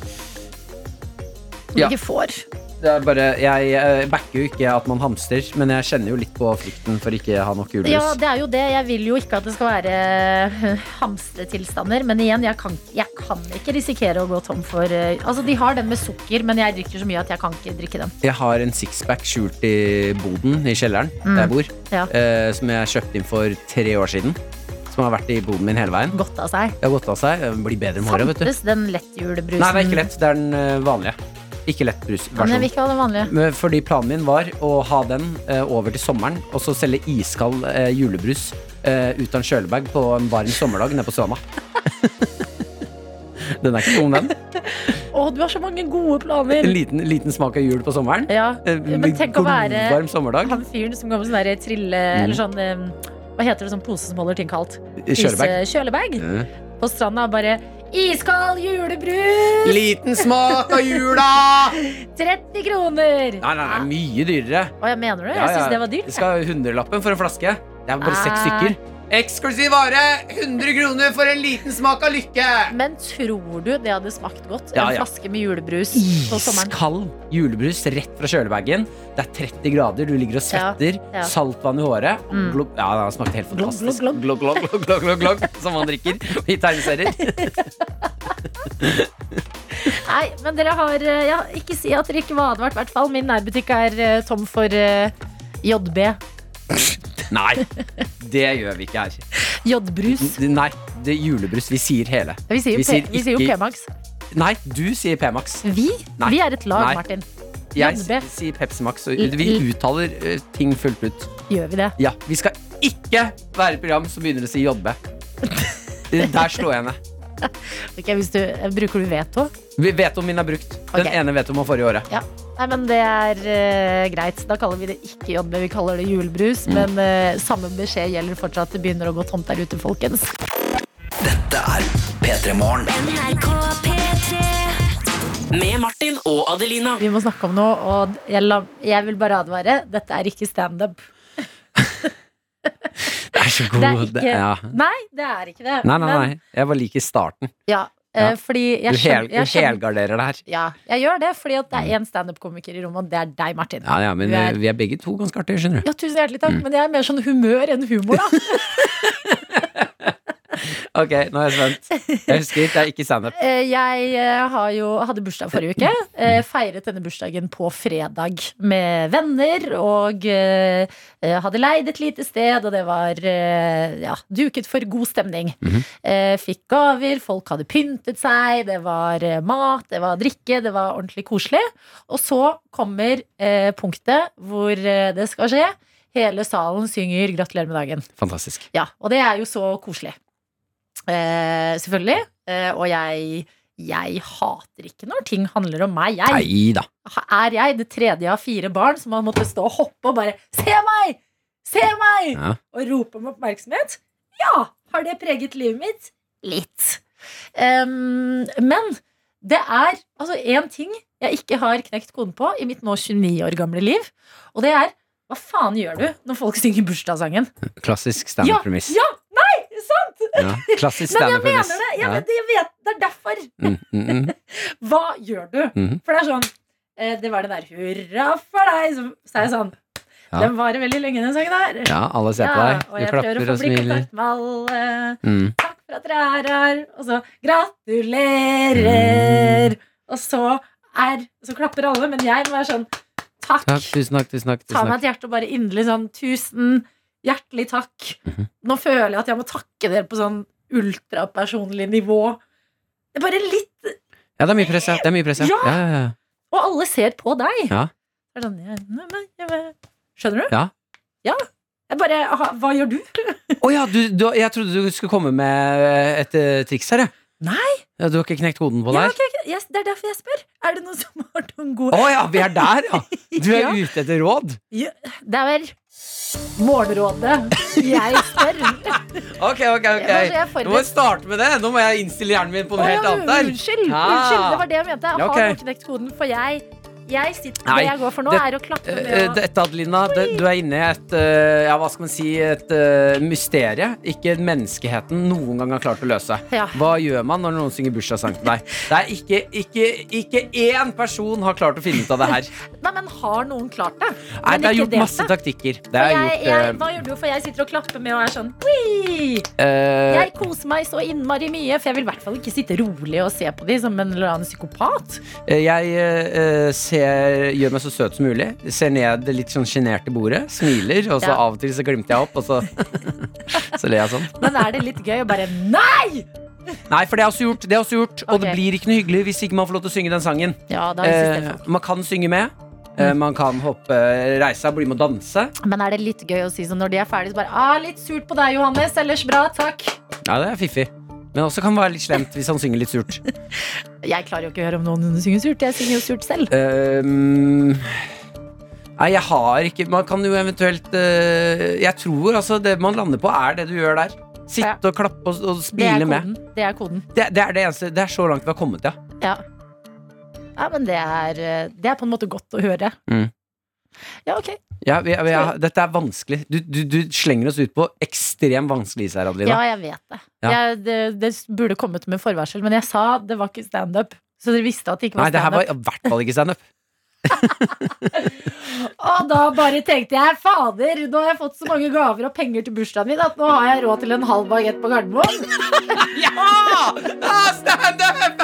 Speaker 3: Som
Speaker 2: Ja.
Speaker 3: ikke får.
Speaker 2: Det er bare, jeg eh, backer jo ikke at man hamstrer, men jeg kjenner jo litt på frykten for ikke å ha nok julebrus.
Speaker 3: Ja, det er jo det. Jeg vil jo ikke at det skal være hamstretilstander. Men igjen, jeg kan, jeg kan ikke risikere å gå tom for eh, Altså, de har den med sukker, men jeg drikker så mye at jeg kan ikke drikke den.
Speaker 2: Jeg har en sixpack skjult i boden i kjelleren
Speaker 3: Mm.
Speaker 2: der jeg bor.
Speaker 3: Ja.
Speaker 2: Eh, som jeg kjøpte inn for tre år siden. Som har vært i boden min hele veien.
Speaker 3: Godt av seg.
Speaker 2: Det har gått av seg. Det Blir bedre med året, vet du.
Speaker 3: Fantes den lettjulebrusen?
Speaker 2: Nei, det er ikke lett. Det er den eh, vanlige. Ikke lett
Speaker 3: Men jeg vil
Speaker 2: brusversjonen.
Speaker 3: ikke ha den vanlige.
Speaker 2: Men Fordi planen min var å ha den eh, over til sommeren, og så selge iskald eh, julebrus eh, uten kjølebag på en varm sommerdag nede på stranda. *laughs* den er ikke dum, den.
Speaker 3: Å, du har så mange gode planer!
Speaker 2: En liten, liten smak av jul på sommeren.
Speaker 3: Ja,
Speaker 2: Eh,
Speaker 3: men tenk å være
Speaker 2: Godvarm sommerdag.
Speaker 3: han fyren som går med sånn derre trille
Speaker 2: Mm.
Speaker 3: Eller sånn eh, Hva heter det, sånn pose som holder ting kaldt?
Speaker 2: Kjølebag.
Speaker 3: Is- Kjølebag.
Speaker 2: Mm.
Speaker 3: På stranda og bare Iskald julebrus!
Speaker 2: Liten smak av jula!
Speaker 3: 30 kroner!
Speaker 2: Nei, nei, nei, mye dyrere.
Speaker 3: Å, jeg mener det?
Speaker 2: Ja,
Speaker 3: Jeg
Speaker 2: ja.
Speaker 3: syns det var dyrt.
Speaker 2: Du skal ha hundrelappen for en flaske. Det er bare seks
Speaker 3: Nei.
Speaker 2: stykker. Eksklusiv vare! 100 kroner for en liten smak av lykke!
Speaker 3: Men tror du det hadde smakt godt?
Speaker 2: Ja,
Speaker 3: en
Speaker 2: ja.
Speaker 3: flaske med julebrus på sommeren?
Speaker 2: Iskald julebrus rett fra kjølebagen. Det er 30 grader, du ligger og svetter.
Speaker 3: Ja, ja.
Speaker 2: Saltvann i håret.
Speaker 3: Mm.
Speaker 2: Glob, ja, det smakte helt
Speaker 3: Glogg,
Speaker 2: fantastisk.
Speaker 3: glogg,
Speaker 2: Glogg, glogg, glogg, glogg, glogg, glogg, som man drikker i
Speaker 3: *laughs*
Speaker 2: tegneserier.
Speaker 3: Nei, men dere har eh, ja, Ikke si at dere ikke var advart, i hvert fall. Min nærbutikk er eh, tom for eh, JB.
Speaker 2: Nei, det gjør vi ikke her.
Speaker 3: Jodbrus.
Speaker 2: N- Nei, det er julebrus. Vi sier hele.
Speaker 3: Vi sier jo, P- vi sier jo
Speaker 2: ikke-
Speaker 3: P-Max.
Speaker 2: Nei, du sier P-Max.
Speaker 3: Vi?
Speaker 2: Nei.
Speaker 3: Vi er et lag,
Speaker 2: Nei.
Speaker 3: Martin.
Speaker 2: Jeg
Speaker 3: JB.
Speaker 2: s- sier Pepsi Max. og
Speaker 3: I-
Speaker 2: Vi
Speaker 3: i-
Speaker 2: uttaler eh, ting fullt ut.
Speaker 3: Gjør vi det?
Speaker 2: Ja, Vi skal ikke være et program som begynner å
Speaker 3: *laughs*
Speaker 2: si jobbe. Der slår jeg ned.
Speaker 3: Ok, hvis du, eh, bruker du veto?
Speaker 2: Vi- Vetoen min er brukt. Den
Speaker 3: Ok.
Speaker 2: ene vetoen var forrige året.
Speaker 3: Ja. Nei, men det er eh, greit. Da kaller vi det ikke JB, vi kaller det julebrus.
Speaker 2: Mm.
Speaker 3: Men eh, samme beskjed gjelder fortsatt. Det begynner å gå tomt der ute, folkens.
Speaker 7: Dette er P3 Morgen.
Speaker 4: Med Martin og Adelina.
Speaker 3: Vi må snakke om noe, og jeg, la, jeg vil bare advare. Dette er ikke standup.
Speaker 2: Det er så
Speaker 3: Det er ikke
Speaker 2: ja.
Speaker 3: Nei, det er ikke det.
Speaker 2: Nei, nei,
Speaker 3: Men-
Speaker 2: nei. Jeg var like i starten.
Speaker 3: Ja, eh,
Speaker 2: Ja.
Speaker 3: fordi
Speaker 2: Du,
Speaker 3: jeg
Speaker 2: hel,
Speaker 3: skjønner,
Speaker 2: du
Speaker 3: jeg skjønner
Speaker 2: helgarderer det her.
Speaker 3: Ja, jeg gjør det fordi at det er én standup-komiker i rommet, og det er deg, Martin.
Speaker 2: Ja, ja, men
Speaker 3: Du
Speaker 2: eh,
Speaker 3: er,
Speaker 2: vi er begge to ganske artige, skjønner du.
Speaker 3: ja tusen hjertelig takk,
Speaker 2: Mm.
Speaker 3: men jeg er mer sånn humør enn humor, da.
Speaker 2: Ok, nå er jeg spent. Jeg husker det er ikke standup.
Speaker 3: Eh, Jeg eh, har jo, hadde bursdag forrige uke. eh, Feiret denne bursdagen på fredag med venner. Og eh, eh, hadde leid et lite sted, og det var eh, ja, duket for god stemning.
Speaker 2: Mhm.
Speaker 3: Eh, Fikk gaver, folk hadde pyntet seg, det var eh, mat, det var drikke, det var ordentlig koselig. Og så kommer eh, punktet hvor eh, det skal skje. Hele salen synger 'Gratulerer med dagen'.
Speaker 2: Fantastisk.
Speaker 3: Ja, og det er jo så koselig. Eh, selvfølgelig. Eh, og jeg, jeg hater ikke når ting handler om meg. Jeg
Speaker 2: Nei da.
Speaker 3: er jeg det tredje av fire barn som har måttet stå og hoppe og bare Se meg! Se meg!
Speaker 2: Ja.
Speaker 3: Og rope om oppmerksomhet. Ja! Har det preget livet mitt? Litt. Em, men det er altså én ting jeg ikke har knekt koden på i mitt nå 29 år gamle liv, og det er hva faen gjør du når folk synger bursdagssangen?
Speaker 2: Klassisk standup-premiss.
Speaker 3: Ja, ja, nei, sant!
Speaker 2: Ja,
Speaker 3: *laughs*
Speaker 2: Klassisk
Speaker 3: Men jeg
Speaker 2: standup-premiss.
Speaker 3: mener det. Jeg
Speaker 2: Ja.
Speaker 3: vet, jeg vet, det er derfor.
Speaker 2: Mm, mm, mm.
Speaker 3: Hva gjør du?
Speaker 2: Mhm.
Speaker 3: For det er sånn eh, Det var den der 'hurra for deg', så, så er jeg sånn
Speaker 2: Ja.
Speaker 3: Den varer veldig lenge, den sangen her.
Speaker 2: Ja, alle ser på
Speaker 3: Ja,
Speaker 2: deg.
Speaker 3: Og
Speaker 2: Du
Speaker 3: jeg prøver
Speaker 2: klapper
Speaker 3: å
Speaker 2: og
Speaker 3: få bli i
Speaker 2: smiler.
Speaker 3: kontakt med alle.
Speaker 2: Mm.
Speaker 3: Takk for at dere er her. Og så 'gratulerer'.
Speaker 2: Mm.
Speaker 3: Og så er Så klapper alle, men jeg må være sånn Takk.
Speaker 2: Takk, tusen takk, tusen takk.
Speaker 3: Ta
Speaker 2: Tusen
Speaker 3: meg
Speaker 2: takk.
Speaker 3: et hjerte og bare inderlig sånn Tusen hjertelig takk.
Speaker 2: Mhm.
Speaker 3: Nå føler jeg at jeg må takke dere på sånn ultrapersonlig nivå. Det er bare litt
Speaker 2: Ja, det er mye press, ja. Det er mye press, ja.
Speaker 3: Ja!
Speaker 2: Ja, ja, ja.
Speaker 3: Og alle ser på deg.
Speaker 2: Ja.
Speaker 3: Det er sånn, jeg- nei, nei, jeg bare- Skjønner du?
Speaker 2: Ja.
Speaker 3: Ja. Jeg bare aha, Hva gjør du?
Speaker 2: Å ja, du, du, jeg trodde du skulle komme med et eh, triks her, jeg.
Speaker 3: Nei.
Speaker 2: Ja, du har ikke knekt koden på det
Speaker 3: Ja,
Speaker 2: her?
Speaker 3: ok, ok, yes, det er derfor jeg spør. Er det noen som har noen
Speaker 2: Å
Speaker 3: gode
Speaker 2: ja, vi er der,
Speaker 3: *laughs*
Speaker 2: ja! Du er
Speaker 3: Ja.
Speaker 2: ute etter råd?
Speaker 3: Ja, Det er vel morgenrådet jeg
Speaker 2: *laughs*
Speaker 3: spør.
Speaker 2: Ok, ok, ok.
Speaker 3: Ja, kanskje jeg forbered-
Speaker 2: Nå må jeg starte med det. Nå må jeg innstille hjernen min på noe
Speaker 3: Å,
Speaker 2: helt
Speaker 3: ja,
Speaker 2: annet der.
Speaker 3: Unnskyld,
Speaker 2: Ja.
Speaker 3: unnskyld, det var det jeg mente. Jeg
Speaker 2: Ja,
Speaker 3: har
Speaker 2: ok.
Speaker 3: nok knekt koden, for jeg, jeg sitter,
Speaker 2: Nei,
Speaker 3: det jeg går for nå,
Speaker 2: det-
Speaker 3: er å klappe
Speaker 2: Eh, eh,
Speaker 3: med og
Speaker 2: Dette, Adelina, det, du er inne i et eh, Ja, hva skal man si Et eh, mysterie ikke menneskeheten noen gang har klart å løse.
Speaker 3: Ja.
Speaker 2: Hva gjør man når noen synger bursdagssang til deg? Det er ikke, ikke, ikke én person har klart å finne ut av det her.
Speaker 3: Nei, men har noen klart det? *laughs*
Speaker 2: Nei,
Speaker 3: Men
Speaker 2: det er
Speaker 3: ikke
Speaker 2: gjort
Speaker 3: delt
Speaker 2: masse
Speaker 3: det?
Speaker 2: taktikker. Det
Speaker 3: For
Speaker 2: er
Speaker 3: jeg,
Speaker 2: gjort
Speaker 3: jeg,
Speaker 2: eh,
Speaker 3: hva gjør du? For jeg sitter og klapper med og er sånn «Wii!»
Speaker 2: eh,
Speaker 3: Jeg koser meg så innmari mye, for jeg vil i hvert fall ikke sitte rolig og se på de som en eller annen psykopat.
Speaker 2: Eh, Jeg eh, ser, gjør meg så søt som mulig. Ser ned det litt sånn sjenert i bordet, smiler, og så
Speaker 3: Ja.
Speaker 2: av og til så glimter jeg opp,
Speaker 3: *laughs*
Speaker 2: og så, så ler jeg sånn.
Speaker 3: Men er det litt gøy å bare Nei!
Speaker 2: Nei, for det er også gjort, det er også gjort og det
Speaker 3: Ok.
Speaker 2: blir ikke noe hyggelig hvis ikke man får lov til å synge den sangen.
Speaker 3: Ja, da insisterer
Speaker 2: Eh,
Speaker 3: folk.
Speaker 2: man kan synge med.
Speaker 3: Mm.
Speaker 2: eh, Man kan hoppe, reise seg, bli med og danse.
Speaker 3: Men er det litt gøy å si sånn når de er ferdige, så bare ah, Litt surt på deg, Johannes. Ellers bra, takk.
Speaker 2: Ja, det er fiffig. Men også kan være litt slemt hvis han synger litt surt.
Speaker 3: Jeg klarer jo ikke å høre om noen synger surt. Jeg synger jo surt selv.
Speaker 2: Ehm, Nei, jeg har ikke Man kan jo eventuelt eh, Jeg tror altså det man lander på, er det du gjør der. Sitte og klappe og,
Speaker 3: Det
Speaker 2: og
Speaker 3: er
Speaker 2: smile med.
Speaker 3: koden. Det er koden.
Speaker 2: Det, det er det eneste Det er så langt vi har kommet, ja.
Speaker 5: Mm.
Speaker 3: Ja. ja, men det er, eh, det er på en måte godt å høre. Ja, ok.
Speaker 5: Ja, vi, vi, ja, dette er vanskelig. Du, du, du slenger oss ut på ekstremt vanskelig is her, Adelina.
Speaker 3: Ja, jeg vet det.
Speaker 5: Ja.
Speaker 3: Jeg, det. Det burde kommet med forvarsel, men jeg sa det var ikke standup. Så dere visste at det ikke
Speaker 5: Nei,
Speaker 3: var
Speaker 5: det her var i
Speaker 3: standup.
Speaker 5: hvert fall
Speaker 3: *laughs*
Speaker 5: ikke standup.
Speaker 3: Og da bare tenkte jeg fader, nå har jeg fått så mange gaver og penger til bursdagen min at nå har jeg råd til en halv bagett på Gardermoen.
Speaker 5: ja! Standup!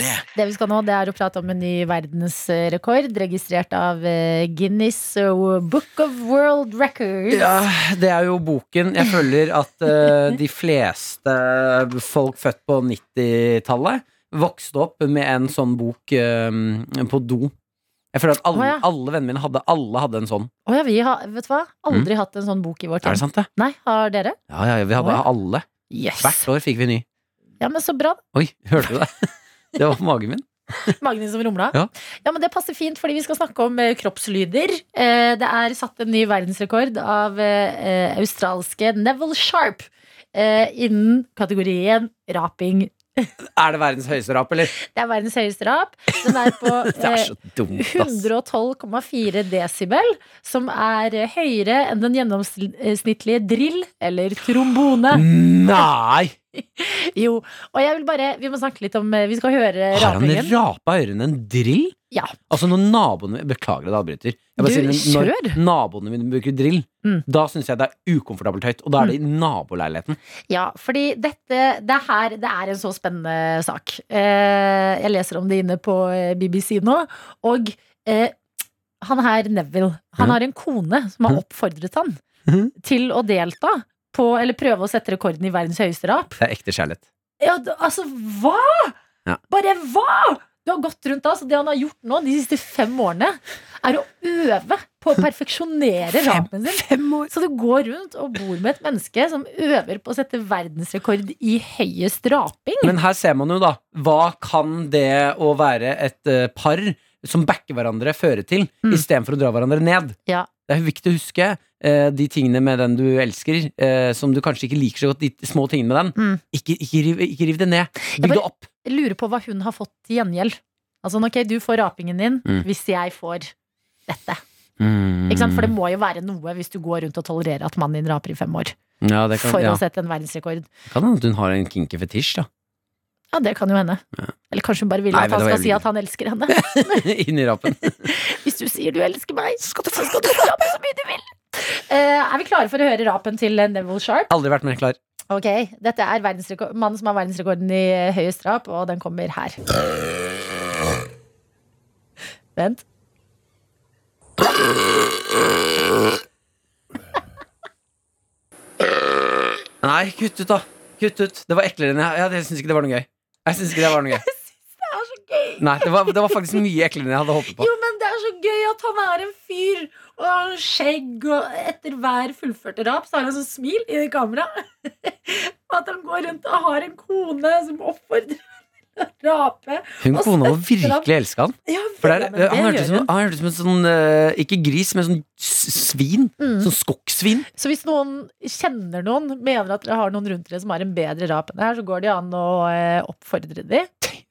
Speaker 3: Det vi skal nå, det er å prate om en ny verdensrekord, registrert av eh, Guinness eh, Book of World Records.
Speaker 5: Ja, det er jo boken. Jeg føler at eh, de fleste folk født på 90-tallet vokste opp med en sånn bok eh, på do. Jeg føler at alle,
Speaker 3: Å, ja.
Speaker 5: alle vennene mine hadde, alle hadde en sånn.
Speaker 3: Å ja, vi har vet du hva? aldri hatt en sånn bok i vår tid.
Speaker 5: Mm. Er det sant, det?
Speaker 3: Nei, har dere?
Speaker 5: Ja, ja, vi hadde
Speaker 3: Å, ja.
Speaker 5: alle.
Speaker 3: Yes.
Speaker 5: Hvert år fikk vi ny.
Speaker 3: Ja, men så bra.
Speaker 5: Oi, hørte
Speaker 3: *laughs*
Speaker 5: du det? Det var magen min.
Speaker 3: Magnus som rumla.
Speaker 5: Ja.
Speaker 3: Ja, men det passer fint, fordi vi skal snakke om eh, kroppslyder. Eh, Det er satt en ny verdensrekord av eh, eh, australske Neville Sharp eh, innen kategorien raping.
Speaker 5: Er det verdens høyeste rap, eller?
Speaker 3: Det er verdens høyeste rap. Den er på
Speaker 5: *laughs* Det er
Speaker 3: eh,
Speaker 5: så dumt, ass.
Speaker 3: 112,4 desibel, som er eh, høyere enn den gjennomsnittlige drill eller trombone.
Speaker 5: Mm. Nei!
Speaker 3: Jo, og jeg vil bare Vi må snakke litt om eh, Vi skal høre
Speaker 5: Har han
Speaker 3: rapingen.
Speaker 5: rapa høyere enn en drill?
Speaker 3: Ja.
Speaker 5: Altså når naboene Beklager at jeg avbryter. Jeg
Speaker 3: Du,
Speaker 5: bare sier, når
Speaker 3: kjør.
Speaker 5: naboene mine bruker drill,
Speaker 3: Mm.
Speaker 5: da syns jeg det er ukomfortabelt høyt. Og da er det i naboleiligheten.
Speaker 3: Ja, fordi dette det her det er en så spennende sak. Eh, jeg leser om det inne på eh, BBC nå. Og eh, han her, Neville, han har en kone som
Speaker 5: Hm.
Speaker 3: har oppfordret han til å delta på, eller prøve å sette rekorden i verdens høyeste rap.
Speaker 5: Det er ekte kjærlighet.
Speaker 3: Ja, d- altså, hva?!
Speaker 5: Ja.
Speaker 3: Bare hva?! Du har gått rundt da, så Det han har gjort nå de siste fem årene, er å øve på å perfeksjonere rapen sin. Så du går rundt og bor med et menneske som øver på å sette verdensrekord i høyest raping.
Speaker 5: Men her ser man jo, da. Hva kan det å være et eh, par som backer hverandre, føre til, istedenfor å dra hverandre ned?
Speaker 3: Mm. Ja.
Speaker 5: Det er viktig å huske eh, de tingene med den du elsker, eh, som du kanskje ikke liker så godt, de små tingene med den.
Speaker 3: Mm.
Speaker 5: Ikke, ikke, riv, ikke riv det ned. Bygg
Speaker 3: bare-
Speaker 5: det opp.
Speaker 3: Jeg lurer på hva hun har fått til gjengjeld. Altså, sånn, ok, du får rapingen din
Speaker 5: Mm.
Speaker 3: hvis jeg får dette. Ikke sant? For
Speaker 5: Mm.
Speaker 3: det må jo være noe hvis du går rundt og tolererer at mannen din raper i fem år.
Speaker 5: ja, det kan,
Speaker 3: For
Speaker 5: ja.
Speaker 3: å sette en verdensrekord.
Speaker 5: kan hende at hun har en kinky fetisj, da.
Speaker 3: Ja, det kan jo hende. Eller kanskje hun bare vil
Speaker 5: Nei,
Speaker 3: at
Speaker 5: vet
Speaker 3: han
Speaker 5: du
Speaker 3: skal
Speaker 5: hva, jeg
Speaker 3: si
Speaker 5: liker
Speaker 3: at han elsker henne.
Speaker 5: *laughs* Inni rapen.
Speaker 3: Hvis du sier du elsker meg, så skal du få *laughs* rape så mye du vil. Eh, er vi klare for å høre rapen til eh, Neville Sharp?
Speaker 5: Aldri vært mer klar.
Speaker 3: Ok, Dette er verdensrekord- mannen som har verdensrekorden i eh, høyest rap, og den kommer her. Vent.
Speaker 5: Nei, kutt ut, da. Kutt ut. Det var eklere enn jeg ja, Jeg syns ikke det var noe gøy. Jeg syns ikke det var noe gøy.
Speaker 3: Det er så gøy!
Speaker 5: Nei, det var, det var faktisk mye eklere enn jeg hadde håpet på.
Speaker 3: Jo, men det er så gøy at han er en fyr og har skjegg, og etter hver fullførte rap så har han sånn smil i kameraet. Og *laughs* at han går rundt og har en kone som oppfordrer ham til å rape.
Speaker 5: Hun
Speaker 3: og
Speaker 5: kona må
Speaker 3: støtter ham.
Speaker 5: virkelig elske han.
Speaker 3: Ja,
Speaker 5: For det er,
Speaker 3: men det
Speaker 5: han
Speaker 3: gjør
Speaker 5: hørtes ut som,
Speaker 3: hun.
Speaker 5: han hørtes ut som en sånn eh, Ikke gris, men sånn s- svin.
Speaker 3: Mm.
Speaker 5: Sånn skoggsvin.
Speaker 3: Så hvis noen kjenner noen, mener at dere har noen rundt dere som har en bedre rap enn det her, så går det an å eh, oppfordre de.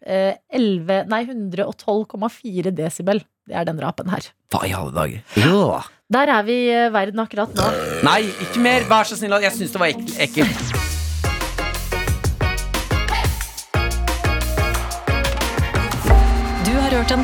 Speaker 3: Eh, 11, nei, 112,4 desibel. Det er den rapen her.
Speaker 5: Hva i alle dager? Ja.
Speaker 3: Der er vi i eh, verden akkurat nå.
Speaker 5: Nei, ikke mer! Vær så snill. Jeg syns det var ek ekkelt.
Speaker 1: Du har hørt en